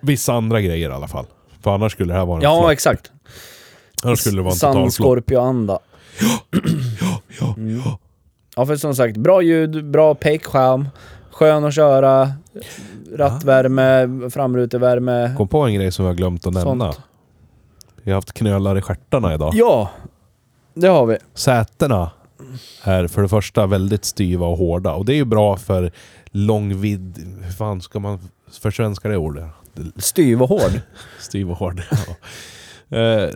A: vissa andra grejer i alla fall. För annars skulle det här vara en
C: Ja,
A: flopp.
C: exakt.
A: Annars skulle det vara en
C: Sann
A: total flopp.
C: Scorpio-anda.
A: Ja,
C: Mm. Ja, för som sagt, bra ljud, bra pekskärm, skön att köra, rattvärme, framrutevärme.
A: Kom på en grej som jag glömt att nämna.
C: Sånt.
A: Jag har haft knölar i stjärtarna idag.
C: Ja, det har vi.
A: Sätena är för det första väldigt styva och hårda. Och det är ju bra för långvidd... Hur fan ska man försvenska det ordet?
C: Styv och hård.
A: Styv och hård. ja. Eh,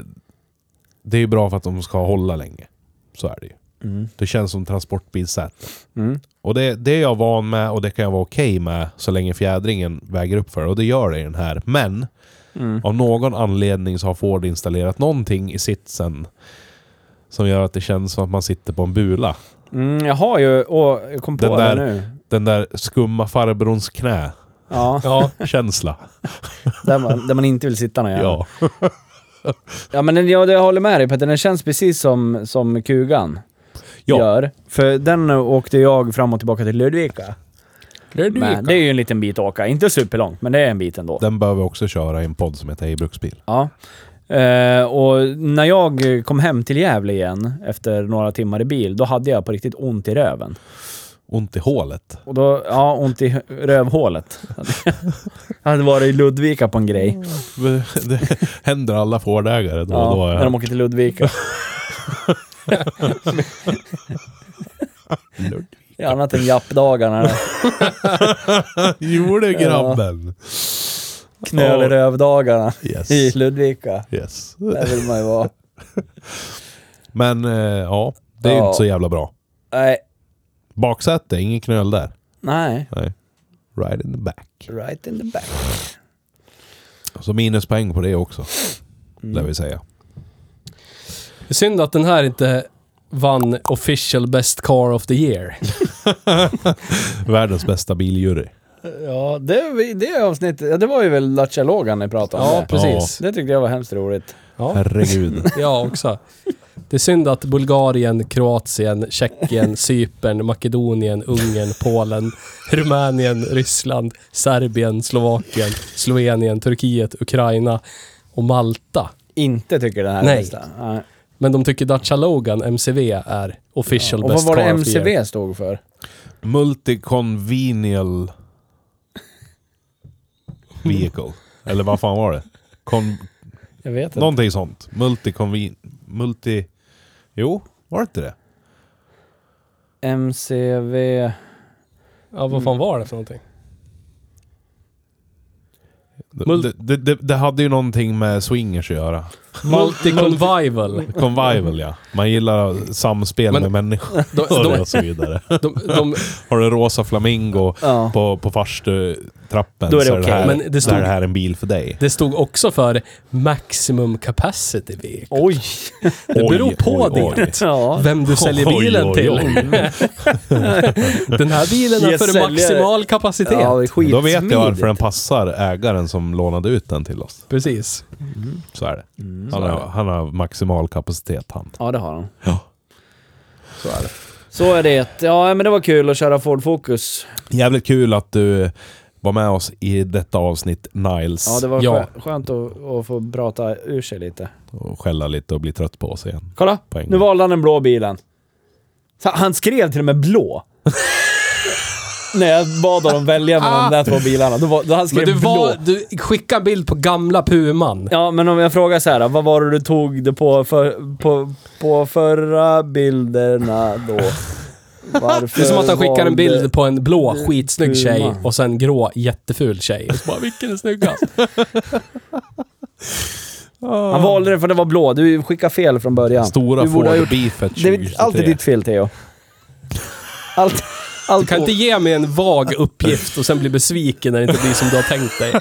A: det är ju bra för att de ska hålla länge. Så är det ju.
C: Mm.
A: Det känns som transportbilsäte.
C: Mm.
A: Och det, det är jag van med och det kan jag vara okej med så länge fjädringen väger upp för det. Och det gör det i den här. Men
C: Mm.
A: av någon anledning så har Ford installerat någonting i sitsen som gör att det känns som att man sitter på en bula.
C: Mm, jag har ju, åh, jag kom på
A: Den
C: det
A: där-
C: nu.
A: Den där skumma farbrorns knä-känsla.
C: Ja, där, man, där man inte vill sitta när jag
A: ja.
C: ja men den- jag, jag håller med dig på att den känns precis som, som kugan
A: Ja.
C: gör. För den åkte jag fram och tillbaka till Ludvika. Men det är ju en liten bit att åka. Inte superlångt, men det är en bit ändå.
A: Den behöver jag också köra i en podd som heter Hej Bruksbil.
C: Ja. Eh, och när jag kom hem till Gävle igen efter några timmar i bil, då hade jag på riktigt ont i röven.
A: Ont i hålet.
C: Och då, ja, ont i rövhålet. jag hade varit i Ludvika på en grej.
A: Det händer alla Fordägare då och då.
C: Ja, när de
A: Ja.
C: åker till Ludvika. Annat än jappdagarna.
A: Gjorde grabben!
C: Knöl i rövdagarna i
A: Yes.
C: Ludvika.
A: yes.
C: Där vill man ju vara.
A: Men eh, ja, det är ju
C: Ja.
A: inte så jävla bra.
C: Nej.
A: Baksäte, ingen knöl där.
C: Nej.
A: Right in the back.
C: Right in the back.
A: Så minuspoäng på det också, lär
C: Mm.
A: vi säga.
B: Det är synd att den här inte vann official best car of the year.
A: Världens bästa biljury.
C: Ja, det, det avsnittet, ja, det var ju väl Lattja Logan ni pratade om.
B: Ja,
C: där.
B: precis.
C: Det tyckte jag var hemskt roligt.
B: Ja,
A: Herregud.
B: jag också. Det är synd att Bulgarien, Kroatien, Tjeckien, Cypern, Makedonien, Ungern, Polen, Rumänien, Ryssland, Serbien, Slovakien, Slovenien, Turkiet, Ukraina och Malta.
C: Inte tycker den här
B: Nej.
C: listan. Nej.
B: Men de tycker Dacia Logan MCV är official
C: Och vad
B: best
C: var det
B: car of the year.
C: MCV stod för?
A: Multiconvenial vehicle. Eller vad fan var det? Con
C: Jag vet inte.
A: någonting sånt. Multiconven... Multi... Jo, var det inte det?
C: MCV...
B: Ja, vad fan var det för någonting? Mul-
A: Det, det, det, det hade ju någonting med swingers att göra.
B: Multi-convival.
A: Convival ja. Man gillar samspel
B: Men-
A: med människor
B: de- de-
A: och så vidare.
B: De, de,
A: Har du en rosa flamingo
C: Ja.
A: på, på farstutrappan
C: Då är det
A: så
C: okej.
A: här,
B: Men det
A: så är
B: stod-
A: det här en bil för dig.
B: det stod också för Maximum Capacity Vehicle.
C: Oj!
B: Det beror
A: Oj,
B: på
A: oj, oj.
B: det.
C: Ja.
B: Vem du säljer
A: Oj, oj,
B: bilen
A: oj.
B: till. Den här bilen är
C: Jag
B: för
C: säljer-
B: maximal kapacitet.
C: Ja, det är
A: Då vet jag
C: skitsmidigt.
A: varför den passar ägaren som lånade ut den till oss.
B: Precis.
A: Så är det.
C: Mm.
A: Han har, han har maximal kapacitet han.
C: Ja, det har han.
A: Ja.
C: Så är det. Så är det. Ja, men det var kul att köra Ford Focus.
A: Jävligt kul att du var med oss i detta avsnitt Niles.
C: Ja, det var
B: Ja.
C: skö- skönt att, att få prata ur sig lite.
A: Och skälla lite och bli trött på oss igen.
C: Kolla!
A: På en gång.
C: Nu valde han den blå bilen. Så han skrev till och med blå. När jag bad honom välja mellan de där två bilarna, då, var, då han skrev
B: Ah. Men du,
C: blå.
B: var, du skickade en bild på gamla Puman.
C: Ja, men om jag frågar så här, vad var det du tog det på, för, på, på förra bilderna då? Varför
B: Det är som att han skickar en bild på en blå skitsnygg tjej
C: Puman.
B: och sen grå jätteful tjej. Och så bara, vilken är snyggast?
C: Han valde det för det var blå, du skickade fel från början.
A: Stora
C: du borde ha
A: Ford
C: gjort...
A: Beefet
C: Det
A: 2023.
C: är alltid ditt fel Theo. Allt...
B: Du
C: Allt
B: kan inte ge mig en vag uppgift och sen bli besviken när det inte blir som du har tänkt dig.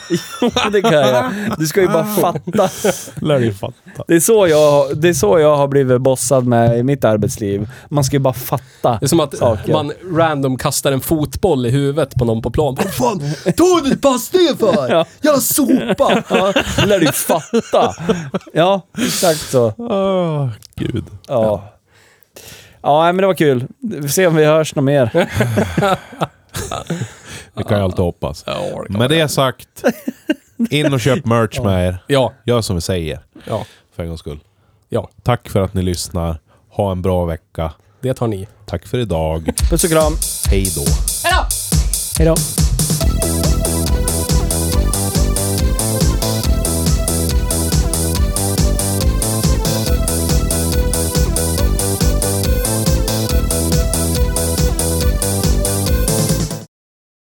C: det kan jag. Du ska ju bara fatta.
A: Lär dig fatta.
C: Det är, så jag, det är så jag har blivit bossad med i mitt arbetsliv. Man ska ju bara fatta.
B: Det är som att
C: Saker.
B: man random kastar en fotboll i huvudet på någon på plan. Vad fan tog du passningen för?
C: Ja.
B: Jag sopa!
C: Ja, det lär du fatta. Ja, exakt så.
A: Åh, Ah, gud.
C: Ja. Ja, nej, men det var kul. Vi får se om vi hörs något mer.
A: Det kan jag alltid hoppas. Med det sagt, in och köp merch med er.
B: Ja,
A: Gör som vi säger,
B: ja,
A: för en gångs skull.
B: ja.
A: Tack för att ni lyssnar. Ha en bra vecka.
B: Det tar ni.
A: Tack för idag.
C: Puss och kram.
A: Hej då.
E: Hej då!
C: Hej då.